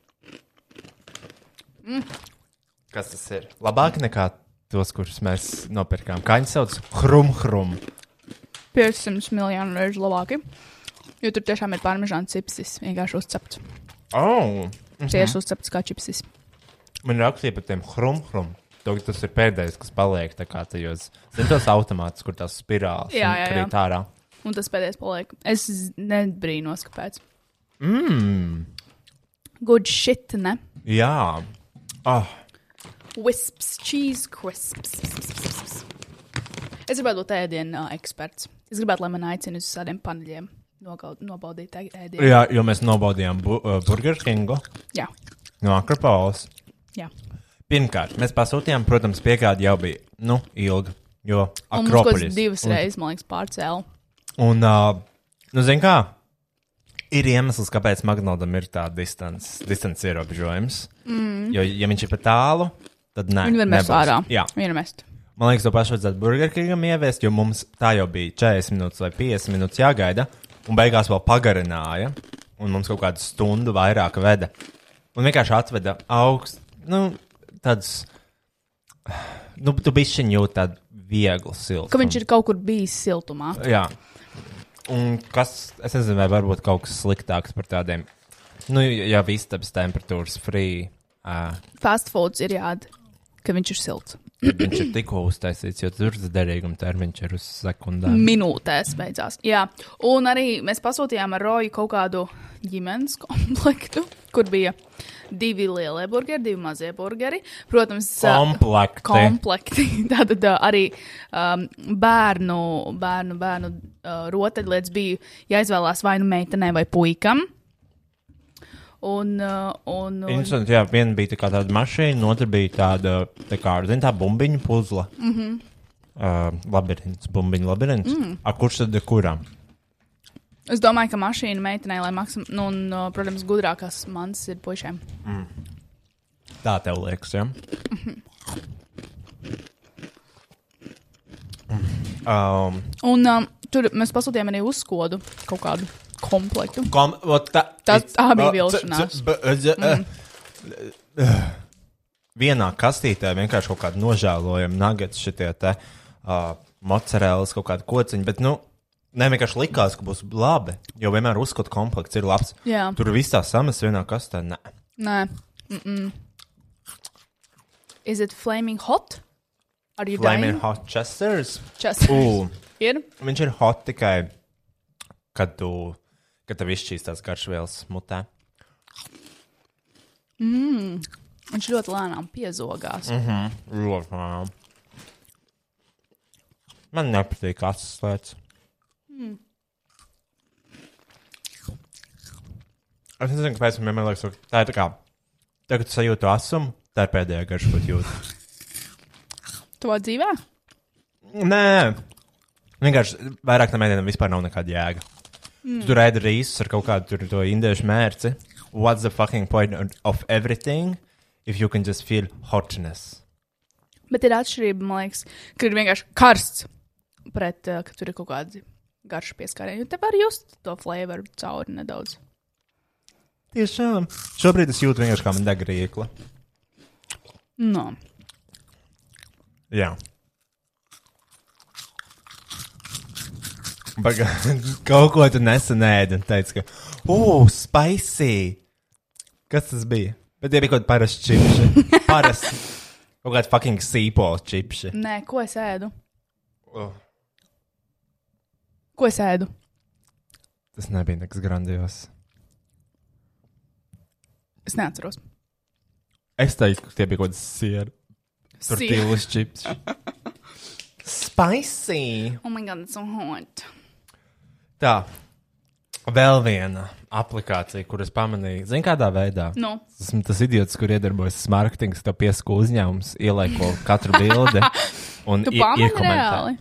B: Mm.
G: Kas tas ir? Labāk nekā tos, kurus mēs nopirkām. Kā viņi sauc? Hrum, hrum.
B: 500 miljonu reižu labāki, jo tur tiešām ir parmesan cipsis, vienkārši uzcepts.
G: Oh,
B: Tieši uzcepts kā čipsis.
G: man rakstīja par tiem hrum, hrum. Tagad Tas ir pēdējais, kas paliek. Tā kā tajos zin, tos automātus, kur tās spirāls
B: Jā, jā, jā.
G: krīt ārā.
B: Un tas pēdējais paliek. Es z- nebrīnos, kāpēc. Mmm. Good shit, ne?
G: Jā, oh,
B: Wisps, cheese crisps. Es gribētu būt ēdienu uh, eksperts. Es gribētu, lai man aicina uz tādiem paneļiem nogaud- nobaudīt ē- ēdienu.
G: jā, jo mēs nobaudījām bu, uh, Burger Kingu
B: Jā,
G: no Akropolis.
B: jā.
G: Pirmkārt, mēs pasūtījām, protams, piegāde jau bija nu, ilga. Jo
B: Un mums kaut
G: Akropolis.
B: kas divas reizes, man liekas, pārcēl.
G: Un, uh, nu, zin kā, ir iemesls, kāpēc Magnodam ir tā distance, distance ierobežojums. Mm. Jo, ja viņš ir pa tālu, tad nē,
B: Viņi vienmēr
G: nebūs.
B: sārā.
G: Jā,
B: Viņi vienmēr mest.
G: man liekas, to pašu vajadzētu Burger Kingam ieviest, jo mums tā jau bija 40 minūtes vai 50 minūtes jāgaida, un beigās vēl pagarināja, un mums kaut kādu stundu vairāk veda. Un vienkārši atveda augstu, nu, tādus, nu, tu bišķiņ jūt tādu vieglu siltumu.
B: Ka viņš ir kaut kur bijis siltumā.
G: Jā. Un kas, es nezinu, vai varbūt kaut kas sliktāks par tādiem, nu, jau istabas temperatūras free. Uh,
B: Fast foods ir jāda, ka viņš ir silts.
G: viņš ir tikko uztaisīts, jo tur tas derīguma termiņš ir uz sekundēm.
B: minūtēs beidzās. Jā, un arī mēs pasūtījām ar Roju kaut kādu ģimenes komplektu, kur bija divi lielie burgeri, divi mazie burgeri. Protams, ā,
G: Komplekti.
B: komplekti. *laughs* Tātad ā, arī um, bērnu, bērnu, bērnu uh, rotaļlietas bija jāizvēlās vai nu meitenei vai puikam. Un, uh, un, un
G: Interesanti, jā, viena bija tā kā tāda mašīna, un otra bija tāda, tā kā, zin, tā bumbiņu puzle. Mm -hmm. uh, labirints, bumbiņu labirints. Mm. A, kurš tad ir kuram?
B: es domāju, ka mašīna meitenei, lai maksā, nu, un, uh, protams, gudrākās mans ir puišiem.
G: Tā tev liekas, jā. um,
B: Un um, Tur mēs pasūtījām arī uzskodu kaut kādu komplektu.
G: Kom, vot tā,
B: Tā-
G: it-
B: tā bija
G: vot-
B: vilšanās. Mm.
G: c- c- b- z- eh, eh. Vienā kastītē vienkārši kaut kāda nožēlojama nagats, šitie te uh, mocerēlis, kaut kāda kociņa, bet nu. Nē, vienkārši likās, ka būs labi. Jo vienmēr uzskatu, ka komplekts ir labs.
B: Jā.
G: Tur viss tā samas vienā kastē. Nē,
B: Nē. Mm -mm. Is it flaming hot? Are you
G: Flaming
B: dying?
G: Hot Chesters.
B: Chesters.
G: Ooh.
B: *laughs* Ir?
G: Viņš ir hot tikai, kad, tu, kad tev izšķīst tās garšvielas mutē.
B: Viņš ļoti lēnām piezogās. Mm.
G: Ļoti. Man nepatīk atslēdz. Mm. Es nezinu, kāpēc man vienmēr liekas, ka tā ir tā kā. Tagad sajūtu asumu, tā ir pēdējā garša, ko jūtu.
B: Tavā dzīvē?
G: Nē, vienkārši vairāk tam mēdienam vispār nav nekāda jēga. Mm. Tur ēda rīsus ar kaut kādu tur to indiešu mērci. What's the fucking point of everything if you can just feel hotness?
B: Bet ir atšķirība, man liekas, ka ir vienkārši karsts pret, eh, ka tur ir kaut kādi garš pieskārieni. Jo Te var just to flavoru cauri nedaudz.
G: Tiešām. Šobrīd es jūtu vienkārši kā man deg riekla.
B: No.
G: Jā. Pagaid, *laughs* kaut ko tu nesen ēdi un teici, ka, uh, spicy! Kas tas bija? Bet tie bija kaut kādi parasti čipši. Parasti. Kaut kādi fucking sīpols čipši.
B: Nē, ko es ēdu?
G: Oh.
B: Ko es ēdu?
G: Tas nebija nekas grandios.
B: Es neatceros.
G: Es teicu, ka tie bija kaut kādi sieru.
B: Sīri.
G: Tortīlas čipsi. spicy!
B: Oh my god, it's so hot.
G: Tā. Vēl viena aplikācija, kuras pamanīju, zinu, kādā veidā.
B: Nu,
G: Esmu tas idiots, kur iedarbojas tas mārketings, tev piesaka uzņēmums, ielaiko katru bildi un
B: tu
G: ie-
B: pamani
G: iekomentē.
B: reāli.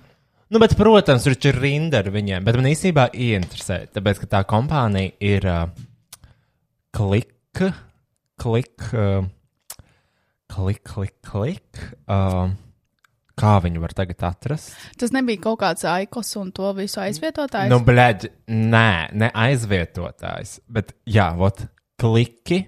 G: Nu, bet, protams, tur ir rinda ar viņiem, bet man īstenībā ieinteresē, tāpēc, ka tā kompānija ir uh, klik, klik, uh, klik, klik, klik. Uh, kā viņu var tagad atrast?
B: Tas nebija kaut kāds aikos un to visu aizvietotājs.
G: Nu, blēģi, nē, ne aizvietotājs. Bet, jā, vot, kliki,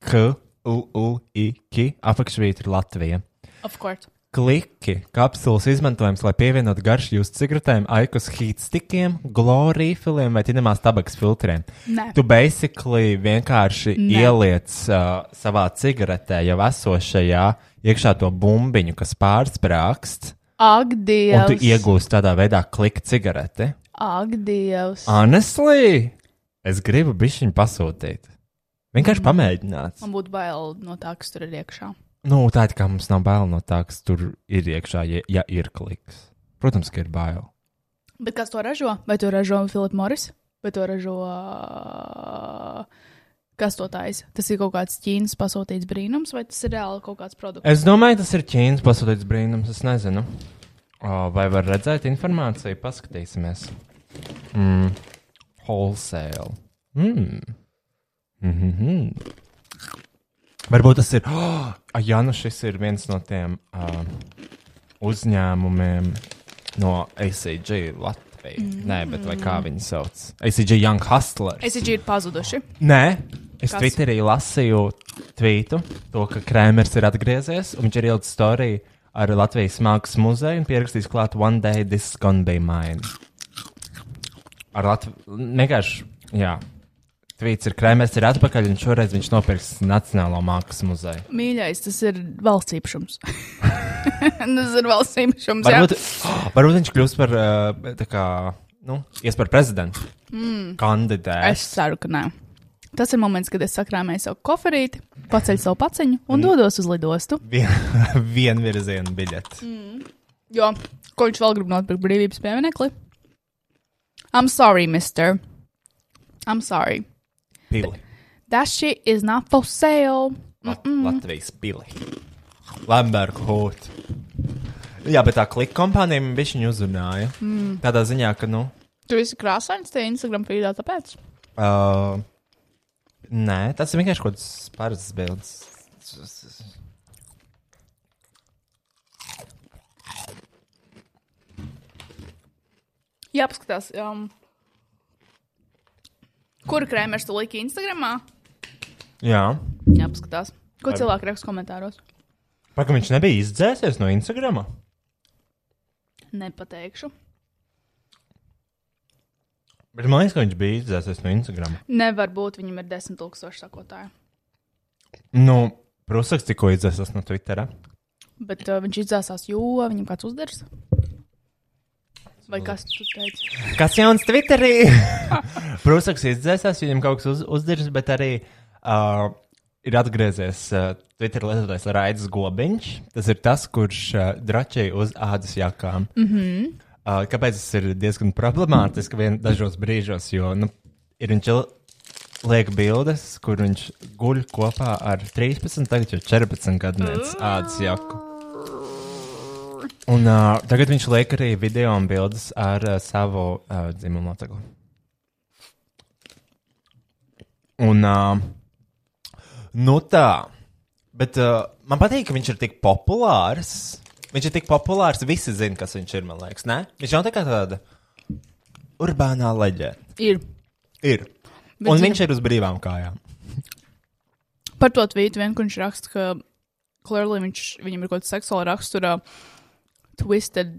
G: k, u, u, i, ki, apakšvītra ir Latvija.
B: Of course.
G: Kliki, kapsulas izmantojums, lai pievienotu garšu jūsu cigaretēm, aikos hītstikiem, glorīfiliem vai tinamās tabaks filtriem.
B: Nē.
G: Tu basically vienkārši
B: Nē.
G: ieliec uh, savā cigaretē jau esošajā iekšā to bumbiņu, kas pārsprākst,
B: Ak,
G: un
B: Dievs.
G: tu iegūsi tādā veidā kliku cigareti.
B: Ak, Dievs.
G: Ah. Honestly, es gribu bišķiņu pasūtīt. Vienkārši pamēģināt.
B: Man būtu bail no tā, kas tur ir iekšā.
G: Nu, tā it kā mums nav bail no tā, kas tur ir iekšā, ja, ja ir kliks. Protams, ka ir bail.
B: Bet kas to ražo? Vai to ražo Filips Morris? Vai to ražo. ā, Kas to taisa? Tas ir kaut kāds ķīnas pasūtīts brīnums, vai tas ir reāli kaut kāds produkts?
G: Es domāju, tas ir ķīnas pasūtīts brīnums. Es nezinu, o, vai var redzēt informāciju. Paskatīsimies. Mm. Wholesale. Mm. Mm -hmm. Varbūt tas ir. *gasps* Oh, Jā, nu šis ir viens no tiem uh, uzņēmumiem no ACG Latvijas. Mm. Nē, bet vai kā viņi sauc? ACG Young Hustler.
B: Es domāju, ir pazuduši.
G: Nē, es
B: Kas?
G: Twitterī lasīju tvītu, to, ka Krēmers ir atgriezies, un viņš ir ielicis storiju ar Latvijas mākslas muzeju un pierakstījis klāt One Day This Gonna Be Mine. Ar Latviju vienkārši, jā. Tvīts ir Krēmers ir atpakaļ, un šoreiz viņš nopirks Nacionālo mākslas muzeju.
B: Mīļais, tas ir valsts īpašums. *laughs* tas ir valsts īpašums. jā.
G: Varbūt, varbūt viņš kļūs par, eh, tā kā, nu, ies par prezidentu. Mm. Kandidēs.
B: Es ceru, ka nē. Tas ir moments, kad es sakrāmēju savu koferīti, paceļu savu paciņu un dodos uz lidostu.
G: Vien, *laughs* vienvirzienu biļeti.
B: Jo, ko viņš vēl grib nopirkt brīvības pieminekli? I'm sorry, mister. I'm sorry.
G: Pili.
B: That shit is not for sale.
G: Lat Latvijas pili. Lamberga hūt. Jā, bet tā klika kompānija man viņa uzrunāja. Mm. Tādā ziņā, ka, nu,
B: Tu esi krāsains, tie Instagram feedā, tāpēc.
G: uh, nē, tas ir vienkārši kaut kāds parasts bildes.
B: Jāpaskatās, um, kur krēmers tu liki Instagramā?
G: Jā.
B: Jāpaskatās. Ko cilvēki raksta komentāros?
G: Pagaidām, viņš nebija izdzēsies no Instagram.
B: Nepateikšu.
G: Bet man liekas, ka viņš bija izdzēsies no Instagram.
B: Nevar būt, viņam ir desmit tūkstoši sakotāju.
G: Nu, Prūsakas tikko izdzēsies no Twittera.
B: Bet uh, viņš izdzēsās, jo viņam kāds uzders. Vai kas tu teici?
G: Kas jauns *laughs* Twitterī? Prūsakas izdzēsās, viņam kaut kas uz, uzdirs, bet arī uh, ir atgriezies uh, Twitter lietotājs Raidis Gobiņš. Tas ir tas, kurš uh, dračēja uz ādas jakām. Mm -hmm. uh, kāpēc tas ir diezgan problemātiski vien dažos brīžos, jo nu, ir viņš il- liek bildes, kur viņš guļ kopā ar 13, tagad jau 14 gadu vecu ādas jaku. Un uh, tagad viņš liek arī video un bildes ar uh, savu uh, dzimumu locekli. Un, uh, nu tā, bet uh, man patīk, ka viņš ir tik populārs. Viņš ir tik populārs, visi zina, kas viņš ir, man liekas, ne? Viņš nav tā kā tāda urbānā leģenda.
B: Ir.
G: Ir.
B: Bet
G: un
B: zina-
G: viņš ir uz brīvām kājām.
B: Par to tvītu vien, kur viņš raksta, ka Clearly viņš, viņam ir kaut kāda seksuāla rakstura twisted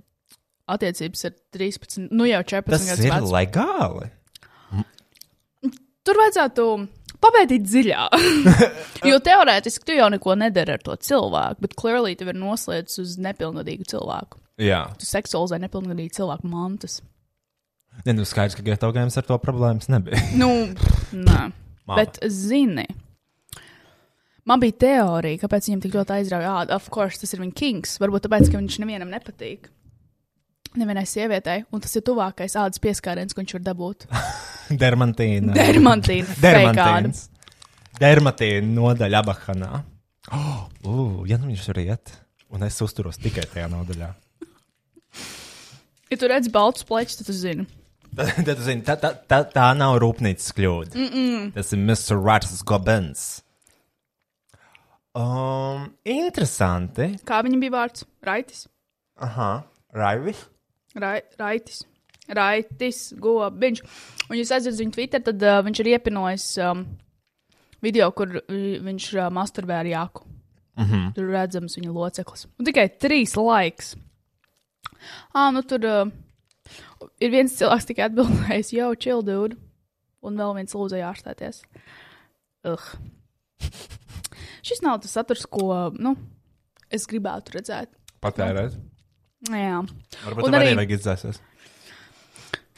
B: attiecības ar 13, nu jau 14
G: Tas
B: gadus
G: ir
B: vecu.
G: legāli.
B: Tur vajadzētu papētīt dziļāk.
G: *laughs*
B: jo teorētiski tu jau neko nedari ar to cilvēku, bet Clearly tev ir noslēdzis uz nepilngadīgu cilvēku.
G: Jā.
B: Tu seksualizē nepilngadīgu cilvēku mantas.
G: Nē, nu skaidrs, ka Geto Games ar to problēmas nebija. *laughs*
B: Nu, nē.
G: Mama.
B: Bet, zini, man bija teorija, kāpēc viņam tik ļoti aizrauja āda. Of course, tas ir viņa kings. Varbūt tāpēc, ka viņš nevienam nepatīk. Nevienai sievietei, un tas ir tuvākais ādas pieskāriens, ko viņš var *laughs* dabūt.
G: Dermantīna.
B: Dermantīna.
G: Dermatīna. Dermatīna nodaļa *gasps* abahanā. Oh, uh, ja nu viņš tur iet, un es uzturos tikai tajā nodaļā.
B: Ja tu redz baltus plečus, tad tu zini.
G: *laughs* Tad, tad, tu zini, tā, tā, tā, tā nav rūpnīcas kļūda. Mm -mm. Tas ir Mr. Ratas Gobens. Um, interesanti.
B: Kā viņam bija vārds? Raitis.
G: Aha, Raivis.
B: Rai, raitis. Raitis, gobiņš. Un jūs aizjūtat viņu Twitter, tad uh, viņš ir iepinojis um, video, kur vi- viņš uh, masturbē ar jāku. Mm -hmm. Tur redzams viņa loceklis. Un tikai trīs laiks. Ah, nu tur uh, ir viens cilvēks tikai atbildējis, jau čildūdu. Un vēl viens lūdza ārstēties. Ugh. Šis nav tas saturs, ko nu, es gribētu redzēt. Nu
G: Patērēt.
B: Jā.
G: Varbūt
B: Un
G: tam arī
B: arī-
G: vajag izdzēsties.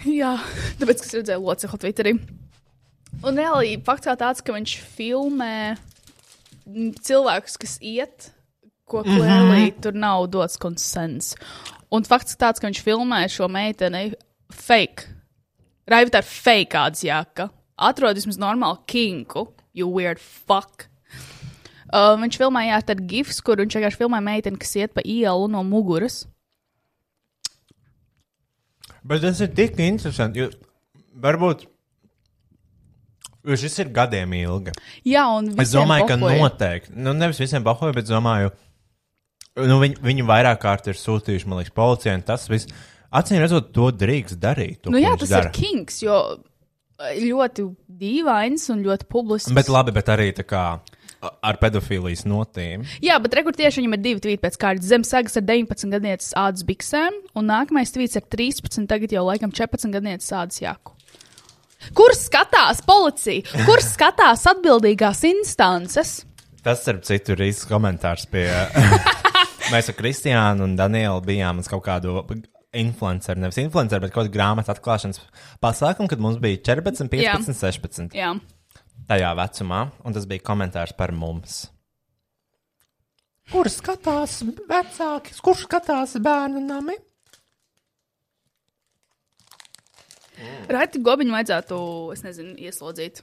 B: Jā, tāpēc, ka es redzēju locekli Twitterī. Un reāli fakts kā tāds, ka viņš filmē mm, cilvēkus, kas iet, ko
G: Mhm.
B: klēlī, mm -hmm. tur nav dots konsens. Un fakts tāds, ka viņš filmē šo meiteni fake. Raivita ar fake kāds jāka. Atrod vismaz normālu kinku, you weird fuck. Uh, viņš filmēja ar tādu gifs, kur viņš vienkārši filmē meiteni, kas iet pa ielu no muguras.
G: Bet tas ir tik interesanti. Jo varbūt jo šis ir gadiem ilgi.
B: Jā, un
G: Es
B: visiem
G: domāju, ka
B: bohoja.
G: noteikti. Nu, nevis visiem bahoju, bet domāju, nu, viņu, viņu vairāk kārt ir sūtījuši, man liekas, policijai. un Tas viss, acīm redzot, to drīkst darīt. To,
B: Nu,
G: ko
B: jā,
G: viņš
B: tas
G: dara.
B: ir kings, jo eh, ļoti dīvains un ļoti publisks.
G: Bet labi, bet arī tā kā a- ar pedofīlijas notīm.
B: Jā, bet rekur tieši viņam ir divi tvīti pēc kārtas. Zemsagas ar 19 gadnieces ādas biksēm, un nākamais tvīts ar 13, tagad jau laikam 14 gadnieces ādas jaku. Kur skatās policija? Kur skatās atbildīgās instances?
G: Tas, starp citu, ir īsts komentārs pie. *laughs* Mēs ar Kristiānu un Danielu bijām uz kaut kādu influenceru, nevis influenceru, bet kaut kādu grāmatu atklāšanas pasākumu, kad mums bija 14, 15, 16.
B: Jā,
G: tajā vecumā, un tas bija komentārs par mums. Kur skatās vecāki? Kurš skatās bērnu nami?
B: Raiti Gobiņu vajadzētu, es nezinu, ieslodzīt.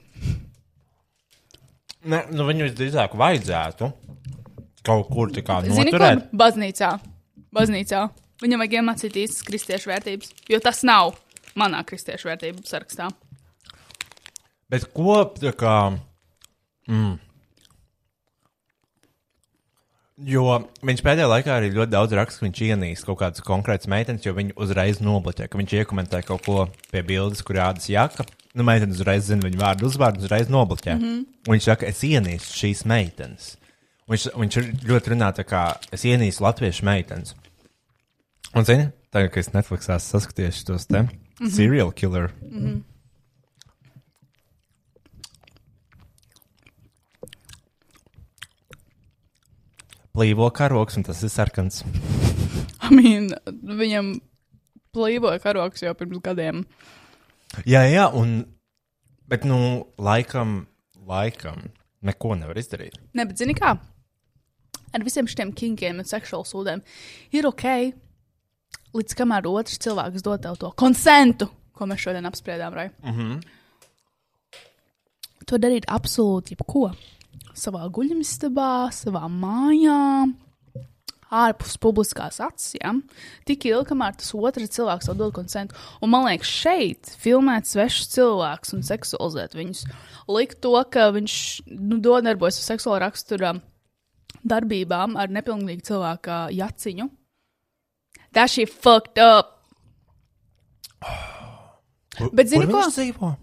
G: Ne, nu viņu visdrīzāk vajadzētu kaut kur tā kā
B: Zini, kur?
G: noturēt.
B: Baznīcā. Baznīcā. Viņam vajag iemācīt īstas kristiešu vērtības, jo tas nav manā kristiešu vērtību sarakstā.
G: Bet ko tā kā. Mm. Jo viņš pēdējā laikā arī ļoti daudz raksta, ka viņš ienīst kaut kādas konkrētas meitenes, jo viņu uzreiz noblakē, ka viņš iekomentē kaut ko pie bildes, kur rādas jaka. Nu, meitene uzreiz zina viņu vārdu, uzvārdu, uzreiz noblakē. Mm -hmm. Viņš saka, es ienīstu šīs meitenes. Un Viņš, viņš ir ļoti runā tā kā es ienīstu latviešu meitenes. Un, zini, tagad, kad es Netflixā saskatīju tos te mm -hmm. serial killer, mm -hmm. plīvo karoks, un tas ir sarkans.
B: *laughs* I mean, viņam plīvoja karoks jau pirms gadiem.
G: Jā, jā, un. Bet, nu, laikam, laikam, neko nevar izdarīt.
B: Ne, bet zini kā? Ar visiem šiem kinkiem un seksuālu sūdēm ir ok, līdz kamēr otrs cilvēks dod tev to konsentu, ko mēs šodien apspriedām, Rai. Mm -hmm. To darīt absolūti jebko. Savā guļamistabā, savā mājā, ārpus publiskās acis. Ja? Tik ilgi, kamēr tas otrs cilvēks tev dod konsentu. Un man liekas, šeit filmēt svešus cilvēkus un seksualizēt viņus. Likt to, ka viņš nu, dodarbojas ar seksuālu raksturu um, darbībām ar nepilnīgu cilvēku jaciņu. Tā šī fucked up.
G: Kur-
B: Bet zini
G: kur
B: ko?
G: Viņš dzīvo?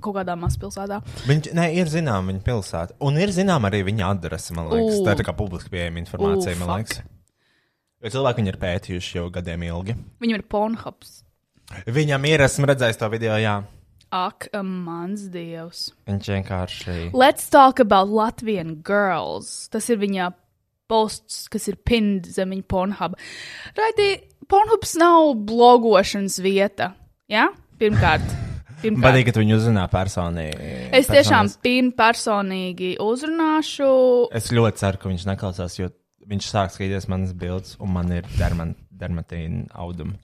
B: Kaut kādā mazpilsētā.
G: Viņš nē, ir zināms viņa pilsēta. Un ir zināms arī viņa adrese, man
B: Ū.
G: liekas. Ooh. Tā ir tā kā publiski pieejama informācija,
B: Ū,
G: Ooh, man
B: fuck.
G: liekas. Jo cilvēki viņu ir pētījuši jau gadiem ilgi.
B: Viņam ir pornogrāfs.
G: Viņam ir, esmu redzējis to video, jā.
B: Ak, mans dievs.
G: Viņš vienkārši.
B: Let's talk about Latvian girls. Tas ir viņa posts, kas ir pinned zem viņa pornhub. Raidī, pornhubs nav blogošanas vieta. Ja? Pirmkārt, pirmkārt.
G: *laughs* Patīk, ka tu viņu uzzināji personīgi.
B: es tiešām pinu personīgi uzrunāšu.
G: Es ļoti ceru, ka viņš neklausās, jo viņš sāk skatīties manas bildes, un man ir derman- dermatīna auduma.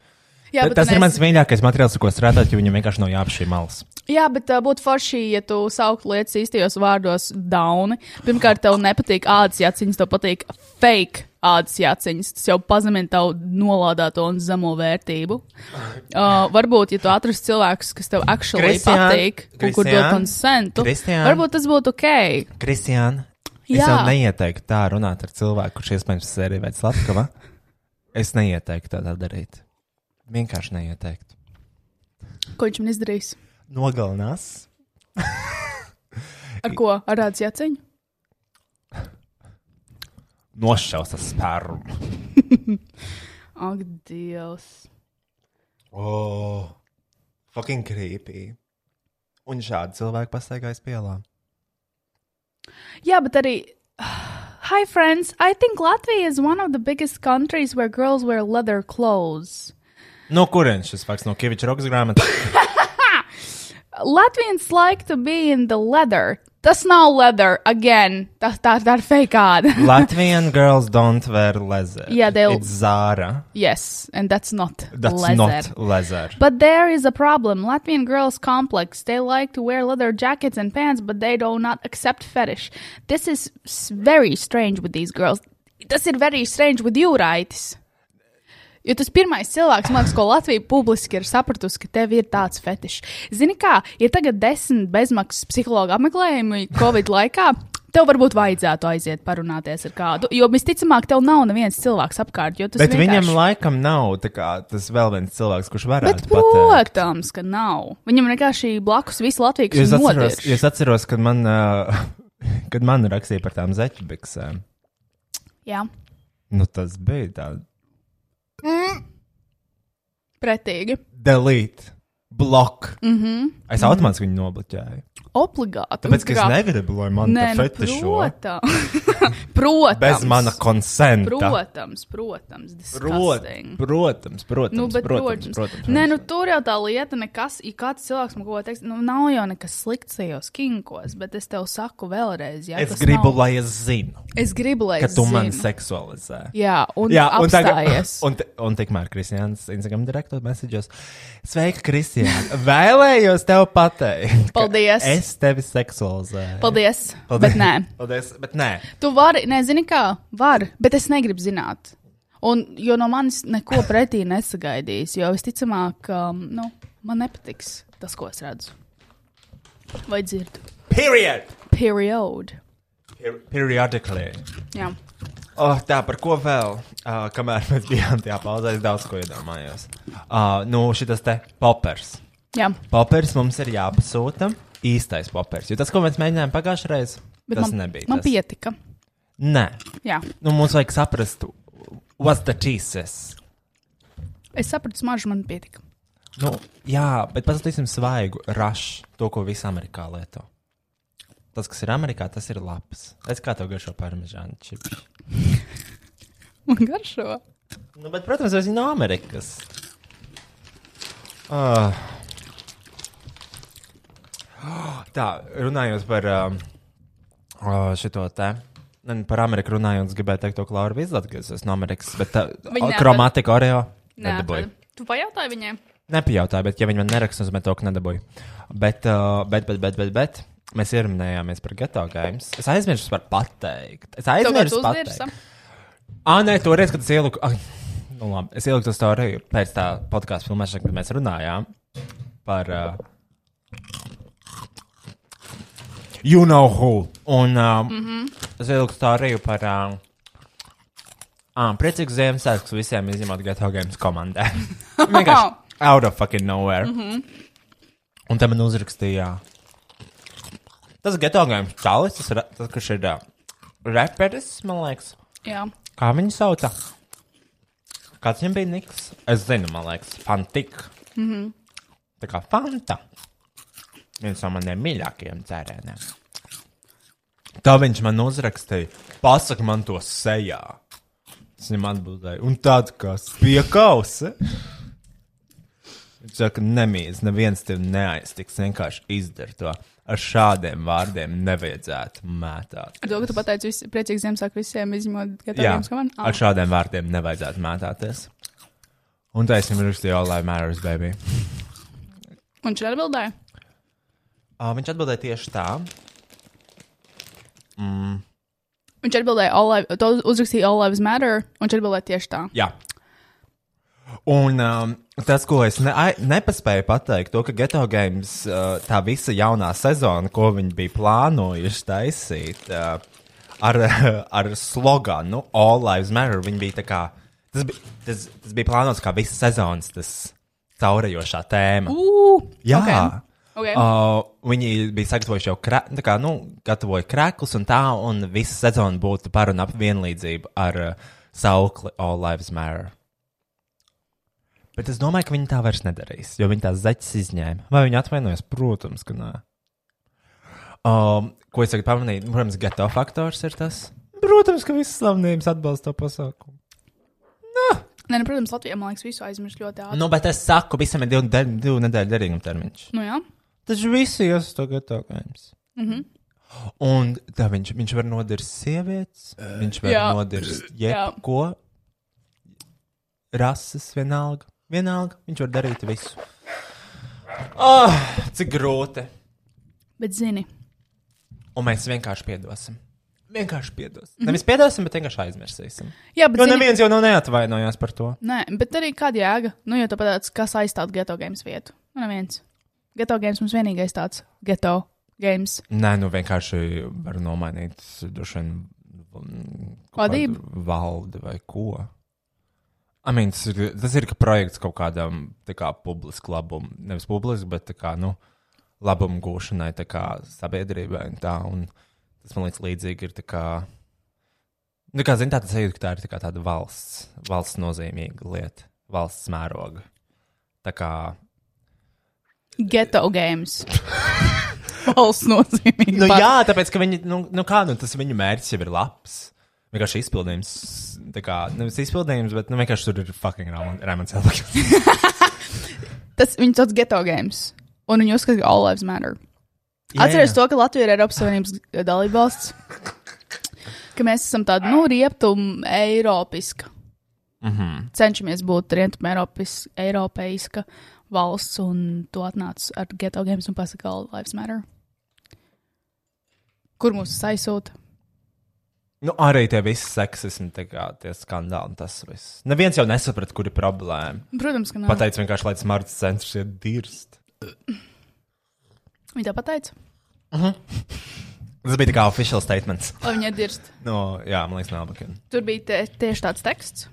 B: Jā,
G: Tas
B: un
G: ir
B: es-
G: mans mīļākais materiāls, ar ko strādāt, jo viņam vienkārši nav jāapšī malas.
B: Jā, bet uh, būtu forši, ja tu sauktu lietas īstajos vārdos dauni. Pirmkārt, tev nepatīk ādas jāciņas, tev patīk fake ādas jāciņas. Tas jau pazemina tavu nolādēto un zemo vērtību. Uh, varbūt, ja tu atrastu cilvēkus, kas tev actually
G: Kristian,
B: patīk, un kur dod
G: Kristian,
B: konsentu,
G: Kristian.
B: varbūt tas būtu ok.
G: Kristiāna, es
B: Jā.
G: jau neieteiktu tā runāt ar cilvēku, kurš iespējams sērija veids Latvijā. Es neieteiktu tā darīt. Vienkārši neieteiktu.
B: Ko viņš man izdarīs?
G: Nogalinās.
B: Ar ko? Ar ādas jāciņu?
G: Nošaus ar spērnu.
B: Ak, Dievs!
G: Oh, fucking creepy. Un šādi cilvēki pastaigājas pielā.
B: Yeah, but arī. *sighs* Hi, friends. I think Latvia is one of the biggest countries where girls wear leather clothes.
G: No kurienes šis fakts? No Kaviča rokas grāmatas.
B: Latvians like to be in the leather. Tas nav leather again. Tas tā, tā ir fake ad.
G: Latvian girls don't wear leather.
B: Yeah, they'll-
G: It's Zara.
B: *laughs* yes, and that's not
G: That's
B: leather.
G: not leather.
B: But there is a problem. Latvian girls complex. They like to wear leather jackets and pants, but they do not accept fetish. This is s- very strange with these girls. Tas ir very strange with you, Raitis. Jo tas pirmais cilvēks, man liekas, ko Latvija publiski ir sapratusi, ka tev ir tāds fetišs. Zini, kā ir tagad desmit bezmaksas psihologa apmeklējumi Covid laikā. Tev varbūt vajadzētu aiziet parunāties ar kādu, jo visticamāk, tev nav neviens cilvēks apkārt. jo tas
G: Bet viņam
B: vienkārši-
G: laikam nav tā kā, tas vēl viens cilvēks, kurš
B: Bet,
G: varētu pateikt.
B: protams, ka nav. Viņam vienkārši blakus visu Latvijas
G: Es
B: monētu
G: atceros,
B: nodeļu.
G: es atceros, kad man, uh, *laughs* kad man rakstīja par tām zeķibiksēm.
B: Jā,
G: Nu, tas bija tāds
B: pretīgi.
G: delete, block. Mm
B: Mhm.
G: -hmm. Es automātiski viņu nobloķēju.
B: Obligāti.
G: Tāpēc, ka
B: Kā-
G: es negribu, lai man
B: Nē,
G: tā
B: nu,
G: fetišo
B: protams. *laughs* protams.
G: bez mana konsenta.
B: Protams, protams.
G: Prot,
B: disgusting.
G: protams, protams,
B: Nu, bet,
G: protams, protams, protams.
B: Nē, nu tur jau tā lieta, nekas, ja kāds cilvēks man ko teiks, nu nav jau nekas slikts tajos kinkos, bet es tev saku vēlreiz, ja
G: es
B: tas
G: gribu,
B: nav,
G: lai es zinu,
B: es gribu, lai
G: ka
B: es
G: tu mani
B: zinu.
G: seksualizē.
B: Jā, un,
G: Jā, un, tagad,
B: apstājies.
G: *laughs* un, te- un tikmēr Kristians Instagram direktos mēsīģos. Sveika, Kristian! Vēlējos tev pateikt, ka
B: Paldies.
G: Es tevi seksualizēju.
B: Paldies, Paldies, bet nē.
G: *laughs* Paldies, bet nē.
B: Tu vari, nezini kā, var, bet es negribu zināt. Un, jo no manis neko pretī nesagaidīs, jo visticamāk, um, nu, man nepatiks tas, ko es redzu. Vai dzirdu?
G: Period!
B: Period.
G: Per periodically.
B: Jā.
G: Oh, tā, par ko vēl? Uh, kamēr mēs bijām tajā pauzē, es daudz ko iedomājos. Uh, nu, šis te popers.
B: Jā.
G: Popers mums ir jāpasūta. Īstais popers. Jo tas, ko mēs mēģinājām pagājušajā reizē,
B: Bet
G: tas
B: man,
G: nebija.
B: man
G: tas.
B: pietika.
G: Nē,
B: Jā.
G: nu, mums vajag saprast, what's the cheeses.
B: Es sapratu, smaržu man pietika.
G: Nu, jā, bet paskatīsim svaigu rašu, to, ko visi Amerikā lieto. Tas, kas ir Amerikā, tas ir labs. Es kā tev garšo parmezānu čips.
B: Man garšo.
G: Nu, bet, protams, es no Amerikas. Ah. Tā, runājot par um, ah, šito te. Ne, ne, Par Ameriku runājot, es gribēju teikt, to Klaura bija atgriezusies no Amerikas. Bet tā
B: Viņa neatver-
G: kromatika Oreo nedabūja.
B: Tu pajautāji viņai?
G: Nepajautāju, bet ja viņi man neraksta, nozīmē to, ka nedabūju. Bet, uh, bet, bet, bet, bet, bet. Mēs ierunājāmies par geto games. Es aizmirsu par pateikt. Es
B: Tu
G: aizmirsu
B: kāds
G: par
B: uzdirsa?
G: pateikt. Ah, nē, toreiz, kad es ieliku. Ai, nu, labi, es ieliku to stāstu pēc tā podkāstu filmēšanas, kad mēs runājām par. Uh, you know who. Un uh, mm -hmm. es ieliku stāstu par. Uh, Ah, priecīgs Ziemassvētku visiem, izņemot Geto Games komandai.
B: *laughs*
G: Vienkārši *laughs* out of fucking nowhere. Mm -hmm. Un te man uzrakstīja, tas Geto Games čalis, tas, ra- tas kurš ir uh, reperis, man liekas.
B: Jā.
G: Kā viņu sauca? Kāds viņam bija Niks? Es zinu, man liekas, Fantika. Mm -hmm. Tā kā Fanta. Viens no maniem mīļākajiem dzērieniem. Tā viņš man uzrakstīja, pasak man to sejā. Es viņam atbildēju, un tāds kā piekausi. Viņš saka, nemīlis, neviens tev neaiztiks, vienkārši izdara to. Ar šādiem vārdiem nevajadzētu mētāt.
B: Ar to, ka tu pateici, visi, priecīgs Ziemassvētku visiem, izņemot
G: Jā,
B: Gatavības komandu.
G: ar šādiem vārdiem nevajadzētu mētāties. Un taisnība ir rakstīja, all that matters, baby.
B: Un šī atbildēja?
G: Uh, viņš atbildēja tieši tā.
B: Viņš atbildēja, all life, to uzrakstīja All Lives Matter, un viņš atbildēja tieši tā.
G: Jā. Un um, tas, ko es ne, ai, nepaspēju pateikt, to, ka Geto Games uh, tā visa jaunā sezona, ko viņi bija plānojuši taisīt uh, ar, *laughs* ar sloganu All Lives Matter, viņi bija tā kā, tas bija, tas, tas bija plānots kā visas sezonas tas caurējošā tēma.
B: Ugh!
G: Jā.
B: ok. Okay. Uh,
G: Uh, viņi bija sagatavojuši jau krā, tā kā, nu, gatavoja krāklus un tā, un visa sezona būtu par un ap vienlīdzību ar uh, saukli All Lives Matter. Bet es domāju, ka viņi tā vairs nedarīs, jo viņi tās zaķis izņēma. Vai viņi atvainojas? Protams, ka nē. Um, ko es tagad pamanīju? Protams, geto faktors ir tas. Protams, ka visas slavenības atbalsta to pasākumu.
B: Nē, nu, protams, Latvijā man liekas, visu aizmirst ļoti ātri.
G: Nu, bet es saku, visam ir divu, de- divu nedēļu derīguma termiņš.
B: Nu, jā.
G: Taču visi jūs to gatavojat.
B: Mhm.
G: Mm -hmm. Un tā viņš, viņš var nodarīt sievietes, viņš var
B: jā.
G: nodarīt
B: Jā.
G: jebko. Rases vienalga. Vienalga, viņš var darīt visu. Oh, cik grūti!
B: Bet zini,
G: Un mēs vienkārši piedosim. Vienkārši piedosim. Mm -hmm. Nevis piedosim, bet vienkārši aizmirsīsim.
B: jā, bet Mhm.
G: Jo
B: zini,
G: Nu, neviens jau nav neatvainojās par to.
B: Nē, bet arī kāda jēga. Nu, jau tāpat tāds, kas aizstāv geto games vietu. Nu, neviens. Geto games mums vienīgais tāds - geto games.
G: Nē, nu vienkārši var nomainīt droši vien mm, kaut
B: Vadību?
G: kādu Valdi vai ko. I mean, tas, ir, tas ir ka projekts kaut kādam tā kā, publisku labumu, nevis publisku, bet tā kā, nu, labumu gūšanai tā kā, sabiedrībai. Un tā, un tas man liekas līdzīgi ir. tā kā- Nu, kā zinām, tā tas ir, ka tā ir tā kā, tāda valsts, valsts nozīmīga lieta, valsts mēroga. Tā kā
B: Geto
G: *laughs*
B: games. Valsts nozīmīgi.
G: Nu,
B: pat.
G: jā, tāpēc, ka viņi, nu, nu kā, nu, tas viņu mērķis jau ir labs. Vienkārši izpildījums, tā kā, nevis izpildījums, bet, nu, vienkārši tur ir fucking Raimunds Elvis.
B: Tas viņa sauc geto games. Un viņi uzskata, ka all lives matter.
G: Jā,
B: Atceries
G: jā.
B: to, ka Latvija ir Eiropas Savienības dalībvalsts. Ka mēs esam tāda, nu, rietumu eiropiska.
G: Mhm.
B: Mm -hmm. Cenšamies būt rietumu eiropis- eiropeiska valsts, un tu atnāc ar geto games un pasaka, all lives matter. Kur mūs aizsūta?
G: *laughs* Nu, arī tie visi seksismi, tā kā, tie skandāli un tas viss. Neviens jau nesaprata, kur ir problēma.
B: Protams, ka nē.
G: Pateic vienkārši, lai smarts centrs iet dirst.
B: Viņa tā pateica.
G: Tas bija tā kā official statements.
B: Lai viņa dirst.
G: No, jā, man liekas, nav labi.
B: Tur bija te, tieši tāds teksts.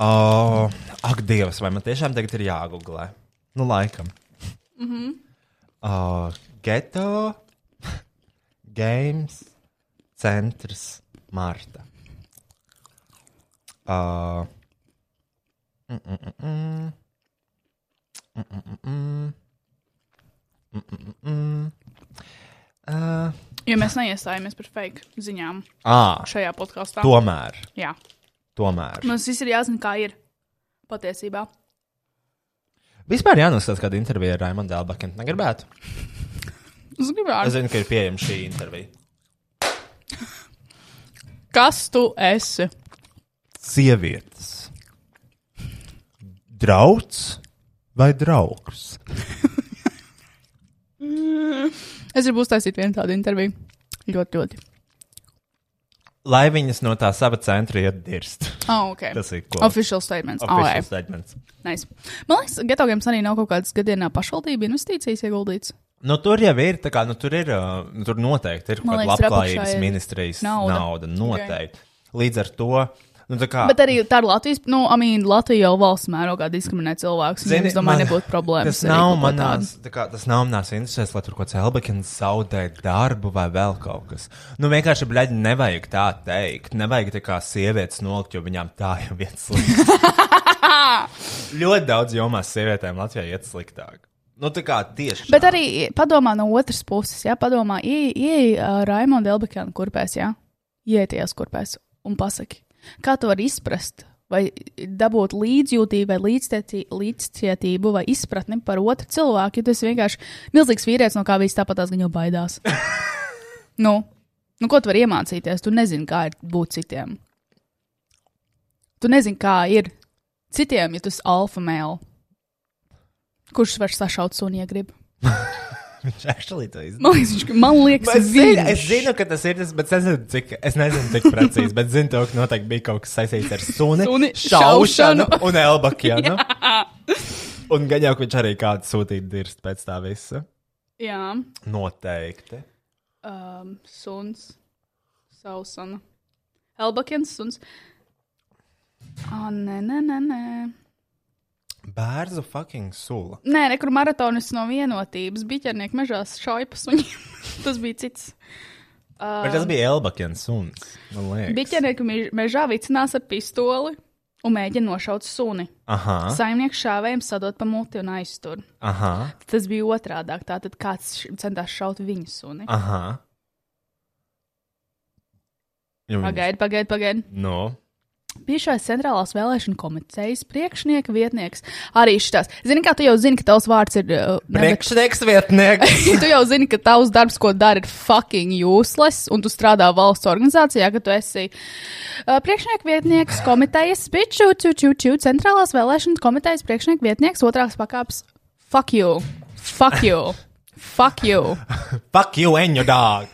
G: Oh, ak, Dievs, vai man tiešām tagad ir jāgooglē? Nu, laikam. Mhm. Mm uh, geto Games centrs Marta. Uh, mm, mm, mm, mm. Mm, mm, mm, mm. Mm, mm, mm, mm. Uh,
B: Jo mēs neiestājāmies par fake ziņām
G: ā,
B: šajā podkāstā.
G: tomēr,
B: Jā.
G: tomēr.
B: Mums viss ir jāzina, kā ir patiesībā.
G: Vispār jānoskatās kāda intervija ar Raimondu Dēlbakiem. Negribētu.
B: Es
G: Es
B: gribētu.
G: zinu, ka ir pieejama šī intervija.
B: Kas tu esi?
G: sievietes. Draugs vai draugs?
B: Es gribu uztaisīt vienu tādu interviju. Ļoti, ļoti.
G: Lai viņas no tā sava centra iet dirst.
B: Oh, okay.
G: Tas ir ko?
B: Official statements. Oh,
G: Official statements.
B: nice. Man liekas, Geto Games arī nav kaut kādas gadienā pašvaldība investīcijas ieguldīts.
G: Nu, tur jau ir, tā kā, nu, tur ir, uh, nu, tur noteikti ir kaut
B: Man
G: kāda
B: liekas, tur apakšā
G: labklājības
B: ir
G: ministrijas nauda.
B: nauda.
G: nauda noteikti. Okay. Līdz ar to, nu, tā kā.
B: Bet arī tā ir Latvijas, nu, I mean, Latvija jau valsts mērogā diskriminē cilvēkus.
G: Zini,
B: Zini, es domāju,
G: man-
B: man, nebūtu problēmas.
G: Tas
B: arī
G: nav
B: kaut ko
G: manās, tā kā, tas nav manās interesēs, lai tur kaut kāds Elbekins zaudē darbu vai vēl kaut kas. Nu, vienkārši, bļaļ, nevajag tā teikt. Nevajag tā kā sievietes nolikt, jo viņām tā jau iet sliktāk.
B: *laughs*
G: Ļoti daudz jomās sievietēm Latvijā iet sliktāk. Nu, tā kā tieši.
B: Bet
G: tā. *laughs*
B: arī padomā no otras puses, ja padomā, ieej uh, Raimonda Elbekāna kurpēs, ja ieties kurpēs un pasaki, kā tu vari izprast. Vai dabūt līdzjūtību, vai līdztieci- līdzcietību, vai izpratni par otru cilvēku, jo tas vienkārši milzīgs vīrietis, no kā viņš tāpat tās viņa
G: *laughs*
B: baidās. nu, nu, ko tu vari iemācīties? Tu nezini, kā ir būt citiem. Tu nezini, kā ir citiem, ja tu esi alfa mēls, kurš var sašaut suni, ja grib.
G: Viņš actually to izdarīja.
B: Man liekas, viņš, man liekas
G: Es zinu,
B: viņš.
G: es zinu, ka tas ir tas, bet es nezinu, cik, es nezinu, cik precīzi. Bet zinu, to, ka noteikti bija kaut kas saistīts ar suni,
B: Suni šaušanu.
G: šaušanu un elbakienu. un gan jau, ka viņš arī kādu sūtīja dirst pēc tā visa.
B: Jā,
G: Noteikti.
B: um, suns, sausana. Elbakins suns. Ah, nē, nē, nē, nē.
G: Bērnu fucking sula.
B: Nē, nekur maratonis no vienotības. Biķernieki mežās šaipas un *laughs* tas bija cits.
G: Um, tas bija Elbakins suns. Man liekas.
B: Biķernieki mež- mežā vicinās ar pistoli un mēģina nošaut suni.
G: Aha,
B: Saimnieks šāvējiem sadot pa muti un aiztur.
G: aha,
B: Tas bija otrādāk. Tātad kāds š- centās šaut viņu suni.
G: aha. Jo viņas-
B: Pagaid, pagaid, pagaid.
G: Nu,
B: Bijušais centrālās vēlēšana komitejas priekšnieka vietnieks arī šitās. Zini, kā tu jau zini, ka tavs vārds ir. uh, nebe- *laughs*
G: priekšnieks vietnieks.
B: tu jau zini, ka tavs darbs, ko dari, ir fucking useless, un tu strādā valsts organizācijā, ka tu esi uh, priekšnieka vietnieks komitejas, biču, ču, ču, ču, centrālās vēlēšana komitejas priekšnieka vietnieks otrās pakāpes. Fuck you! Fuck you! Fuck you!
G: Fuck you and your dog.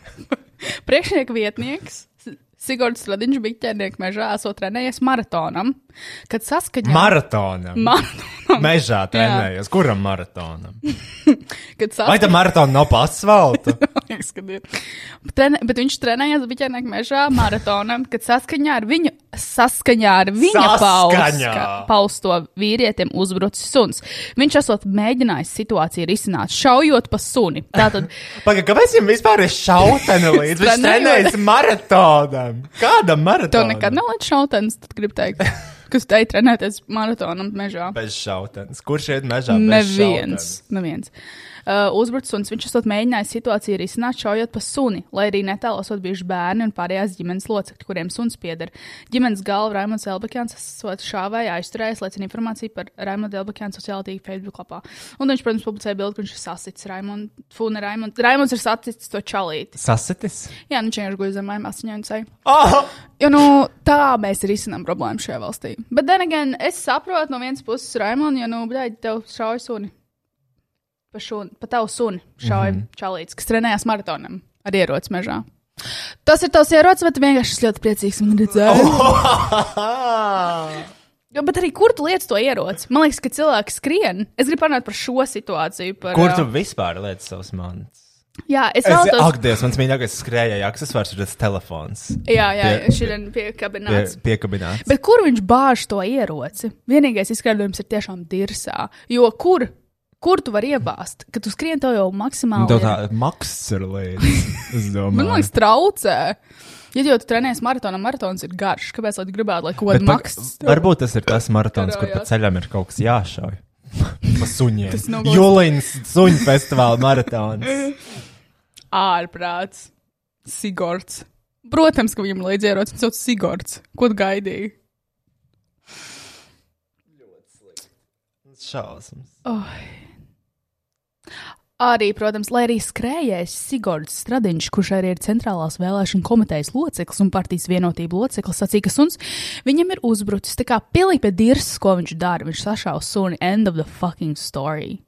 B: Priekšnieka vietnieks. Sigurds Radiņš bija ķernieks mežā, esot trenējies maratonam, kad saskaņā.
G: Maratonam. *laughs*
B: Maratonam.
G: Mežā trenējos. Kuram maratonam?
B: Kad
G: Vai tā
B: saskaņā.
G: maratona nav pa asfaltu?
B: Liekas, kad ir. Trene, bet viņš trenējās Biķēnēkā mežā maratonam, kad saskaņā ar viņu, saskaņā ar viņa
G: Saskaņā!
B: pauska- pausto vīrietim uzbrucis suns. Viņš esot mēģinājis situāciju risināt, šaujot pa suni.
G: *laughs*
B: Tātad
G: Pagaid, kāpēc viņam vispār ir šautena līdz? Viņš
B: Trenējot.
G: trenējas maratonam. Kādam
B: tev
G: maratonam?
B: nekad nav līdz šautens, tad gribu teikt, kas te ir trenēties maratonam mežā.
G: Bez šautenes. Kurš iet mežā? bez šautenes?
B: Neviens. neviens. Uh, Uzbrucis suns. Viņš esot mēģinājis situāciju risināt, šaujot pa suni, lai arī netālu esot bijuši bērni un pārējās ģimenes locekļi, kuriem suns pieder. Ģimenes galva Raimons Elbekjans esot šāvēja aizturējis, liecina informācija par Raimondu Elbekjānu sociālajā tīklā Facebook lapā. Un viņš, protams, publicēja bildi, ka viņš ir sasits Raimond, Funa Raimond. Raimonds ir sasits to čalīti.
G: Sasatis?
B: Jā, nu viņš vienkārši guļ zem mājām asiņai un ceļā. *laughs*
G: Oh!
B: Jo, nu, tā mēs risinām problēmu šajā valstī. Bet, Denegan, es saprotu no vienas puses, Raimond, jo, nu, blēģi, tev šauj suni. Pa, šun, pa tavu suni šauj mm -hmm. čalīts, kas trenējās maratonam ar ieroci mežā. Tas ir tavs ierocis, bet tu vienkārši esi ļoti priecīgs man redzēt. Oh. Jo, bet arī kur tu lietas to ieroci? Man liekas, ka cilvēki skrien. Es gribu parunāt par šo situāciju. Par,
G: Kur
B: ā,
G: tu vispār lietas savus mantas?
B: Jā, es
C: Es,
B: vēlos.
C: ak, Dievs, mans mīļākais skrējēja aksesvārs ir tas telefons.
B: Jā, jā,
C: Pie-
B: šodien
C: Pie,
B: piekabināts.
C: piekabināts.
B: Bet kur viņš bāž to ieroci? Vienīgais izskaidrojums ir tiešām dirsā. Jo kur, kur tu vari iebāzt, kad tu skrien to jau maksimāli?
G: Tā
B: ir-
G: tā maksts ir līdzi. Es
B: Man
G: domāju,
B: liekas, traucē. Ja jau tu trenējies maratonā, maratons ir garš. Kāpēc gan gribētu, lai kaut kāda
G: Bet pag-
B: maksas?
G: varbūt tas ir tas maratons, kur pa
B: Karājās.
G: ceļam ir kaut
B: *laughs*
G: kas jāšauj. Pa suņiem.
B: Tas nav gluži-
G: Jūlīnas suņu festivāla maratons.
B: *laughs* Ārprāts. Sigorts. Protams, ka viņam līdzi ierodas viņš sauc Sigorts. Ko tu gaidīji?
G: Šausmas.
B: Arī, protams, lai arī skrējējis Sigords Stradiņš, kurš arī ir centrālās vēlēšana komitejas loceklis un partijas vienotība loceklis, sacīja, ka suns viņam ir uzbrucis. Tā kā pilīpe dirs, ko viņš dara, viņš sašauja suni. End of the fucking story.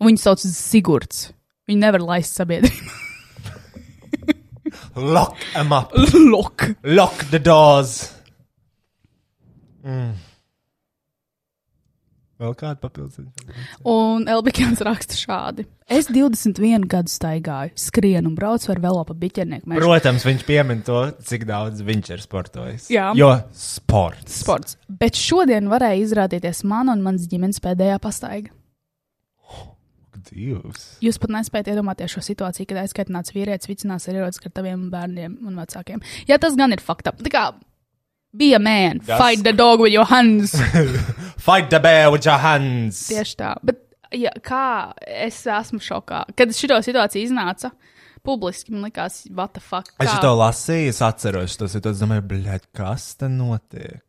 B: Un viņu sauc Sigurds. Viņu nevar laist sabiedrībā.
G: Lock them up!
B: Lok!
G: Lock the doors! Mm. Vēl kāda papildus?
B: Un Elbikāns raksta šādi. Es 21 gadu staigāju, skrienu un braucu ar velo pa biķernieku mežu.
G: Protams, viņš piemin to, cik daudz viņš ir sportojis.
B: Jā.
G: Jo sports.
B: Sports. Bet šodien varēja izrādīties man un mans ģimenes pēdējā pastaiga.
G: Divs.
B: Jūs pat nespējat iedomāties šo situāciju, kad aizskaitināts vīrietis vicinās ar ierodas ar taviem bērniem un vecākiem. Jā, tas gan ir fakta. Tā kā bija man,
G: Tas-
B: fight the dog with your
G: *laughs*
B: hands.
G: Fight the bear with your hands!
B: Tieši tā. Bet ja, kā es esmu šokā, kad šī situācija iznāca publiski, man likās, what the fuck.
G: Es
B: kā?
G: to lasīju, es atceros to situāciju. Es domāju, blēd, kas te notiek?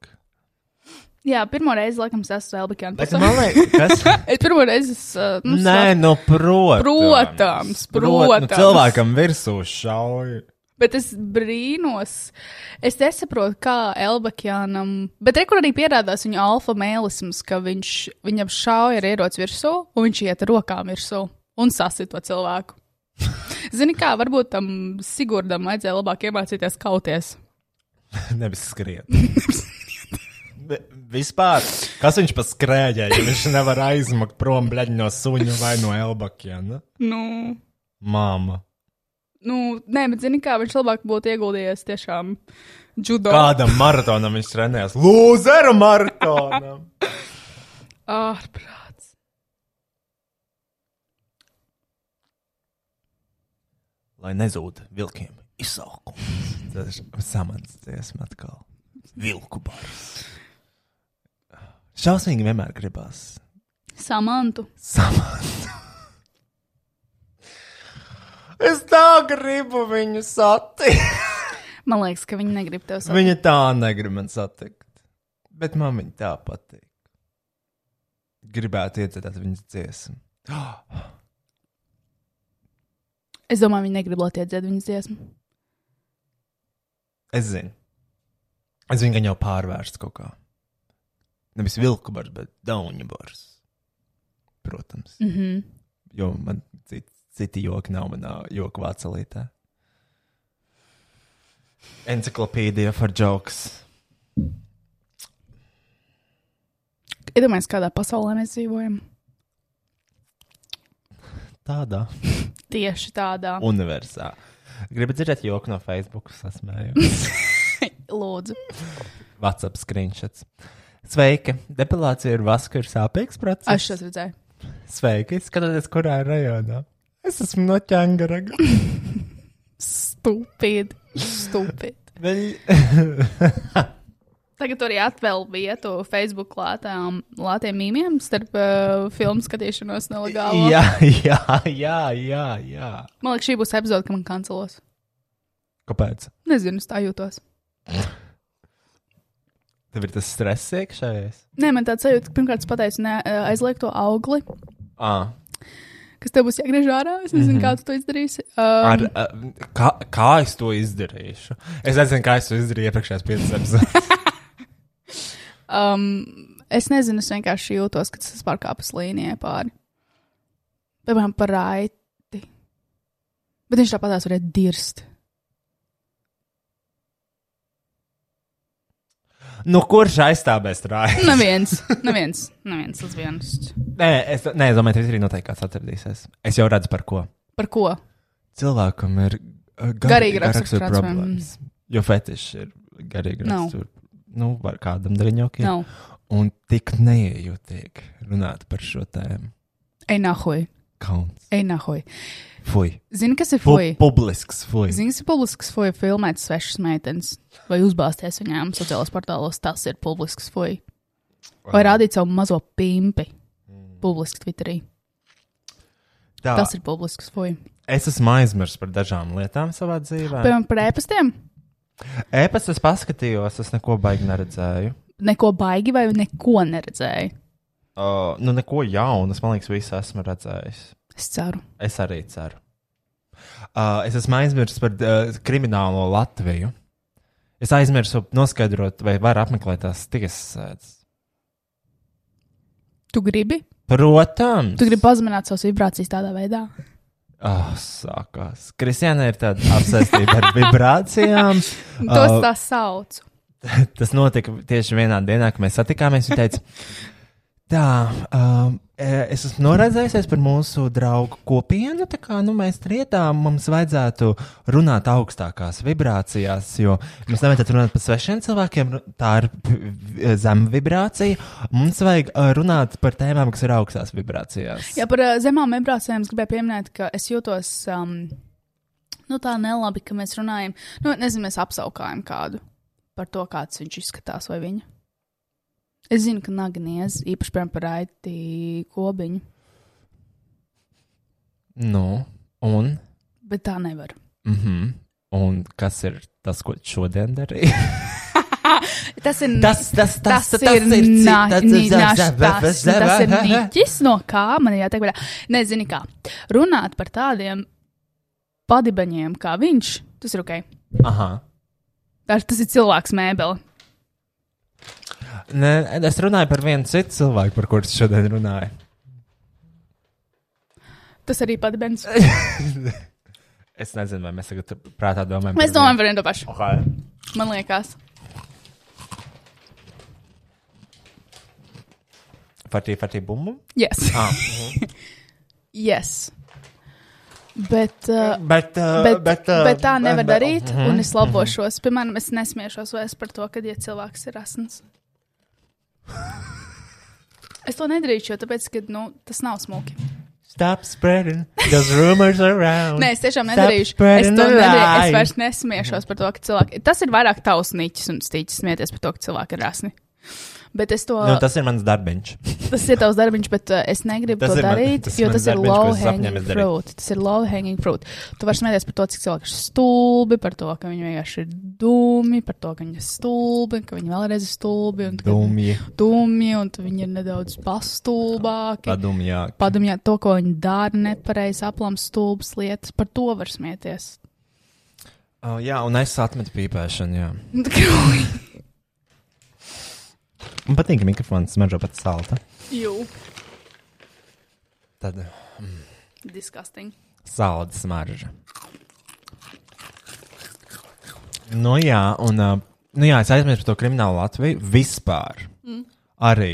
B: Jā, pirmo reizi, laikam, es esmu Elbikāns.
G: Bet man liekas, *laughs* kas?
B: *laughs* Es pirmo reizi es, uh, nu,
G: Nē, nu, protams.
B: Protams,
G: Prot- nu,
B: protams.
G: cilvēkam virsū šauj. *laughs*
B: Bet es brīnos. Es nesaprotu, kā Elbakjanam. Bet tur arī pierādās viņa alfa mēlisms, ka viņš, viņam šauja ar ieroci virsū, un viņš iet ar rokām virsū un sasit to cilvēku. Zini, kā varbūt tam Sigurdam vajadzēja labāk iemācīties kauties.
G: Nevis *laughs* skriet. Be- Vispār, kas viņš pa skrējēju, ja viņš nevar aizmakt prom bleģi no suņa vai no elbakiem?
B: Nu,
G: Māma.
B: nu, nē, bet zini, kā viņš labāk būtu ieguldījies tiešām judo.
G: Kādam maratonam viņš trenējas? Lūzeru maratonam!
B: Ārprāts.
G: *laughs* Lai nezūd vilkiem izsaukums. Tas ir samants dziesma atkal. Vilku bars. Šausmīgi vienmēr gribas.
B: Samantu.
G: Samants. Es tā gribu viņu satikt.
B: Man liekas, ka viņi negrib tev satikt.
G: Viņa tā negrib man satikt. Bet man viņa tā patīk. Gribētu iedzirdēt viņas dziesmu.
B: Es domāju, viņi negrib, lai tie dzied viņas dziesmu.
G: Es zinu. Es viņu gan jau pārvērstu kaut kā. Nevis vilku bars, bet dauņu bars. Protams.
B: Mm -hmm.
G: Jo man citi, citi joki nav manā joku vācelītē. Encyklopēdija for jokes.
B: Iedomājieties, kādā pasaulē mēs dzīvojam.
G: Tādā
B: Tieši tādā.
G: universā. Gribu dzirdēt joku no Facebook, sasmējot.
B: Lūdzu,
G: WhatsApp screenshots. Sveiki! Depilācija ir vaska, ir sāpīgs
B: es
G: process.
B: šos redzēju.
G: Sveiki! Skatieties, kurā rajonā. Es esmu no Čangaraga.
B: Stupid, stupid. Tagad tur arī atvēl vietu Facebook lātām, lātiem mīmiem starp uh, filmu skatīšanos nelegāli.
G: jā, jā, jā, jā, jā.
B: Man liekas, šī būs epizode, ka man kancelos.
G: Kāpēc?
B: Nezinu, es tā jūtos.
G: Tev ir tas stress iekšējais?
B: Nē, man tāds sajūta, ka pirmkārt es pateicu, ne, eh, aizliek to augli,
G: À,
B: kas tev būs jāgriež ārā. Es nezinu, mm -hmm. kā tu to izdarīsi. Um,
G: Mhm. ar, a, kā, kā es to izdarīšu? Es nezinu, kā es to izdarīju iepriekšējās piecas *laughs* epizodes.
B: Um, es nezinu, es vienkārši jūtos, ka tas pārkāpjas līnijai pāri. Piemēram, par raiti. Bet viņš tāpat tās varēja dirst.
G: nu, kurš aizstāvēs rāju? *laughs*
B: Neviens, neviens, neviens uz vienas.
G: Nē, es, nē, es domāju, tev arī noteikti kāds atradīsies. Es jau redzu, par ko.
B: Par ko?
G: cilvēkam ir uh, gar,
B: Garīga
G: garīga
B: rakstura
G: rakstura
B: problēma.
G: problēmas. Jo fetišs ir garīga
B: Nav.
G: rakstura. Nu, var kādam daļņokiem.
B: Nav.
G: Un tik neiejūtīgi runāt par šo tēmu.
B: Ej, nahoj.
G: Kauns.
B: Ej, nahoj.
G: Fui.
B: Zini, kas ir
G: Pu
B: fuj?
G: publisks fui.
B: Zini, kas ir publisks fuj filmēt svešas meitenes vai uzbāzties viņām sociālajos portālos. Tas ir publisks fuj. Vai rādīt savu mazo pimpi
G: Mm.
B: publiski Twitterī.
G: Tā,
B: Tas ir publisks fuj.
G: Es esmu aizmirsis par dažām lietām savā dzīvē.
B: Piemēram, par ēpastiem.
G: Ēpas es paskatījos, es neko baigi neredzēju.
B: Neko baigi vai neko neredzēju.
G: Uh, nu, neko jaunu, es, man liekas, visu esmu redzējis.
B: Es ceru.
G: Es arī ceru. Uh, es esmu aizmirsis par uh, kriminālo Latviju. Es aizmirsu noskaidrot, vai var apmeklēt tās tiesas sēdes.
B: Tu gribi?
G: Protams,
B: Tu gribi pazemināt savas vibrācijas tādā veidā?
G: Oh, sākās. Kristiāna ir tāda apziņa ar vibrācijām.
B: *laughs* Tos
G: Uh,
B: tā sauc.
G: Tas notika tieši vienā dienā, kad mēs satikāmies. Viņa teica, tā, um, e, es esmu noraizējusies par mūsu draugu kopienu. Tā kā nu, mēs rietām, mums vajadzētu runāt augstākās vibrācijās, jo mums nevajadzētu runāt par svešiem cilvēkiem, ru- tā ir p- v- zema vibrācija. Mums vajag uh, runāt par tēmām, kas ir augstās vibrācijās.
B: Jā, par ā, zemām vibrācijām es gribēju pieminēt, ka es jūtos um, nu, tā nelabi, ka mēs runājam. Nu, nezinu, mēs apsaukājam kādu par to, kāds viņš izskatās vai viņa. Es zinu, ka Nagnies īpaši piemēram, par aiti kobiņu,
G: Nu, un,
B: bet tā nevar.
G: mm -hmm, un kas ir tas, ko šodien darīja?
B: Tas ir
G: Tas, tas, tas,
B: Tas, tas ir nā- nī- nāš- tas- nu, tas ir
G: nīķis.
B: niķis, no kā man ir jāteikt. vaļā. Nezinu, kā runāt par tādiem padibaņiem kā viņš. Tas ir ok.
G: Aha.
B: Tas tas ir cilvēks mēbele.
G: Nē, es runāju par vienu citu cilvēku, par kuru es šodien runāju.
B: Tas arī *laughs* padibens.
G: Es nezinu, vai mēs tagad prātā domājam.
B: Mēs domājam par vienu to pašu.
G: par viņu.
B: Man liekas,
G: Fatī, fatī, bumbu.
B: yes. *laughs*
G: Ah,
B: mhm. yes. Bet, uh,
G: bet, uh,
B: bet,
G: bet, uh, mhm,
B: bet tā nevar
G: bet-
B: darīt, un es labošos. Piemēram, es nesmiešos vairs par to, kad ja cilvēks ir
G: *laughs*
B: asins. Es to nedrīkstu, jo tāpēc, ka, nu, tas nav smuki.
G: Stop spreading those rumors around.
B: Nē, es tiešām
G: Stop
B: nedarīšu. Es
G: spreading
B: to
G: the
B: nedarīšu. Es
G: lie.
B: vairs nesmiešos par to, ka cilvēki. Tas ir vairāk tavs niķis un stīķis smieties par to, ka cilvēki ir asni. Bet es to.
G: Nu, tas ir mans darbiņš.
B: Tas ir tavs darbiņš, bet uh, es negribu
G: Tas
B: to
G: ir man-
B: darīt,
G: tas
B: jo
G: mans
B: tas ir
G: darbiņš, ko
B: low
G: es
B: hanging
G: apņēmies darīt.
B: fruit. Tas ir low hanging fruit. Tu vari smēties par to, cik cilvēki ir stulbi, par to, ka viņi vienkārši ir dūmi, par to, ka viņi ir stulbi, ka viņi vēlreiz ir stulbi un ka viņi
G: Dumji,
B: ir dūmi un ka viņi ir nedaudz pastulbāki.
G: padumjāk.
B: Padomājiet, to, ko viņi dara, nepareizi aplams, stulbas lietas. Par to var smieties. *laughs*
G: Oh, jā, un es atmetu pīpēšanu, jā. Man patīk, ka mikrofons smaržo pat salta.
B: Jū,
G: Tad
B: disgusting.
G: salda smarža. Nu, jā, un uh, nu, jā, es aizmirsu par to kriminālu Latviju vispār. Mm. Arī.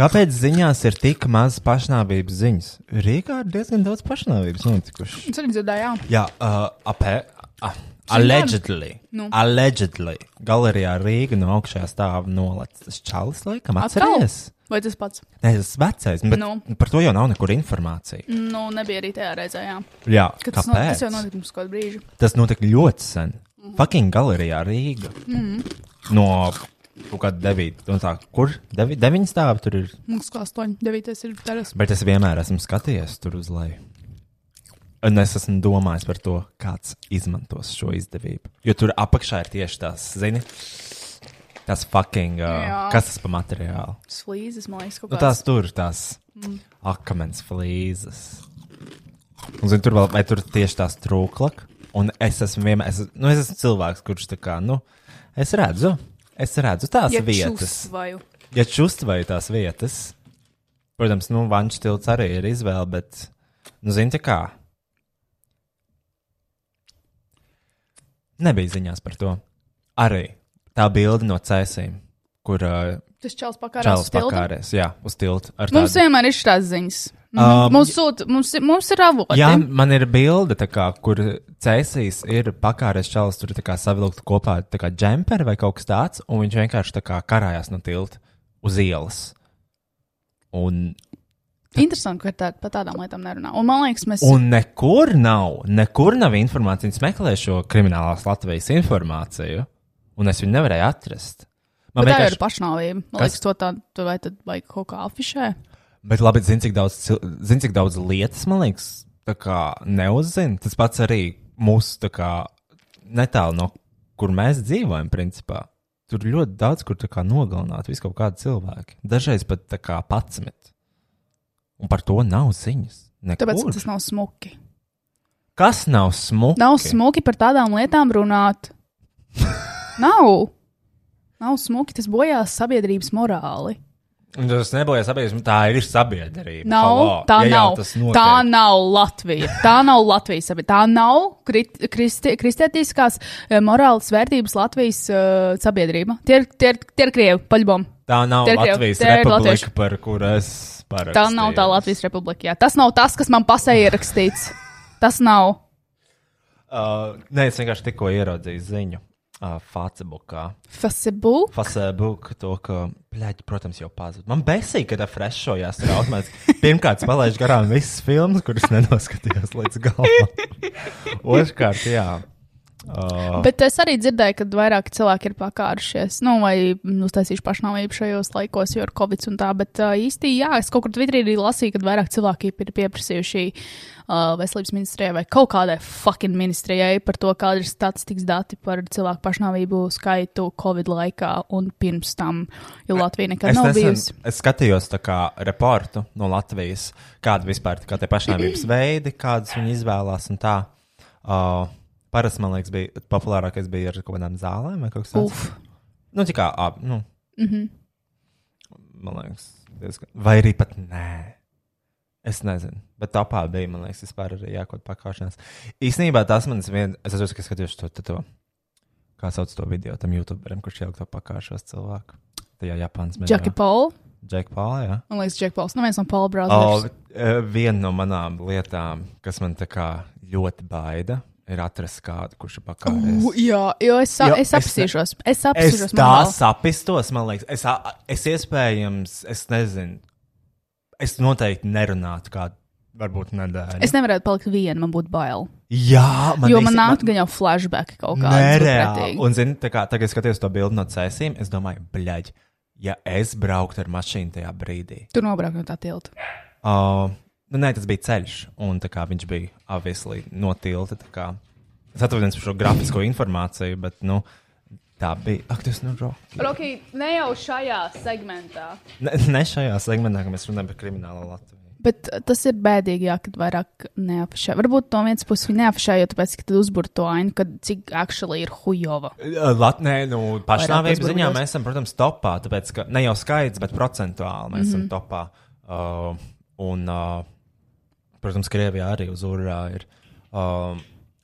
G: Kāpēc ziņās ir tik maz pašnāvības ziņas? Rīgā ir diezgan daudz pašnāvības notikušas.
B: Es arī dzirdēju, jā.
G: Jā, uh, apē. Uh, allegedly.
B: Nu.
G: Allegedly. Galerijā Rīga no augšējā stāva nolacis čalis, laikam,
B: Atkal?
G: atceries?
B: Vai tas pats?
G: Nē, tas ir vecais, bet
B: Nu.
G: nu. par to jau nav nekur informācija.
B: Nu, nebija arī tajā reizē, jā.
G: Jā,
B: Kad tas,
G: kāpēc?
B: no, tas jau notika pirms kādu brīžu.
G: Tas notika ļoti sen. Fucking galerijā Rīga. Mm -hmm. No kaut kāda devīta. No tā, kur? Devi, deviņi stāvi tur ir.
B: Mums kā 8, 9 ir teras.
G: Bet es vienmēr esmu skatījies tur uz leju. Un es esmu domājis par to, kāds izmantos šo izdevību. Jo tur apakšā ir tieši tās, zini, tās fucking. Uh,
B: Jā.
G: kas tas par materiālu?
B: Slīzes, man liekas, kaut
G: Nu,
B: kāds.
G: tās tur, tās mm. akmens flīzes. Un, zin, tur vēl vai tur tieši tās trūklak. Un es esmu vienmēr, es, nu, es esmu cilvēks, kurš tā kā, nu, es redzu, es redzu tās ja vietas.
B: Vaju.
G: Čust. Ja čustvēju tās vietas, protams, nu, vanš tilts arī ir izvēle, bet, nu, zini, tā kā. Nebija ziņās par to. Arī tā bilde no cēsīm, kur uh,
B: Tas čels pakārās
G: Čēlis
B: uz tiltu.
G: pakāries, jā, uz tilta. ar
B: Mums
G: tādu-
B: vienmēr ir šādas ziņas. Mhm.
G: Um,
B: Mums sūta, mums, ir- mums ir avoti.
G: Jā, man ir bilde, tā kā, kur cēsīs ir pakāpienas čels, tur tā kā savilkt kopā tā kā džemperi vai kaut kas tāds, un viņš vienkārši tā kā karājās no tilta uz ielas. Un,
B: Interesanti, ka tā, par tādām lietām nerunā. Un man liekas, mēs.
G: un nekur nav, nekur nav informācijas. Viņas meklē šo kriminālās Latvijas informāciju, un es viņu nevarēju atrast. Man
B: Bet tā jau
G: vienkārši,
B: ir pašnāvība. Man
G: Kas?
B: liekas, to tā, to vai tad vajag kaut kā afišē.
G: bet labi, zini, cik daudz, cil- zini, cik daudz lietas, man liekas, tā kā neuzzina. Tas pats arī mūsu tā kā netālu no kur mēs dzīvojam, principā. Tur ļoti daudz, kur tā kā nogalināt visu kaut kādu cilvēku. Dažreiz pat tā kā patsmet. Un par to nav ziņas.
B: Tāpēc
G: Nekur.
B: tas nav smuki.
G: Kas nav smuki?
B: Nav smuki par tādām lietām
G: *laughs*
B: runāt. nav. Nav smuki, tas bojās sabiedrības morāli.
G: Un Tas nebija sabiedrība, tā ir sabiedrība.
B: Nav,
G: Halo,
B: tā
G: ja jau
B: nav.
G: tas notiek.
B: Tā nav Latvija. Tā nav Latvijas sabiedrība. Tā nav krit- kristi- kristietiskās eh, morāles vērtības Latvijas eh, sabiedrība. Tie ir, tie ir, tie ir krievi, paļbom.
G: tā nav
B: Tie ir krievi,
G: Latvijas
B: tie ir
G: republika,
B: latvieši.
G: par kuru es parakstīju.
B: Tā nav tā Latvijas republika. Jā. Tas nav tas, kas man pasē ierakstīts. Tas nav.
G: Uh, nē, es vienkārši tikko ieraudzīju ziņu uh, Facebookā.
B: Facebook.
G: Facebook, to, ka, plēķi, protams, jau pazuda. Man besīk, ka tā frešojās ar automātu. Pirmkārt, es palaidu garām visas filmas, kuras nenoskatījos līdz galam.
B: *laughs*
G: Otrkārt, jā. Uh,
B: Bet es arī dzirdēju, ka vairāk cilvēki ir pakārušies, nu, vai uztaisījuši pašnāvību šajos laikos, jo ir covid un tā. Bet uh, īsti, jā, es kaut kur Twitterī arī lasīju, ka vairāk cilvēki ir pieprasījuši uh, veselības ministrijai vai kaut kādai fucking ministrijai par to, kāda ir statistikas dati par cilvēku pašnāvību skaitu covid laikā un pirms tam, jo Latvija nekad nav bijusi.
G: es skatījos tā kā reportu no Latvijas, kāda vispār tā kā tie
B: *clears throat*
G: pašnāvības veidi, kādas viņi izvēlās un tā. Uh, Parasti, man liekas, bija populārākais bija ar kaut kādām zālēm vai kaut kas tāds.
B: Uf,
G: Nu, tā kā, ap, nu. Mm -hmm. Man liekas, diezgan. Vai arī pat nē. Es nezinu, bet topā bija, man liekas, vispār arī jākot pakāpšanās. Īsnībā tas manis viens, es atceros, ka skatījos to, to, to, kā sauc to video tam YouTuberam, kurš jau to pakāpšos cilvēku. Tajā Japānas
B: Džeki Paul.
G: Džek Paul, jā.
B: Man liekas, Džeki Pauls. Nu, viens no Paul
G: O,
B: Brothers.
G: eh, viena no manām lietām, kas man tā kā ļoti baida, ir atrast kādu, kurš ir pakāpies.
B: U, Jā, jo es, sa-
G: Jo
B: es
G: es ne-
B: apsīšos. Es
G: Es
B: apsīšos.
G: tā sapistos, man liekas, es, a- es iespējams, es nezinu, es noteikti nerunātu kādu, varbūt nedēļu.
B: Es nevarētu palikt viena, man būtu bail.
G: Jā, man
B: Man jo man
G: īsti-
B: nāk, gan jau flashback kaut kāda.
G: Nereāli. Un, zini, tā kā tagad skaties to bildi no cēsīm, es domāju, bleģ, ja es brauktu ar mašīnu tajā brīdī.
B: Tur nobraukt no tā tilta.
G: Uh, nu, nē, tas bija ceļš, un tā kā viņš bija obviously no tilta. tā kā. Es atvainojos par šo grafisko informāciju, bet, nu, tā bija. Ak, tas nu, rokas.
B: Roki, ne jau šajā segmentā.
G: Ne, ne šajā segmentā, kad mēs runājam par kriminālu Latviju.
B: Bet uh, tas ir bēdīgi, jā, kad vairāk neapšā. Varbūt no vienas puses viņa neapšā, jo tāpēc, ka tad uzbur to ainu, kad cik actually ir hujova.
G: Latvijā, nu, pašnāvības
B: Vairāk
G: ziņā
B: uzbrukumos.
G: mēs esam, protams, topā. Tāpēc, ka ne jau skaidrs, bet procentuāli mēs
B: Mhm.
G: esam topā. Uh, un, uh, protams, Krievijā arī uz urā ir. Um,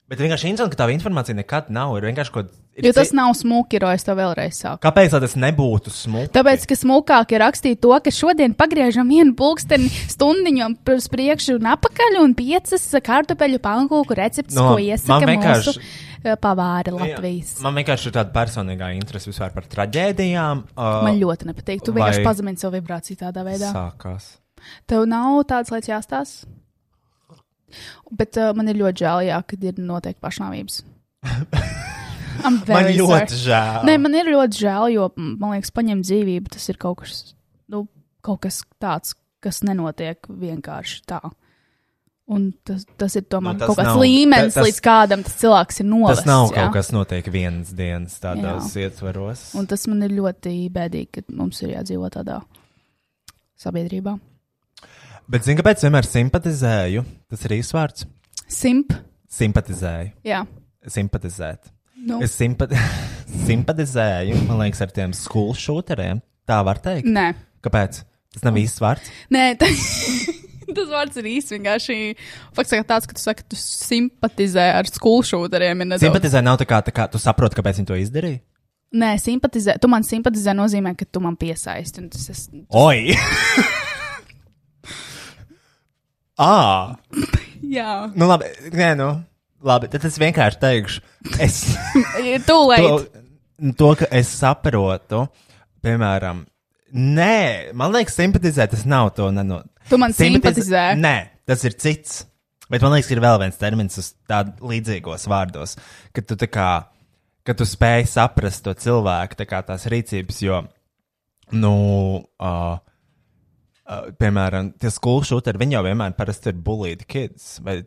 G: bet vienkārši interesanti, ka tā informācija nekad nav. Ir vienkārši kaut
B: Jo tas
G: kas.
B: nav smuki, jo es to vēlreiz saku.
G: Kāpēc lai tas nebūtu smūgi?
B: Tāpēc, ka smulkāk ir rakstīt to, ka šodien pagriežam vienu pulksteni stundiņu uz priekšu un apakaļ, un piecas kartupeļu pankūku recepti,
G: No,
B: no, ko iesaka
G: man
B: vienkārši...
G: vienkārši- Nu
B: mūsu eh, pavāri Latvijas. Jā.
G: Man vienkārši ir tāda personīgā interese vispār par traģēdijām. Uh,
B: Man ļoti nepatīk. Tu
G: vai-
B: vienkārši pazemini savu vibrāciju tādā veidā.
G: sākās.
B: Tev nav tādas lietas jāstāsta. Bet uh, man ir ļoti žēl, jā, kad ir noteikti
G: *laughs*
B: pašnāvības. I'm
G: Man
B: very sorry.
G: ļoti žēl.
B: Nē, man ir ļoti žēl, jo mm, man liekas, paņemt dzīvību tas ir kaut kas, nu, kaut kas tāds, kas nenotiek vienkārši tā. Un tas, tas ir tomēr
G: Nu,
B: nu,
G: tas
B: kaut kāds
G: nav-
B: nav, līmenis,
G: tas-
B: tas, līdz kādam tas cilvēks ir novests.
G: Tas nav
B: jā.
G: kaut kas, kas notiek vienas dienas tādos ietvaros.
B: Un tas man ir ļoti bēdīgi, ka mums ir jādzīvot tādā sabiedrībā.
G: Bet, zini, kāpēc vienmēr simpatizēju? Tas ir īsts vārds.
B: Simp.
G: Simpatizēju.
B: Jā.
G: Simpatizēt.
B: Nu,
G: Es simpa *laughs* simpatizēju, man liekas, ar tiem skolu šūteriem. Tā var teikt.
B: Nē,
G: Kāpēc? Tas nav īsts vārds.
B: Nē *laughs* tā, tas vārds ir īsti vienkārši. Fakts ir tāds, ka tu saki, ka tu simpatizē ar skolšūderiem.
G: Simpatizē nav tā kā, tā kā tu saproti, kāpēc viņi to izdarīja.
B: Nē, simpatizē. Tu man simpatizē nozīmē,
G: *laughs*
B: ka tu man piesaisti. un Tas, es,
G: Oi! Ah!
B: Jā,
G: Nu, labi, nē, nu, labi. Tad es vienkārši teikšu, es to,
B: tūlīt.
G: to, ka es saprotu, piemēram, nē, man liekas, simpatizēt, tas nav to neno.
B: Tu man
G: Simpatiz-
B: simpatizē.
G: Nē, tas ir cits. Bet man liekas, ir vēl viens termins uz tādiem līdzīgos vārdos, ka tu, tā kā, ka tu spēj saprast to cilvēku, tā kā tās rīcības, jo, nu, uh, uh, piemēram, tie skolšūteri, viņi jau vienmēr parasti ir bulīti kids vai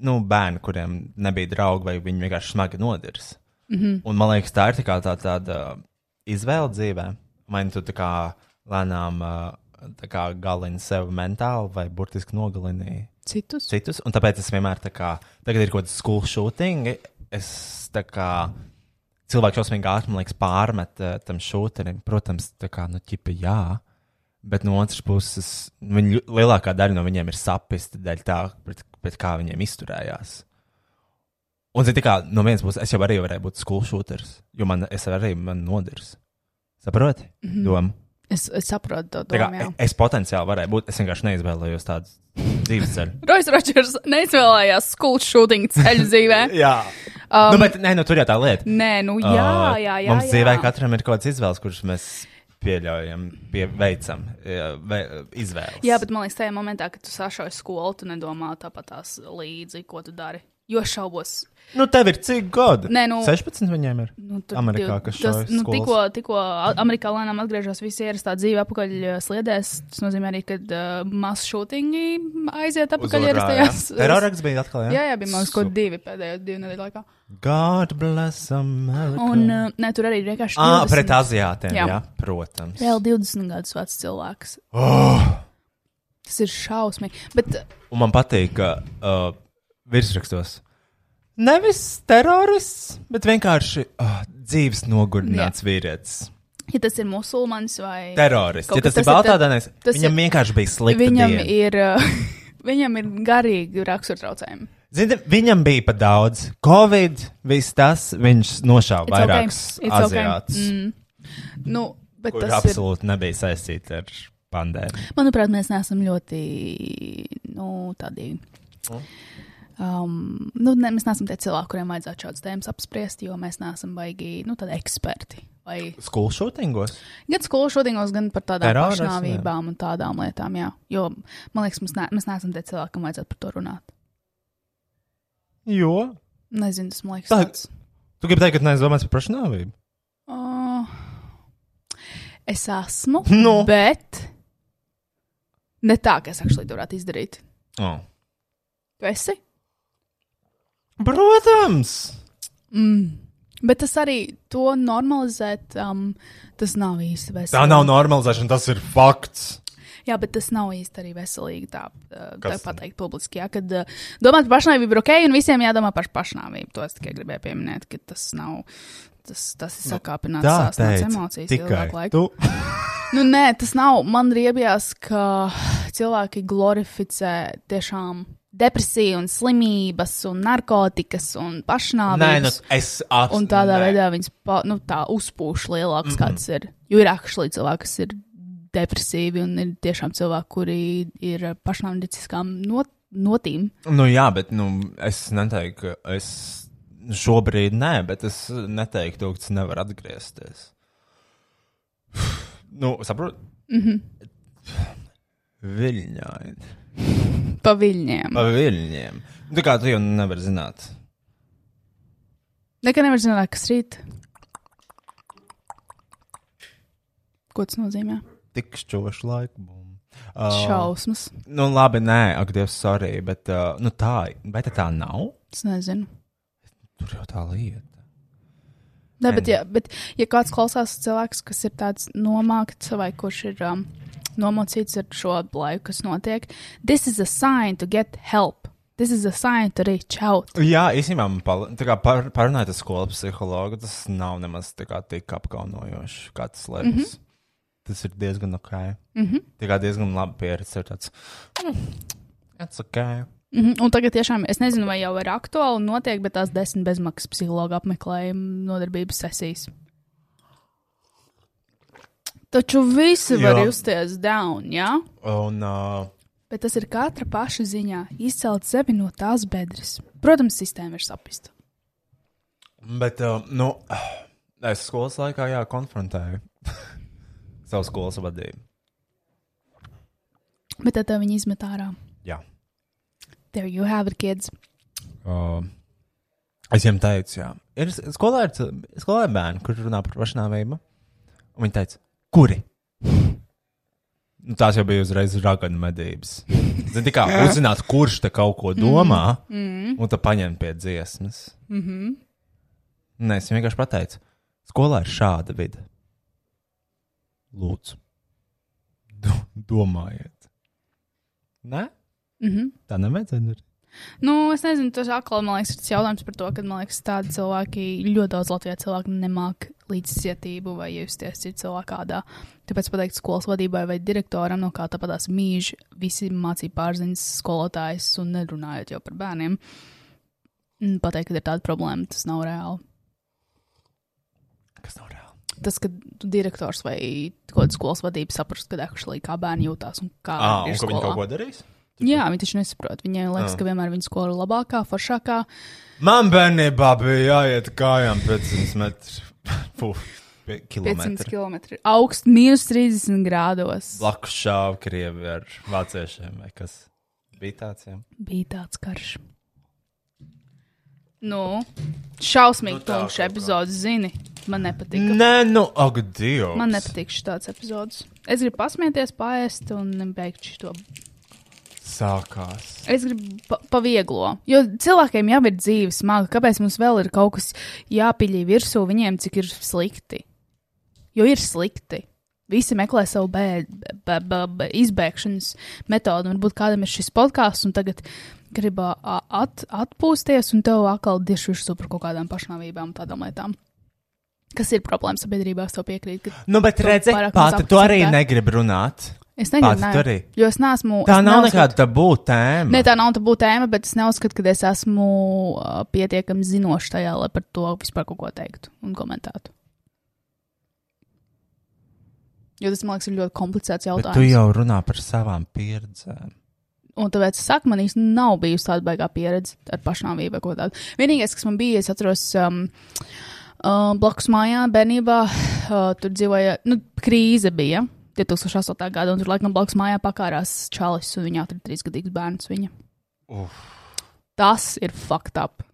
G: nu, bērni, kuriem nebija draugi, vai viņi vienkārši smagi nodirs. Mm -hmm. Un man liekas, tā ir tā kā tā, tāda izvēle dzīvē. Vai nu tu tā kā lēnām uh, tā kā galini sev mentāli, vai burtiski nogalini
B: Citus.
G: citus. Un tāpēc es vienmēr tā kā, tagad ir kaut kāds skolu šūtingi, es tā kā. Cilvēks šausmīgi ātri, man liekas, pārmet uh, tam šūterim. Protams, tā kā, nu, ķipa, jā. Bet no otras puses, viņi, ļu- lielākā daļa no viņiem ir sapisti dēļ tā, pret, pret kā viņiem izturējās. Un, zini, tā kā no vienas puses, es jau arī varēju būt skolšūters, jo man, es arī man nodirs. Saproti? Mm -hmm. Doma.
B: Es, es saprotu to
G: Tā
B: domu.
G: kā
B: jā.
G: e- es potenciāli varēju būt, es vienkārši neizvēlējos tādu dzīves ceļu.
B: Rois Rodžers neizvēlējās skolu šūdiņu ceļu dzīvē.
G: *laughs* jā. Um, nu, bet, nē, nu, tur jau tā lieta.
B: Nē, nu jā,
G: Uh,
B: jā, jā.
G: Mums
B: jā.
G: dzīvē katram ir kaut kāds izvēles, kurus mēs pieļaujam, pie, veicam, jā, vei- izvēles.
B: Jā, bet man liekas, tajā momentā, kad tu sašauji skolu, tu nedomā tāpat tās līdzi, ko tu dari. Jo šaubos.
G: Nu, tev ir cik gadi?
B: Nē, nu-
G: 16 viņiem ir.
B: Nu, tur
G: Amerikā,
B: div-
G: kas
B: tas-
G: šauj
B: nu,
G: skolas.
B: tikko, tikko a- Amerikā lēnām atgriežas visi ierastā dzīve apakaļ uh, sliedēs. Tas nozīmē arī, ka uh, masu šūtiņi aiziet apakaļ ierastajās.
G: Terorāks bija atkal. Jā,
B: Jā, jā, bija man kaut kādi divi pēdējo divu nedēļu laikā.
G: God bless America.
B: Un, uh, nē, tur arī ir vienkārši.
G: ah,
B: 20
G: pret aziātiem, jā.
B: Jā.
G: jā, protams.
B: Vēl 20 gadus vecs cilvēks. Oh. Tas ir šausmīgi. Bet
G: Un man patīk, ka uh, virsrakstos nevis terorists, bet vienkārši uh, dzīves nogurdināts vīrietis.
B: ja tas ir musulmanis vai
G: Terorists.
B: Kaut
G: Ja
B: kas
G: tas
B: tas
G: ir
B: ir te-
G: baltādēnais,
B: tas
G: viņam
B: ir-
G: vienkārši bija slikti.
B: viņam
G: diena.
B: ir, uh, *laughs* viņam ir garīgi raksturtraucējumi.
G: Zini, viņam bija pa daudz. Covid, viss tas, viņš nošāva
B: It's okay.
G: vairākus
B: It's okay.
G: aziātus.
B: Nu, bet
G: kur
B: tas ir.
G: absolūti nebija saistīta ar pandēmiju.
B: Manuprāt, mēs neesam ļoti nu, tādi.
G: Nu.
B: Um, nu, ne, mēs neesam tie cilvēki, kuriem vajadzētu šādas tēmas apspriest, jo mēs neesam baigi nu, tādi eksperti. Vai
G: Skolu šūtingos?
B: Gan skolu šodienos, gan par tādām
G: Terorismu, jā.
B: pašnāvībām un tādām lietām. Jā. Jo man liekas, mums ne, mēs neesam tie cilvēki, kam vajadzētu par to runāt.
G: Jo.
B: Nezinu, tas man liekas
G: Tā-
B: tāds.
G: Tu gribi teikt, ka neesmu domājis par pašnāvību?
B: Uh, es esmu,
G: Nu.
B: bet ne tā, ka es actually to varētu izdarīt.
G: Oh.
B: Tu esi?
G: Protams!
B: Mm. Bet tas arī to normalizēt, um, tas nav īsti veselīgi.
G: Tā nav normalizēšana, tas ir fakts.
B: Jā, bet tas nav īsti arī veselīgi tā, uh, tā
G: Kas tad?
B: pateikt publiski. Jā, kad uh, domāt par pašnāvību ir ok, un visiem jādomā par pašnāvību. To es tikai gribēju pieminēt, ka tas nav. Tas, tas ir sakāpināts
G: Nu, Tā
B: no tās
G: teica
B: emocijas
G: tikai
B: ilgāk laika.
G: tu.
B: Nu, nē, tas nav. Man riebjās, ka cilvēki glorificē tiešām depresiju un slimības un narkotikas un
G: Nē, nu,
B: pašnāvības.
G: es apstu.
B: Un tādā Nē. veidā viņas pa, nu, tā uzpūš lielāks, mm -mm. kāds ir. Jo ir akšlī cilvēki, kas ir depresīvi un ir tiešām cilvēki, kuri ir ar pašnāvnieciskām not notīm.
G: Nu, jā, bet nu, es neteiktu, ka es šobrīd nē, bet es neteiktu, ka tas nevar atgriezties. Nu, saprotu? Mhm. Viļņaini.
B: Pa viļņiem.
G: Pa viļņiem. Nu, Tā kā tu jau nevari zināt.
B: Nekā nevar zināt, kas rīt. Ko tas nozīmē?
G: Tikšķošu laiku. bumbu.
B: Oh.
G: Uh,
B: Šausmas.
G: nu, labi, nē, ak, Dievs, sorry, bet uh, nu, tā, bet tā nav.
B: Es nezinu.
G: Tur jau tā lieta.
B: Ne, bet,
G: Nē.
B: ja, bet, ja kāds klausās cilvēks, kas ir tāds nomākts vai kurš ir um, nomocīts ar šo laiku, kas notiek, this is a sign to get help. This is a sign to reach out.
G: Jā, īstenībā, man pal- tā kā par, parunājot ar skolu psihologu, tas nav nemaz tā kā tik apkaunojoši, kā tas liekas. Mm -hmm. Tas ir diezgan ok. Mm -hmm. Tā kā diezgan laba pieredze ir tāds. Mm, it's ok.
B: Mm -hmm. Un tagad tiešām es nezinu, vai jau ir aktuāli un notiek, bet tās desmit bezmaksas psihologa apmeklējuma nodarbības sesijas. Taču visi
G: Jā.
B: var justies down, jā? Ja?
G: Un, uh,
B: bet tas ir katra paša ziņā izcelt sevi no tās bedres. Protams, sistēma ir sapista.
G: Bet, uh, nu, es skolas laikā, jā, konfrontēju *laughs* savu skolas vadību.
B: Bet tad tev viņi izmet ārā.
G: Jā.
B: There you have it, kids.
G: Uh, es viņam teicu, jā, ir s- skolā ir, cil- skolā ir bērni, kurš runā par pašnāvību. Un viņi teica, kuri? Nu, tās jau bija uzreiz raganu medības. Zini, tā kā uzzināt, kurš te kaut ko domā, mm -hmm. un tad paņemt pie dziesmas. Mm -hmm. Nē, es viņam vienkārši pateicu, skolā ir šāda vide. Lūdzu, Do domājiet. Nē,
B: Mm -hmm.
G: tā nevajadzētu darīt.
B: Nu, es nezinu, tas atkal man liekas, ir tas jautājums par to, ka man liekas, tādi cilvēki ļoti daudz Latvijā cilvēku nemāk līdzcietību vai justies citu cilvēku kādā. Tāpēc pateikt skolas vadībai vai direktoram, no kā tāpatās mīž visi mācību pārziņas skolotājs un nerunājot jau par bērniem. Un Pateikt, ka ir tāda problēma, tas nav reāli.
G: Kas nav reāli?
B: Tas, ka tu direktors vai kaut kāda skolas vadība saprast, kad ekšlī kā bērni jūtās un kā
G: Ah,
B: ir
G: un ka viņi
B: skolā.
G: kaut ko darīs?
B: Jā, viņi taču nesaprot. Viņai
G: Ah.
B: liekas, ka vienmēr viņa skola ir labākā, foršākā.
G: Man bērnībā bija jāiet kājām 500 metru. *laughs* Puf,
B: 500
G: kilometru.
B: km. augsts, minus 30 grādos.
G: Blakus šāva krievi ar vāciešiem vai kas bija tāds. Jā.
B: Bija tāds karš. Nu, šausmīgi nu,
G: tā
B: tumšs
G: kaut kā.
B: epizods, zini. Man nepatīk.
G: Nē, nu, ak, Dievs.
B: Man nepatīk šāds epizods. Es gribu pasmieties, paēst un beigt šo.
G: Sākās.
B: Es gribu pa pavieglo. Jo cilvēkiem jau ir dzīve smaga. Kāpēc mums vēl ir kaut kas jāpiļķī virsū viņiem, cik ir slikti? Jo ir slikti. Visi meklē savu bē, bē, bē, bē, izbēgšanas metodi. Un Varbūt kādam ir šis podkāsts, un tagad grib ā, at, atpūsties, un tev atkal diši virsū par kaut kādām pašnāvībām, tādām lietām. Kas ir problēma sabiedrībā, es tev piekrītu. ka
G: Nu, bet
B: Tu
G: redzi,
B: pārāk
G: pati
B: mums
G: tu arī
B: akceptē.
G: negribi runāt.
B: Es negribu,
G: Pati
B: nē.
G: tu arī.
B: jo es neesmu.
G: Tā
B: es
G: nav
B: neuzskatu-
G: nekāda tabū tēma.
B: Ne, tā nav tā būtu tēma, bet es neuzskatu, ka es esmu uh, pietiekami zinošs tajā, lai par to vispār kaut ko teiktu un komentētu. Jo tas, man liekas, ir ļoti komplicēts
G: Bet tu
B: jautājums.
G: jau runā par savām pieredzēm.
B: Un tāpēc es saku, man īstenībā nav bijusi tāda baigā pieredze ar pašnāvību vai ko tādu. Vienīgais, kas man bija, es atceros, um, uh, blakus mājā bērnībā uh, tur dzīvoja, nu, krīze bija 2008. gada, un tur laikam blakus mājā pakārās čalis, un viņa atrada trīsgadīgs bērns. Viņa. Tas ir fucked up.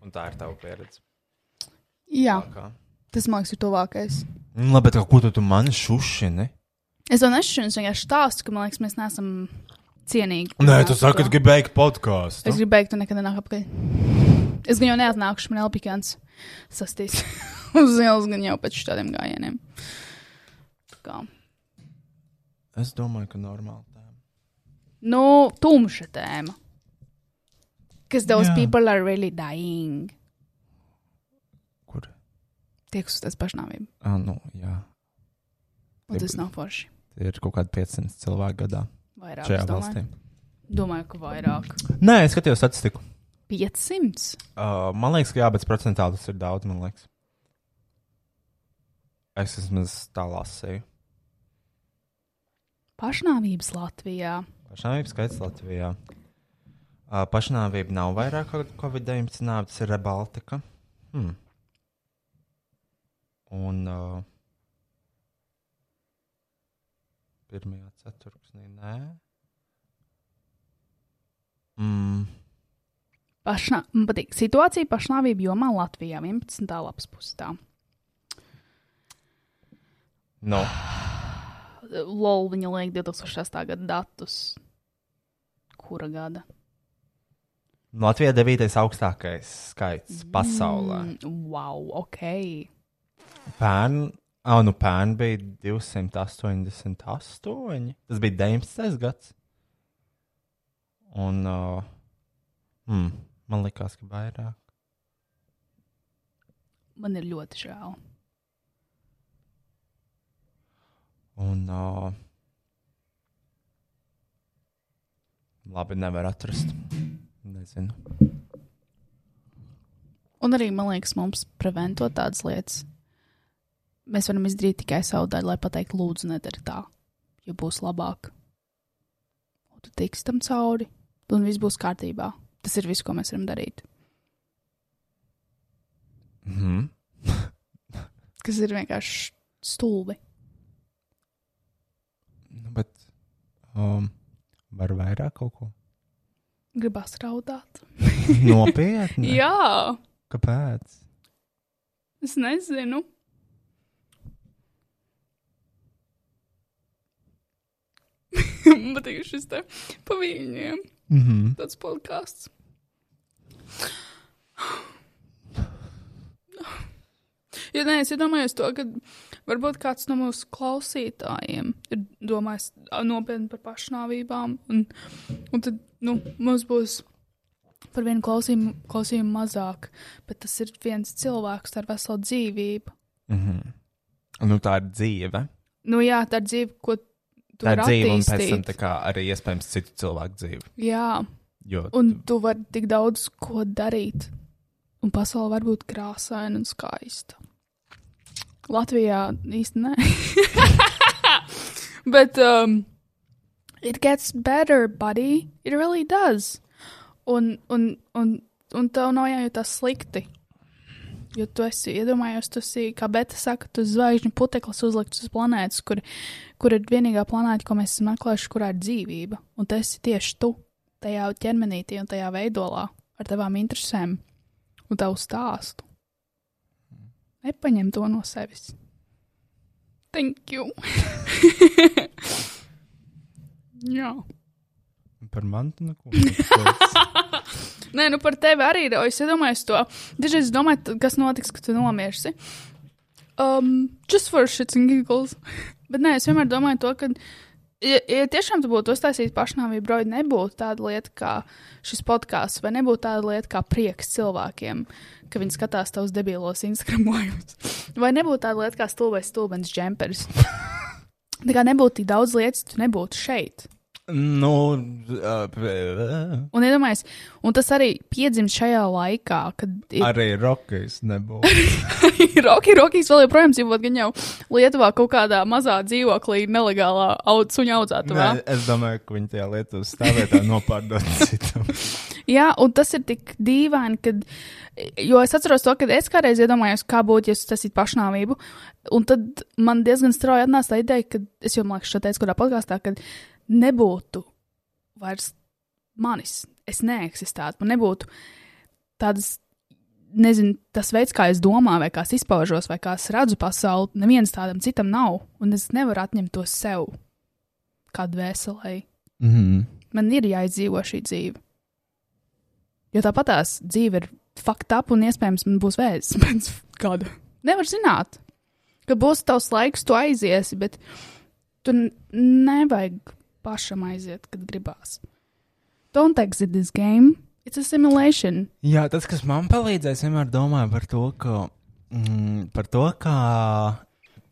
G: Un tā ir tava pieredze.
B: Jā,
G: Kā?
B: tas man liekas, ir tuvākais.
G: Nu, labi, bet ko tu, tu man šušini?
B: Es to nešķinu, es vienkārši stāstu, ka man liekas, mēs neesam cienīgi.
G: Nē, tu
B: Nāc,
G: saki,
B: to.
G: ka gribēji podkāstu.
B: Es gribu beigt, un nekad nenāk apakaļ. Es gan jau neatnākušu, man elpikants sastīs *laughs* uz ielas, gan jau pēc šādiem gājieniem. Kā.
G: Es domāju, ka normāli tēma.
B: Nu, tumša tēma. Because those
G: Jā.
B: yeah. people are really dying.
G: Kur?
B: Tiek uz tas pašnāvību.
G: Ah, nu, jā.
B: Un tas nav forši.
G: Tie ir kaut kādi 500 cilvēki gadā
B: Vairāk.
G: šajā
B: es
G: valstī.
B: domāju. domāju, ka vairāk.
G: Nē, es skatījos statistiku.
B: 500.
G: Uh, man liekas, ka jā, bet procentāli tas ir daudz. man liekas. Es vismaz tā lasīju.
B: Pašnāvības Latvijā.
G: Pašnāvību skaits Latvijā. Uh, pašnāvība nav vairāk kā Covid-19 nāve, tas ir Rebaltika. Hmm. Un uh, pirmajā ceturksnī nē. Mm.
B: Pašnā... Man patīk situācija pašnāvību jomā Latvijā 11. lapas pusē.
G: No.
B: LOL viņa liek 2006. gada datus. Kura gada?
G: Latvijā 9. augstākais skaits pasaulē.
B: Mm, wow, ok.
G: Pērn, oh, nu pērn bija 288. Tas bija 19. gads. Un uh, mm, man liekas, ka vairāk.
B: Man ir ļoti žēl.
G: Un, uh, labi, nevar atrast. Nezinu.
B: Un arī man liekas, mums prevento tādas lietas. mēs varam izdarīt tikai savu daļu, lai pateiktu, lūdzu, nedari tā, jo būs labāk. Un tu tiks tam cauri, un viss būs kārtībā. Tas ir viss, ko mēs varam darīt.
G: Mhm.
B: Kas ir vienkārši stulbi.
G: Nu, bet um, var vairāk kaut *laughs* ko
B: Gribās raudāt.
G: nopietnu.
B: Jā,
G: Kāpēc?
B: es nezinu. *laughs* Man patīk šis te pa viņiem.
G: Mhm.
B: tāds podkāsts. Jo nē, es iedomājos to, ka varbūt kāds no mūsu klausītājiem ir domājis ā, nopietni par pašnāvībām. Un, un tad nu, mums būs par vienu klausījumu, klausījumu mazāk, bet tas ir viens cilvēks ar veselu dzīvību.
G: Nu, tā ir dzīve.
B: Nu jā, tā ir dzīve, ko tu
G: Tā ir
B: vari
G: dzīve, un pēc tam
B: attīstīt.
G: tā kā arī iespējams citu cilvēku dzīve.
B: Jā,
G: Jo
B: un tu vari tik daudz ko darīt. Un pasaule var būt krāsaina un skaista. Latvijā īstenībā nē. *laughs* Bet um, it gets better, buddy. It really does. Un, un, un, un tev nav jājūtas slikti. Jo tu esi iedomājies, tu esi, kā Bēta saka, tu esi zvaigžņu puteklis uzlikts uz planētas, kur, kur ir vienīgā planēta, ko mēs esam atklājuši, kurā ir dzīvība. Un tas ir tieši tu tajā ķermenītī un tajā veidolā ar tavām interesēm un tavu stāstu. Nepaņem to no sevis. Thank you! *laughs* Jā.
G: par mani tu *laughs* neko nesaproti.
B: Nē, nu par tevi arī ir. o, Es iedomājos to. Dažreiz es domāju, t- kas notiks, kad tu nomirsi. Um, just for shits and giggles. *laughs* Bet nē, es vienmēr domāju to, ka, ja, ja tiešām tu būtu uztaisījis pašnāvību, broj, nebūtu tāda lieta kā šis podkāsts, vai nebūtu tāda lieta kā prieks cilvēkiem, ka viņi skatās tavus debilos Instagramojumus, *laughs* vai nebūtu tāda lieta kā stulbais stulbens džempers. *laughs* Tā kā nebūtu tik daudz lietas, tu nebūtu šeit.
G: nu, uh,
B: Un, iedomājies, un tas arī piedzimst šajā laikā, kad ir
G: arī rokas nebūs.
B: *laughs* Rocky, Rockys vēl joprojām dzīvo gan jau Lietuvā, kaut kādā mazā dzīvoklī, nelegālā aud, suņa audzētavā.
G: Nē, es domāju, ka viņi tajā lietu stāvētā nopārdot *laughs* citam.
B: Jā, un tas ir tik dīvaini, kad, jo es atceros to, kad es kādreiz iedomājos, kā būtu, ja tas ir pašnāvību, un tad man diezgan strauji atnāca tā ideja, ka es jau, man liekas, šo teicu, kurā podkāstā, kad nebūtu vairs manis, es neeksistētu, man nebūtu tādas nezinu, tas veids, kā es domāju, vai kā es izpaužos, vai kā es redzu pasauli, neviens tādam citam nav. Un es nevaru atņemt to sev, kā dvēselē.
G: Mhm.
B: Man ir jāizdzīvo šī dzīve. Jo tāpat tās dzīve ir fakta ap, un iespējams, man būs vēzis *laughs* pēc gada. Nevar zināt, ka būs tavs laiks, tu aiziesi, bet tu n- nevajag pašam aiziet, kad gribās. Don't exit this game. It's a simulation.
G: Jā, tas, kas man palīdzēja, es vienmēr domāju par to, ka. Mm, par to, kā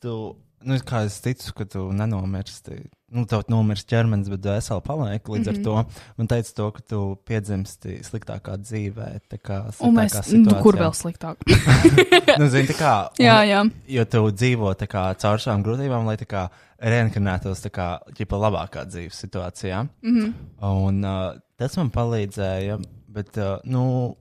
G: tu. Nu, es kā es ticu, ka tu nenomirsti. Nu, tev nomirst ķermenis, bet dvēsele paliek līdz mm
B: Mhm.
G: -hmm. ar to. Man teica, to, ka tu piedzimsti sliktākā dzīvē. tā Kā,
B: Un mēs,
G: sliktākā
B: nu, kur
G: situācijā.
B: vēl sliktāk?
G: nu, zini, tā kā, un,
B: *laughs* jā, jā.
G: Jo tu dzīvo tā kā, caur šām grūtībām, lai tā kā, reinkarnētos tā kā ģipa labākā dzīves situācijā. Mm
B: Mhm.
G: -hmm. Un uh, tas man palīdzēja, bet uh, nu,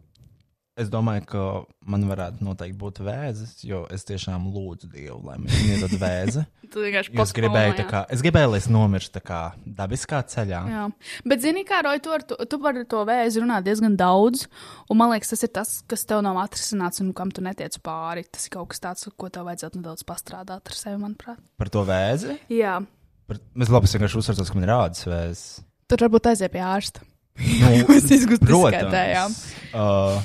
G: es domāju, ka man varētu noteikti būt vēzis, jo es tiešām lūdzu Dievu, lai man iedod vēzi.
B: *laughs* Tu vienkārši
G: Jo es gribēju, tā kā, es gribēju, lai es nomiršu tā kā dabiskā ceļā.
B: Jā. Bet, zini, kā Roja, tu, ar to- tu par to vēzi runā diezgan daudz. Un man liekas, tas ir tas, kas tev nav atrisināts un kam tu netiec pāri. Tas ir kaut kas tāds, ko tev vajadzētu nedaudz pastrādāt ar sevi, manuprāt.
G: Par to vēzi.
B: Jā.
G: Par, es labi es vienkārši uzsveros, ka man ir rādes vēzis.
B: Tur varbūt aiziet pie ārsta.
G: Nu,
B: *laughs* Mēs izgudrojām.
G: protams. Uh,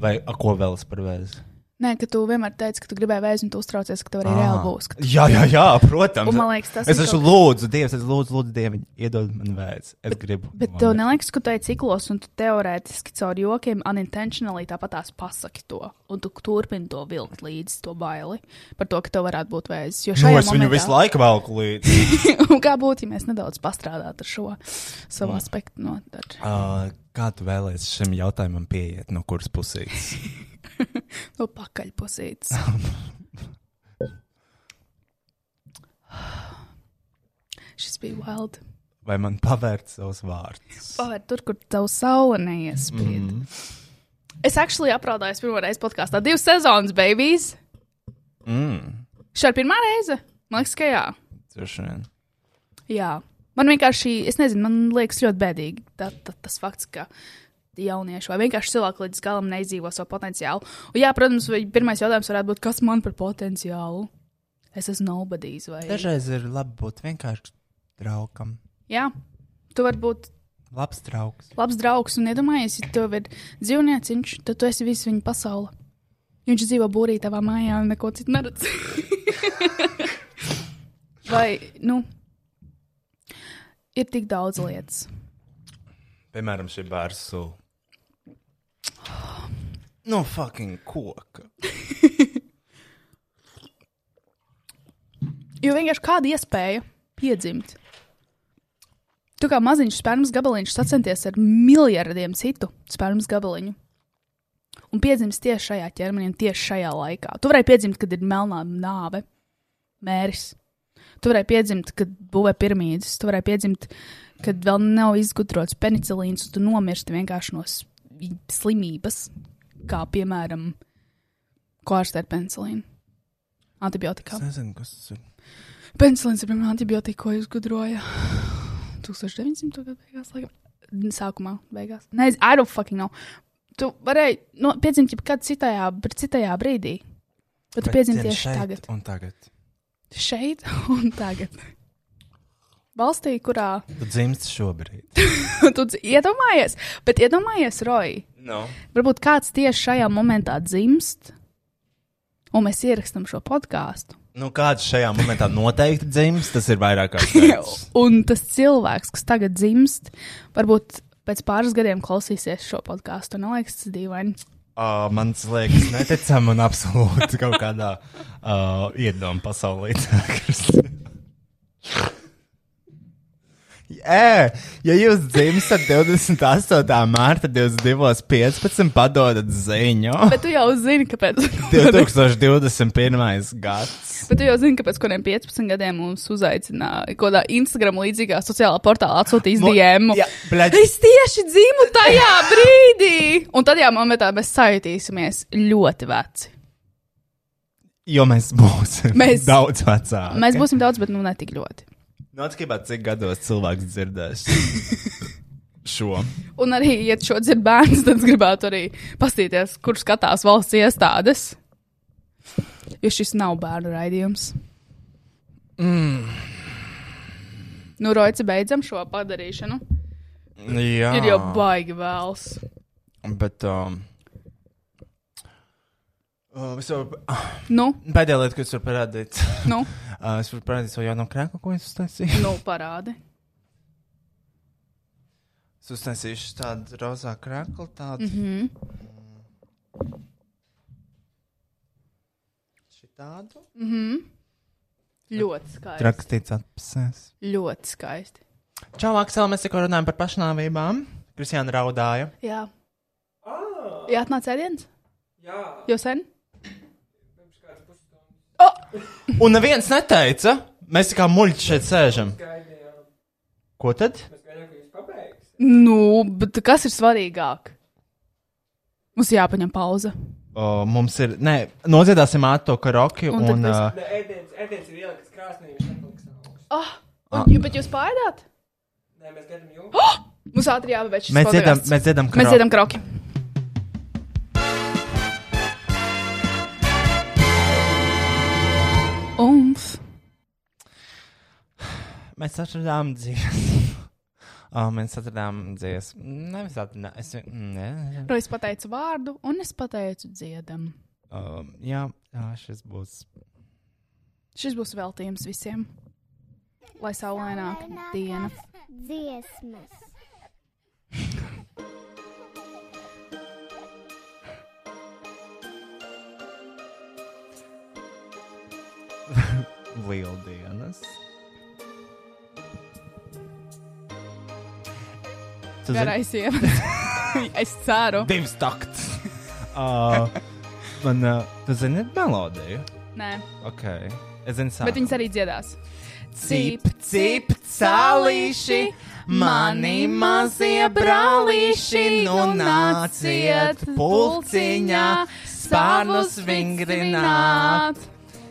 G: vai a, ko vēl es par vēzi?
B: Nē, ka tu vienmēr teici, ka tu gribēji vēzi un tu uztraucies, ka tev arī
G: Ā.
B: reāli būs. ka-
G: *laughs* Jā, jā, jā protams.
B: Un man liekas, tas
G: es
B: ir
G: esmu
B: kaut-
G: lūdzu, Dievs, es lūdzu, lūdzu Dievu, iedod man vēzi. Es bet, gribu.
B: Bet tev neliekas, ka tu ej ciklos, un tu teorētiski caur jokiem, unintentionally tāpat tās pasaki to, un tu turpini to vilkt līdzi, to baili par to, ka tev varētu būt vēzis. Jo
G: Nu,
B: šajā
G: es viņu
B: momentā-
G: visu laiku velku līdzi. *laughs*
B: Un *laughs* kā būtu, ja mēs nedaudz pastrādātu ar šo
G: Mm.
B: savu aspektu? No, ar,
G: uh, kā tu vēlēsies šim jautājumam pieiet, no kuras puses?
B: *sighs* no pakaļpusītes. Šis bija wild.
G: Vai man pavērt savus vārdus?
B: Pavērt tur, kur tev saule neiespīd. Mm. Es actually apraudājos pirmo reizi podkāstā. Divas sezonas, babies.
G: Mm.
B: Šā ir pirmā reize? Man liekas, ka jā.
G: Droši vien.
B: jā. Man vienkārši, es nezinu, man liekas ļoti bēdīgi tā, tā, tas fakts, ka jaunieši vai vienkārši cilvēki līdz galam neizdzīvo savu potenciālu. Un, jā, protams, vai pirmais jautājums varētu būt, kas man par potenciālu? Es esmu nobadījis vai
G: Dažreiz ir labi būt vienkārši draugam.
B: Jā, tu vari būt
G: Labs draugs.
B: labs draugs un iedomājies, ja tev ir dzīvnieciņš, tad tu esi viss viņa pasaule. Viņš dzīvo būrī tavā mājā un neko citu neredz. *laughs* Vai, nu, ir tik daudz lietas.
G: Piemēram, šī bērns sula. No Nu, fucking koka.
B: Jo vienkārši kāda iespēja piedzimt. Tu kā maziņš spermas gabaliņš sacenties ar miljardiem citu spermas gabaliņu. Un piedzimst tieši šajā ķermenī, un tieši šajā laikā. Tu varēji piedzimt, kad ir melnā nāve, mēris. Tu varēji piedzimt, kad būvē piramīdas. Tu varēji piedzimt, kad vēl nav izgudrots penicilīns, un tu nomirsti vienkārši no s- slimības, kā piemēram, ko ārstē ar penicilīnu. Antibiotikā.
G: Es nezinu, kas tas ir.
B: Penicilīns ir pirmā antibiotika, ko izgudroja 1900. gada beigās, laikam. Sākumā, beigās. Nē, I don't fucking know. Tu varēji no, piedzimt jebkad citajā, br- citajā brīdī. Bet tu piedzimti tieši šeit. tagad.
G: Un tagad.
B: Šeit un tagad. Valstī, kurā *laughs*
G: Tu dzimsti šobrīd.
B: tu dz- iedomājies, bet iedomājies, Roji,
G: No.
B: varbūt kāds tieši šajā momentā dzimst, un mēs ierakstām šo podkāstu.
G: Nu, kāds šajā momentā noteikti dzims, tas ir
B: *laughs*
G: vairāk kā skaidrs.
B: Un tas cilvēks, kas tagad dzimst, varbūt pēc pāris gadiem klausīsies šo podkāstu. Man liekas, tas ir dīvaini.
G: Uh, man liekas, neticami un absolūti kaut kādā uh, iedomā pasaulē. *laughs* Ē, ja jūs dzimstat 28. mārta 22.15, padodat ziņu.
B: *laughs* Bet tu jau zini, kāpēc. *laughs*
G: 2021. gads.
B: Bet tu jau zini, ka pēc kādiem 15 gadiem mums uzaicināja kaut kādā Instagram līdzīgā sociālā portālā atsūtīs
G: Mo-
B: DM.
G: Jā, bļaģ.
B: Es tieši dzimu tajā brīdī! Un tad, jā, momentā mēs sajūtīsimies ļoti veci.
G: Jo mēs būsim
B: Mēs-
G: mēs... daudz vecāki.
B: Mēs būsim daudz, bet nu ne tik ļoti.
G: Nu, atkarībā cik gados cilvēks dzirdēs šo.
B: Un arī, ja šo dzird bērns, *laughs* tad es gribētu arī paskatīties, kur skatās valsts iestādes. Jo šis nav bērnu raidījums. Mm. Nu, Roici, beidzam šo padarīšanu.
G: Jā,
B: Ir jau baigi vēls.
G: Bet. Um... Uh, es jau
B: Nu,
G: pēdējā lieta, ko es varu parādīt, *laughs*
B: nu,
G: uh, es varu parādīt savu jaunu krēku, ko es uztaisīju. *laughs*
B: nu parādi.
G: Es uztaisīšu tādu rozā krēku, tādu. Mm -hmm. Šitādu.
B: Ļoti skaisti.
G: Rakstīts atpasēs.
B: Ļoti skaisti.
G: Čau, Aksel, mēs tikko runājam par pašnāvībām. Kristiāna raudāja.
B: Jā. Oh. Jā, atnāc ēdienas? Jā. Jau sen?
G: *laughs* Un neviens neteica, mēs tā kā muļķi šeit sēžam. Ko tad?
B: Nu, bet kas ir svarīgāk? Mums jāpaņem pauze.
G: O, mums ir. Nē, noziedāsim ātrāk to karaoke.
B: Un tad
G: Un, un,
B: viss.
G: uh,
B: Oh, un, ah. Bet jūs pārādāt? Nē, mēs gribam jums. Oh! Mums ātri jāpabeidz šis
G: mēs dziedam,
B: podcasts.
G: mēs dziedam
B: mēs
G: karaoke.
B: dziedam kroki. Umf.
G: Mēs atradām dziesmu. *laughs* O, mēs atradām dziesmu. Nē, mēs atradām. Es, mm, nē, nē.
B: Rois pateica vārdu, un es pateicu dziedam.
G: O, jā, jā, šis būs.
B: Šis būs veltījums visiem. Lai saulaināka diena.
H: dziesmas.
B: *laughs*
G: Lieldienas. Tu zini-
B: Garais ievads. *laughs* es ceru.
G: Divs takts. uh, man, uh, tu zini melodiju?
B: Nē,
G: Ok. Es zinu,
B: bet
G: sākumu.
B: viņas arī dziedās.
G: Cip, cip, salīši, mani mazie brālīši, nu nāciet pulciņā, spārnus vingrināt.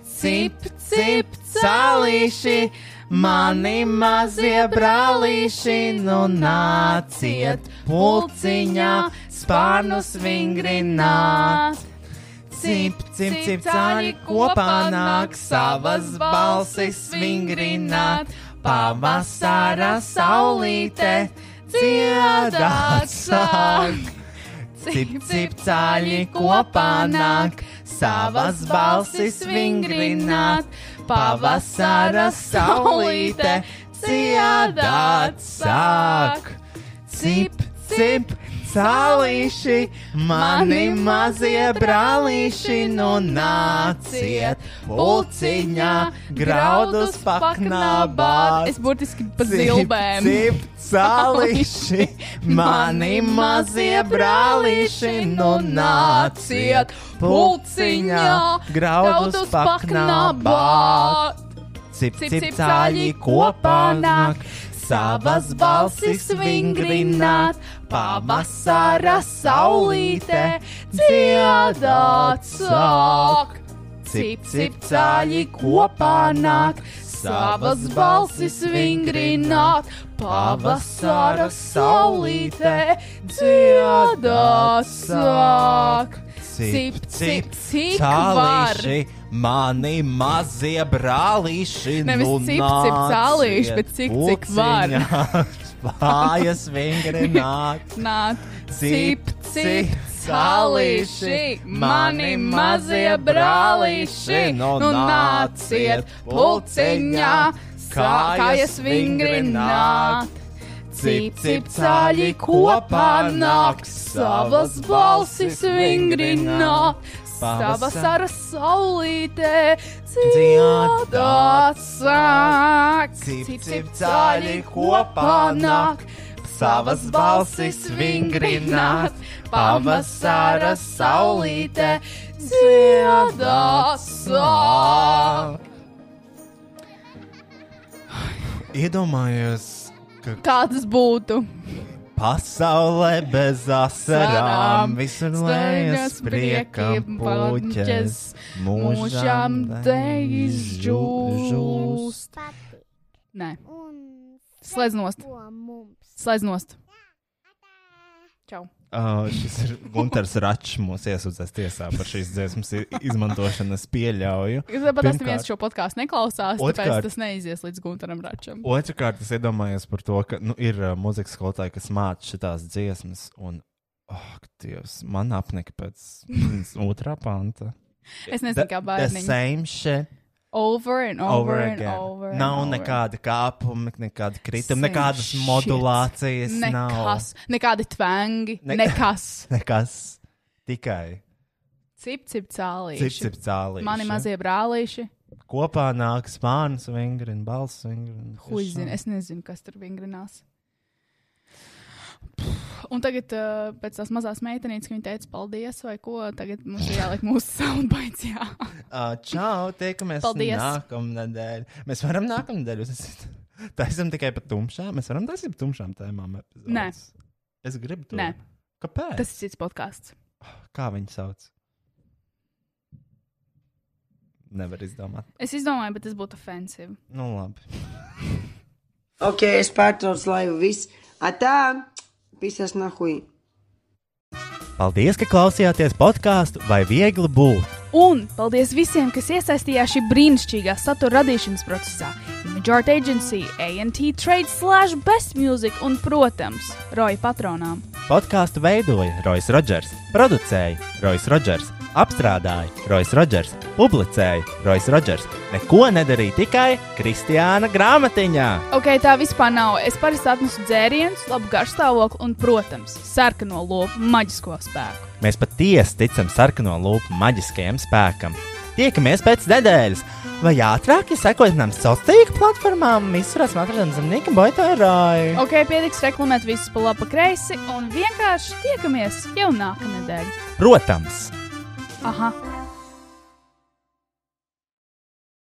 G: Cip, cip, salīši, mani mazie brālīši, nu nāciet pulciņā, spārnus vingrināt. Cip, cip, cip, cāņi kopā nāk savas balsis vingrināt, pavasara saulīte dziedāt sāk. Cip, cip, cāļi kopā nāk savas balsis vingrināt, pavasara saulīte dziedāt sāk. Cip, cip, cālīši, mani mazie brālīši, nu nāciet, pulciņā, graudus paknabāt.
B: Es burtiski pa zilbēm.
G: Cip, cālīši, *laughs* mani mazie brālīši, nu nāciet, pulciņā, graudus paknabāt. Cip,
B: Cip,
G: cip,
B: cip,
G: cāļi kopā nāk, savas balsis vingrināt, pavasara saulītē dziedāt sāk. Cip, cip, cāļi kopā nāk, savas balsis vingrināt, pavasara saulītē dziedāt sāk. Cip, cip, cik var. Mani mazie brālīši,
B: Nevis
G: nu
B: cip, cip, cālīši,
G: nāciet,
B: bet cik, cik var.
G: puciņā, Kājas vingrināt,
B: Nāk,
G: Cip,
B: cip,
G: cip,
B: cip, salīši, mani mazie brālīši,
G: Nu
B: nu nāciet pulciņā, sā- kājas vingrināt. Cip, cip, cāļi kopā nāk, savas balsis vingrināt, savas ar saulītē dziedāt sāk.
G: Cip, cip, cāļi kopā nāk, savas balsis vingrināt, pavasara saulītē dziedāt sāk. Iedomājos, ka
B: Kādas būtu?
G: Pasaulē bez asarām
B: Sarām,
G: visur
B: Slēgts
G: lejas priekam puķes, mūžam deiz žūs.
B: žūst. Nē, slēdz nost, slēdz nost. Čau.
G: Uh, šis ir Gunters Račs mūs iesūdzēs tiesā par šīs dziesmas i- izmantošanu, es pieļauju.
B: Jūs pat esat
G: Pirmkārt-
B: viens šo podkāstu neklausās,
G: Otrkārt-
B: tāpēc tas neizies līdz Gunteram Račam.
G: Otrakārt, es iedomājos par to, ka nu, ir uh, muzikas skolotāji, kas māca šitās dziesmas, un, oh, Dievs, man apnika
B: *laughs*
G: pēc viņas otrā panta.
B: Es nezinu, kā
G: The- the
B: bērniņi.
G: same shit.
B: Over and over, over and over. and
G: Nav
B: over.
G: nekāda kāpuma, nekāda
B: Same
G: krituma, nekādas
B: shit.
G: modulācijas.
B: Nekas, nekādi tvangi,
G: Ne-
B: nekas.
G: Nav. Nekas. Tikai
B: Cip, cip, cālīši.
G: cip cālīši.
B: Mani mazie brālīši.
G: Kopā nāk spānis, vingrina, balss vingrina.
B: Huizina, es nezinu, kas tur vingrinās. Pff, Un tagad, uh, pēc tās mazās meitenītes, ka viņa teica, paldies, vai ko, tagad mums ir jāliek mūsu *laughs* soundbites, jā.
G: Uh, čau, tiekamies
B: Paldies.
G: nākamnedēļ. Mēs varam nākamnedēļ uzsākt. *laughs* Taisam tikai par tumšām. Mēs varam taisīt par tumšām tēmām. epizodes.
B: Nē.
G: Es gribu to.
B: Nē.
G: Kāpēc?
B: Tas ir cits podkāsts.
G: Kā viņi sauc? Nevar izdomāt.
B: Es izdomāju, bet tas būtu ofensīvi.
G: Nu, labi.
E: Окей, Spartans Live Vis. А там писас нахуй.
G: Paldies, ka klausījāties podkāstu vai viegli būt.
C: Un paldies visiem, kas iesaistījās šī brīnišķīgā satura radīšanas procesā. Majority Agency, ANT Trade, Slash, Best Music un, protams, Roja patronām.
G: Podkāstu veidoja Rois Rodžers, producēja Rois Rodžers, apstrādāja Rois Rodžers, publicēja Rois Rodžers. Neko nedarīja tikai Kristiāna grāmatiņā.
C: Ok, tā vispār nav. Es parasti atnesu dzērienus, labu garšstāvokli un, protams, sarkano lopu maģisko spēku.
G: Mēs patiesi ticam sarkano lupu maģiskajam spēkam. Tiekamies pēc nedēļas, vai ātrāk, ja sekojat mums sociālajām tīkla platformām, visur esmu atrodams zemnieka boitārāju.
C: Ok, pietiks reklamēt visus pa labi, pa kreisi un vienkārši tiekamies jau nākamnedēļ.
G: Protams!
C: Aha!